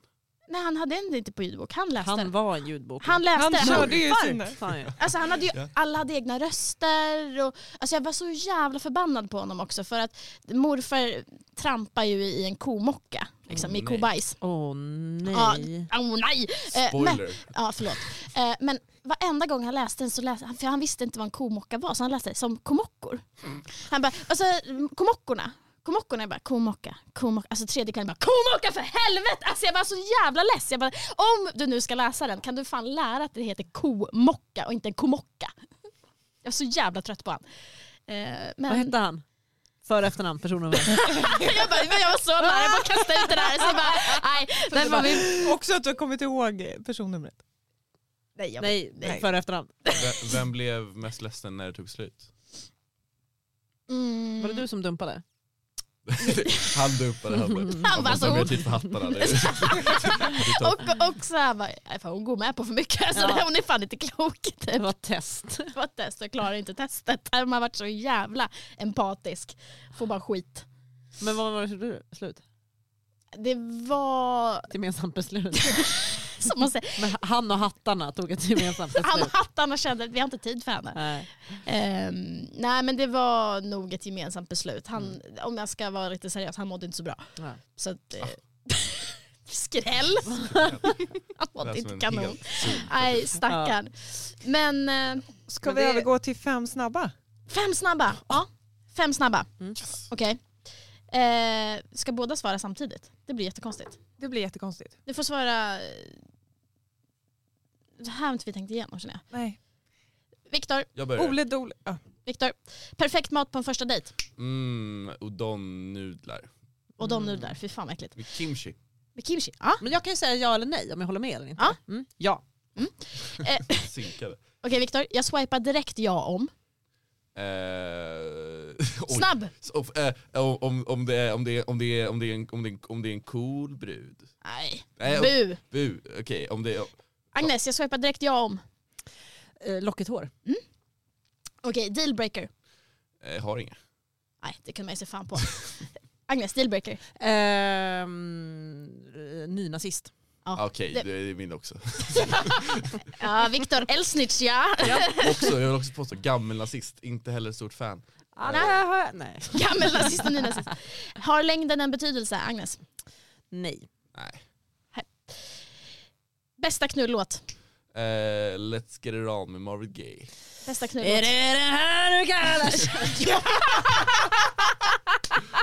Speaker 1: nej, han hade den inte på ljudbok, han läste
Speaker 4: Han
Speaker 1: den.
Speaker 4: var en ljudbok.
Speaker 1: Han läste
Speaker 3: Han
Speaker 1: den.
Speaker 3: körde ju
Speaker 4: Varmt,
Speaker 3: sina.
Speaker 4: sa han ju.
Speaker 1: Alltså han hade ju,
Speaker 5: Ja.
Speaker 1: alla hade egna röster och alltså jag var så jävla förbannad på honom också för att morfar trampar ju i en komocka, liksom, i
Speaker 5: Åh, nej.
Speaker 1: kobajs.
Speaker 4: Åh
Speaker 1: Ja,
Speaker 4: nej.
Speaker 1: oh, nej! Eh, men,
Speaker 5: Spoiler!
Speaker 1: ja, förlåt. Eh, men varenda gång han läste den så läste han, för han visste inte vad en komocka var, så han läste det som komockor. Han bara, alltså komockorna, komockorna, jag bara komocka, komocka, alltså tredje kan jag bara komocka för helvete! Alltså jag var så jävla less. Jag bara, om du nu ska läsa den kan du fan lära att det heter komocka och inte en komocka. Jag var så jävla trött på han. Eh, men,
Speaker 4: Vad hette han? För och efternamn, personnummer.
Speaker 1: jag, bara, men jag var så nära, jag bara kastade ut det där. Så jag bara, nej, den var vi...
Speaker 3: Också att du har kommit ihåg personnumret.
Speaker 1: Nej, jag,
Speaker 4: nej, för och efternamn.
Speaker 5: Ve- Vem blev mest ledsen när det
Speaker 1: [LAUGHS]
Speaker 5: tog slut?
Speaker 1: Mm.
Speaker 4: Var det du som dumpade?
Speaker 5: han dumpade henne.
Speaker 1: Han bara
Speaker 5: måste
Speaker 1: så
Speaker 5: ha mer tid för hattarna. Det är-
Speaker 1: [LAUGHS]
Speaker 5: [LAUGHS] det är topp.
Speaker 1: Och, och så här bara, nej, fan, hon går med på för mycket. Alltså,
Speaker 4: Ja.
Speaker 1: Hon är fan inte klok. [LAUGHS] Typ.
Speaker 4: Det var ett test.
Speaker 1: Det var ett test, jag klarar inte testet. Man har varit så jävla empatisk. Får bara skit.
Speaker 4: Men vad var det för slut?
Speaker 1: Det var
Speaker 4: Ett gemensamt beslut.
Speaker 1: som man säger,
Speaker 4: Men han och hattarna tog ett gemensamt
Speaker 1: han
Speaker 4: beslut.
Speaker 1: hattarna kände att vi har inte tid för henne.
Speaker 4: Nej.
Speaker 1: Ehm, nej men det var nog ett gemensamt beslut. Han,
Speaker 5: Mm.
Speaker 1: om jag ska vara riktigt seriös, han mådde inte så bra.
Speaker 4: Nej.
Speaker 1: Så att, eh,
Speaker 5: Ah.
Speaker 1: [LAUGHS]
Speaker 5: [LAUGHS]
Speaker 1: skräll! han
Speaker 5: Det är
Speaker 1: mådde
Speaker 5: som
Speaker 1: inte
Speaker 5: en
Speaker 1: kanon.
Speaker 5: helt zoom.
Speaker 1: Nej stackarn. Men eh,
Speaker 3: Ska
Speaker 4: Men
Speaker 3: vi
Speaker 4: det-
Speaker 3: övergå till fem snabba?
Speaker 1: Fem snabba. Ja, fem snabba.
Speaker 4: Mm.
Speaker 1: Okej. Eh, ska båda svara samtidigt? Det blir jättekonstigt.
Speaker 3: Det blir jättekonstigt.
Speaker 1: Du får svara... eh, Det här har inte vi tänkt igenom känner jag.
Speaker 3: Nej.
Speaker 1: Viktor,
Speaker 5: Jag börjar.
Speaker 3: Ole Dole. Ja.
Speaker 1: Viktor. Perfekt mat på en första dejt.
Speaker 5: Mm, udon-nudlar.
Speaker 1: Och de
Speaker 4: Mm.
Speaker 1: nudlar, fy fan vad äckligt.
Speaker 5: Med kimchi.
Speaker 1: Med kimchi, ja.
Speaker 4: Men jag kan ju säga ja eller nej om jag håller med eller inte.
Speaker 1: Ja.
Speaker 4: Mm. ja.
Speaker 5: Sinkade.
Speaker 1: Eh, Okej Viktor, jag swipar direkt ja om.
Speaker 5: Eh, [LAUGHS] oj.
Speaker 1: Snabb!
Speaker 5: Så, eh, om, om, om, det är, om, det är, om, det är, om, det är en, om, det är en, om det är en cool brud.
Speaker 1: Nej,
Speaker 5: Nej, om,
Speaker 1: bu.
Speaker 5: bu. Okej, om det är...
Speaker 1: Agnes, jag swipar direkt ja om.
Speaker 4: Eh, lockigt hår.
Speaker 1: Okej, dealbreaker.
Speaker 5: Eh, har inga.
Speaker 1: Nej, det kunde man ju se fan på. Agnes, dealbreaker.
Speaker 4: Ehm, nynazist.
Speaker 1: Ja,
Speaker 5: Ah, Okej,
Speaker 1: det-
Speaker 5: det är min också.
Speaker 1: Ja, Viktor Elsnitz [LAUGHS] ja.
Speaker 5: [LAUGHS] också. Jag vill också påstå, gammelnazist, inte heller stort fan.
Speaker 4: Ah, nej, jag har- nej.
Speaker 1: Gammelnazist och nynazist. Har längden en betydelse, Agnes?
Speaker 4: nej.
Speaker 5: Nej.
Speaker 1: Bästa knullåt.
Speaker 5: Eh, let's get it on med Marvin Gaye.
Speaker 1: Bästa
Speaker 4: Är
Speaker 1: knullåt.
Speaker 4: det det här du
Speaker 1: [LAUGHS]
Speaker 4: kallas?
Speaker 1: Åh.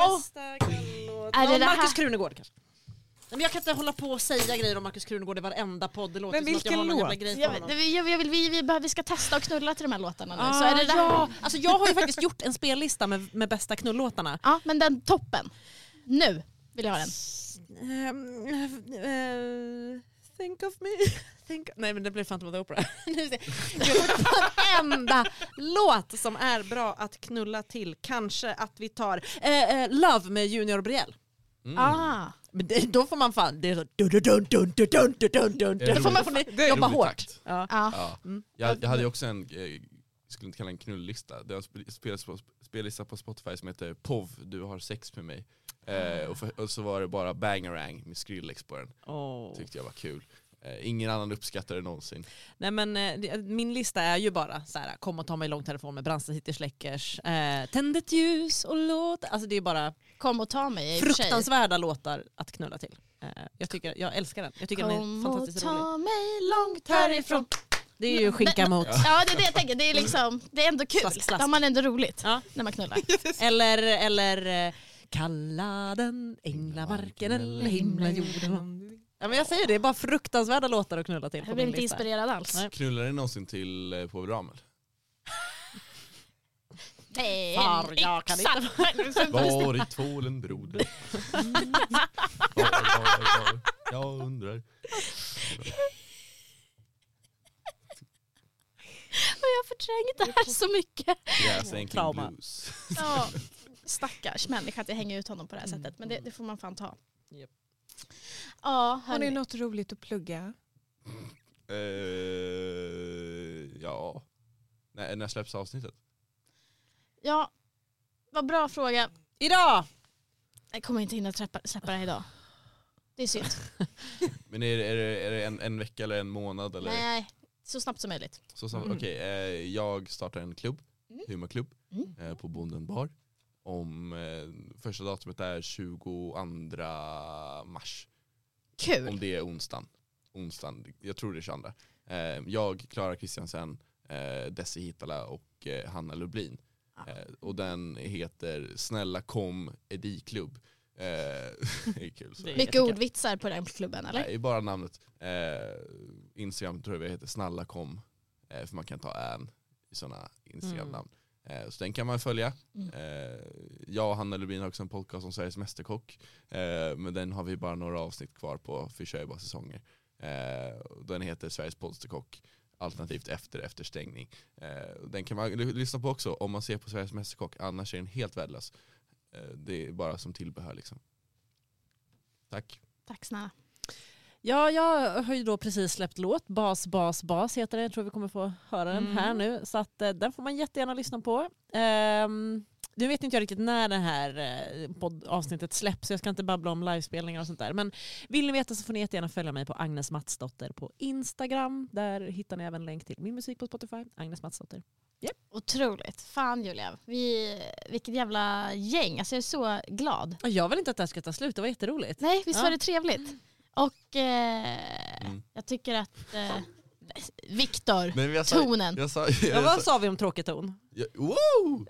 Speaker 1: Är det
Speaker 4: Eh, Ja,
Speaker 1: det här?
Speaker 4: Markus Krunegård kanske. Nej, men jag kan inte hålla på och säga grejer om Markus Krunegård i varenda podd. Det låter
Speaker 3: Men
Speaker 4: som att jag
Speaker 3: vilken
Speaker 4: har någon jävla
Speaker 3: låt?
Speaker 4: grej på
Speaker 1: Jag,
Speaker 4: honom.
Speaker 1: vi, jag, jag vill, vi, vi, behöver- vi ska testa och knulla till de här låtarna nu. så
Speaker 4: Ah,
Speaker 1: är det det här?
Speaker 4: ja. alltså, jag har ju faktiskt gjort en spellista med, med bästa knullåtarna.
Speaker 1: Ja, men den toppen. Nu vill jag ha den.
Speaker 4: Ehm, eh, think of me. [LAUGHS] Think Nej men det blir Phantom of the Opera. [LAUGHS] Nu ser jag. Jag kommer på enda låt som är bra att knulla till. Kanske att vi tar eh, eh, Love med Junior och Brielle.
Speaker 5: Mm.
Speaker 1: Ah.
Speaker 4: Men det, då får man fan... Det är så, dun, dun, dun, dun, dun, dun, dun, dun,
Speaker 5: Det är
Speaker 4: Då får man fan
Speaker 5: Det är
Speaker 4: jobba
Speaker 5: rolig
Speaker 4: hårt.
Speaker 5: takt.
Speaker 4: Ja.
Speaker 1: Ja.
Speaker 5: Ja.
Speaker 4: Mm.
Speaker 5: Jag, jag hade ju också en, eh, skulle inte kalla en knullista, det är en sp- spellista på, spellista på Spotify som heter POV, du har sex med mig. Eh, och, för, och så var det bara Bangarang med Skrillex på den, tyckte jag var kul. Eh, ingen annan uppskattade det någonsin.
Speaker 4: Nej, men, eh, det- min lista är ju bara så här, kom och ta mig i långtelefon med Brandsta City Släckers, eh, Tänd ett ljus och låt. Alltså det är bara
Speaker 1: Kom och ta mig i och för sig.
Speaker 4: fruktansvärda låtar att knulla till. Eh, jag, tycker, jag älskar den. Jag tycker den är
Speaker 1: Kom och
Speaker 4: fantastiskt rolig.
Speaker 1: ta mig långt härifrån.
Speaker 4: Det är ju skinka mot.
Speaker 1: Ja, det är det jag tänker. Det är, liksom, det är ändå kul.
Speaker 4: Slask, slask.
Speaker 1: Då har man ändå roligt
Speaker 4: Ja.
Speaker 1: när man
Speaker 4: [LAUGHS]
Speaker 1: knullar.
Speaker 4: Eller, eller eh, kalla den änglamarken eller himlen jorden. Ja, men jag säger det, det är bara fruktansvärda låtar att knulla till. på
Speaker 1: Jag blir
Speaker 4: min
Speaker 1: inte
Speaker 4: lista.
Speaker 1: inspirerad alls.
Speaker 4: Nej.
Speaker 5: Knullade ni någonsin till eh, Povel Ramel?
Speaker 1: Nej,
Speaker 4: Far, jag kan
Speaker 1: yxa.
Speaker 5: Var i tvålen [LAUGHS] broder? Var, var, var? Jag undrar.
Speaker 1: Och [LAUGHS] jag har förträngt det här så mycket.
Speaker 5: Gräsänkling
Speaker 4: Trauma.
Speaker 5: blues.
Speaker 1: Ja, stackars människa att jag hänger ut honom på det här sättet. Men det, det får man fan ta.
Speaker 4: Japp.
Speaker 1: Ja,
Speaker 3: Har ni
Speaker 1: hörni.
Speaker 3: något roligt att plugga?
Speaker 5: Eh, ja. När, när släpps avsnittet?
Speaker 1: ja, vad bra fråga.
Speaker 4: Idag!
Speaker 1: Jag kommer inte hinna träppa, släppa det här idag. Det är synd.
Speaker 5: Men är det, är det, är det en, en vecka eller en månad? Eller?
Speaker 1: Nej, så snabbt som möjligt.
Speaker 5: Så sam-
Speaker 4: Mm.
Speaker 5: Okej, eh, jag startar en klubb,
Speaker 1: Mm.
Speaker 5: humorklubb,
Speaker 1: Mm.
Speaker 5: eh, på Bonden bar. Om, eh, första datumet är 22 mars,
Speaker 1: Kul.
Speaker 5: om det är onsdagen. onsdagen. Jag tror det är 22. Eh, jag, Klara Kristiansen, eh, Desi Hittala och eh, Hanna Lublin.
Speaker 1: Ah.
Speaker 5: Eh, och den heter Snälla kom Ediklubb. Eh, [LAUGHS] det är kul. Så.
Speaker 4: Det är
Speaker 1: Mycket
Speaker 4: jättekul.
Speaker 1: ordvitsar på den klubben eller?
Speaker 5: Nej, bara namnet. Eh, Instagram tror jag det heter Snälla kom. Eh, för man kan ta än i sådana Instagram-namn. Eh, så den kan man följa.
Speaker 1: Mm.
Speaker 5: Eh, jag och Hanna Lubin har också en podcast om Sveriges Mästerkock. Eh, men den har vi bara några avsnitt kvar på, för vi kör ju bara säsonger. Eh, och den heter Sveriges Polsterkock. Alternativt efter efterstängning. Eh, den kan man l- lyssna på också om man ser på Sveriges Mästerkock. Annars är den helt värdelös. Eh, det är bara som tillbehör liksom. Tack.
Speaker 1: Tack snälla.
Speaker 4: Ja, jag har ju då precis släppt låt, Bas, bas, bas heter den. Jag tror vi kommer få höra den här nu. Så att, eh, den får man jättegärna lyssna på. Ehm, nu vet inte jag riktigt när det här eh, podd- avsnittet släpps så jag ska inte babbla om livespelningar och sånt där. Men vill ni veta så får ni jättegärna följa mig på Agnes Matsdotter på Instagram. Där hittar ni även länk till min musik på Spotify, Agnes Matsdotter.
Speaker 1: Otroligt. Fan Julia, vi, vilket jävla gäng. Alltså jag är så glad.
Speaker 4: Och Jag vill inte att det här ska ta slut, det var jätteroligt.
Speaker 1: Nej, visst
Speaker 4: Ja.
Speaker 1: var det trevligt? Och eh,
Speaker 5: Mm.
Speaker 1: jag tycker att eh, Viktor,
Speaker 5: Nej, men alltså, jag sa-
Speaker 1: tonen.
Speaker 5: Jag sa,
Speaker 4: Ja,
Speaker 5: [LAUGHS] jag
Speaker 4: vad
Speaker 5: sa,
Speaker 4: sa vi om tråkig ton?
Speaker 5: jag, wow!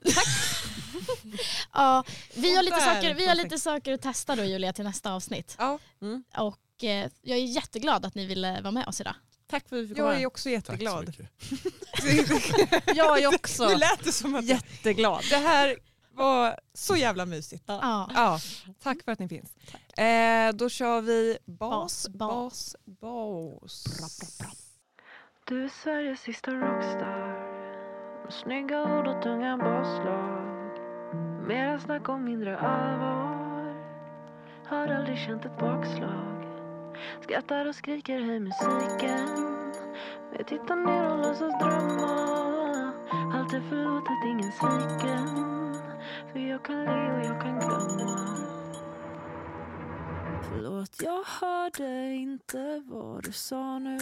Speaker 1: Ja, vi, har lite
Speaker 3: Och där,
Speaker 1: saker, vi har lite
Speaker 3: perfekt.
Speaker 1: saker att testa då Julia till nästa avsnitt.
Speaker 3: Ja.
Speaker 4: Mm.
Speaker 1: Och eh, jag är jätteglad att ni ville vara med oss idag.
Speaker 4: Tack för att vi fick komma.
Speaker 3: Jag är också
Speaker 5: Tack så
Speaker 3: jätteglad.
Speaker 5: mycket.
Speaker 4: Jag är också
Speaker 3: Nu lät det som att
Speaker 4: jätteglad.
Speaker 3: det här var så jävla mysigt.
Speaker 1: Ja.
Speaker 3: Ja, tack för att ni finns. Eh, då kör vi
Speaker 1: Bas,
Speaker 3: bas,
Speaker 1: bas.
Speaker 3: bas, bas.
Speaker 6: Du är Sveriges sista rockstar Snygga ord och tunga basslag Mera snack och mindre allvar Har aldrig känt ett bakslag Skrattar och skriker hej musiken Vi tittar ner och låtsas drömma Allt är förlåtet, ingen sviken För jag kan le och jag kan glömma Förlåt, jag hörde inte vad du sa nu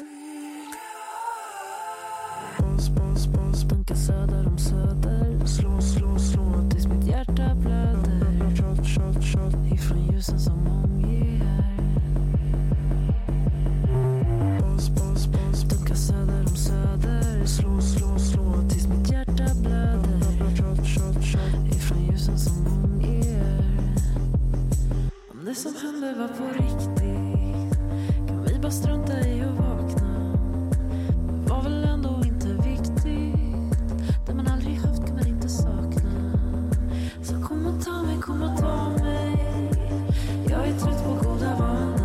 Speaker 6: Boss, boss, boss, bunkar söder om söder Slå, slå, slå tills mitt hjärta blöder Shot, shot, shot ifrån ljusen som omger Boss, boss, boss, dunkar söder om söder Slå, slå, slå tills mitt hjärta blöder Shot, shot, shot ifrån ljusen som omger om det som hände var på riktigt kan vi bara strunta i att vakna. Det var väl ändå inte viktigt. Det man aldrig haft kan man inte sakna. Så kom och ta mig, kom och ta mig. Jag är trött på goda vanor.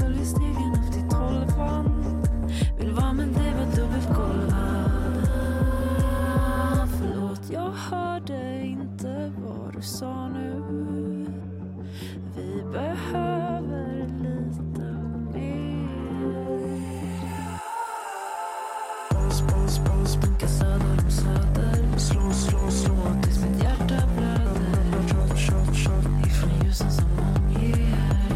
Speaker 6: Följer stegen upp till tolvan. Vill vara med dig, var dubbelt golvad. Förlåt, jag hörde inte vad du sa nu. Vi behöver lite mer. Boss, boss, boss, bunkar söder om söder. Slå, slå, slå tills mitt hjärta blöder. Shot, shot, shot ifrån ljusen som omger.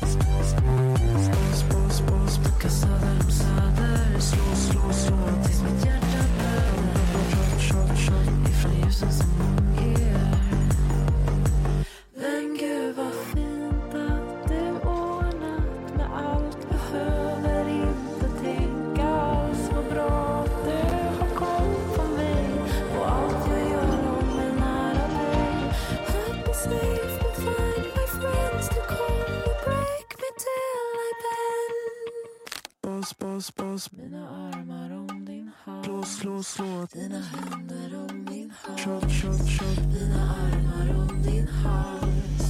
Speaker 6: Boss, boss, boss, bunkar söder om söder. Slå, slå, slå tills mitt hjärta blöder. Shot, shot, shot ifrån ljusen som omger. Men gud vad fint att du ordnat med allt. Behöver inte tänka alls. Vad bra att du har koll på mig. Och allt jag gör om mig nära dig. Happy, safe and find my friends. Du kommer break me till I bend. Boss, boss, boss. Mina armar om din hals. Slå, slå, slå. Dina händer om min hals. Shot, shot, shot. Mina armar om din hals.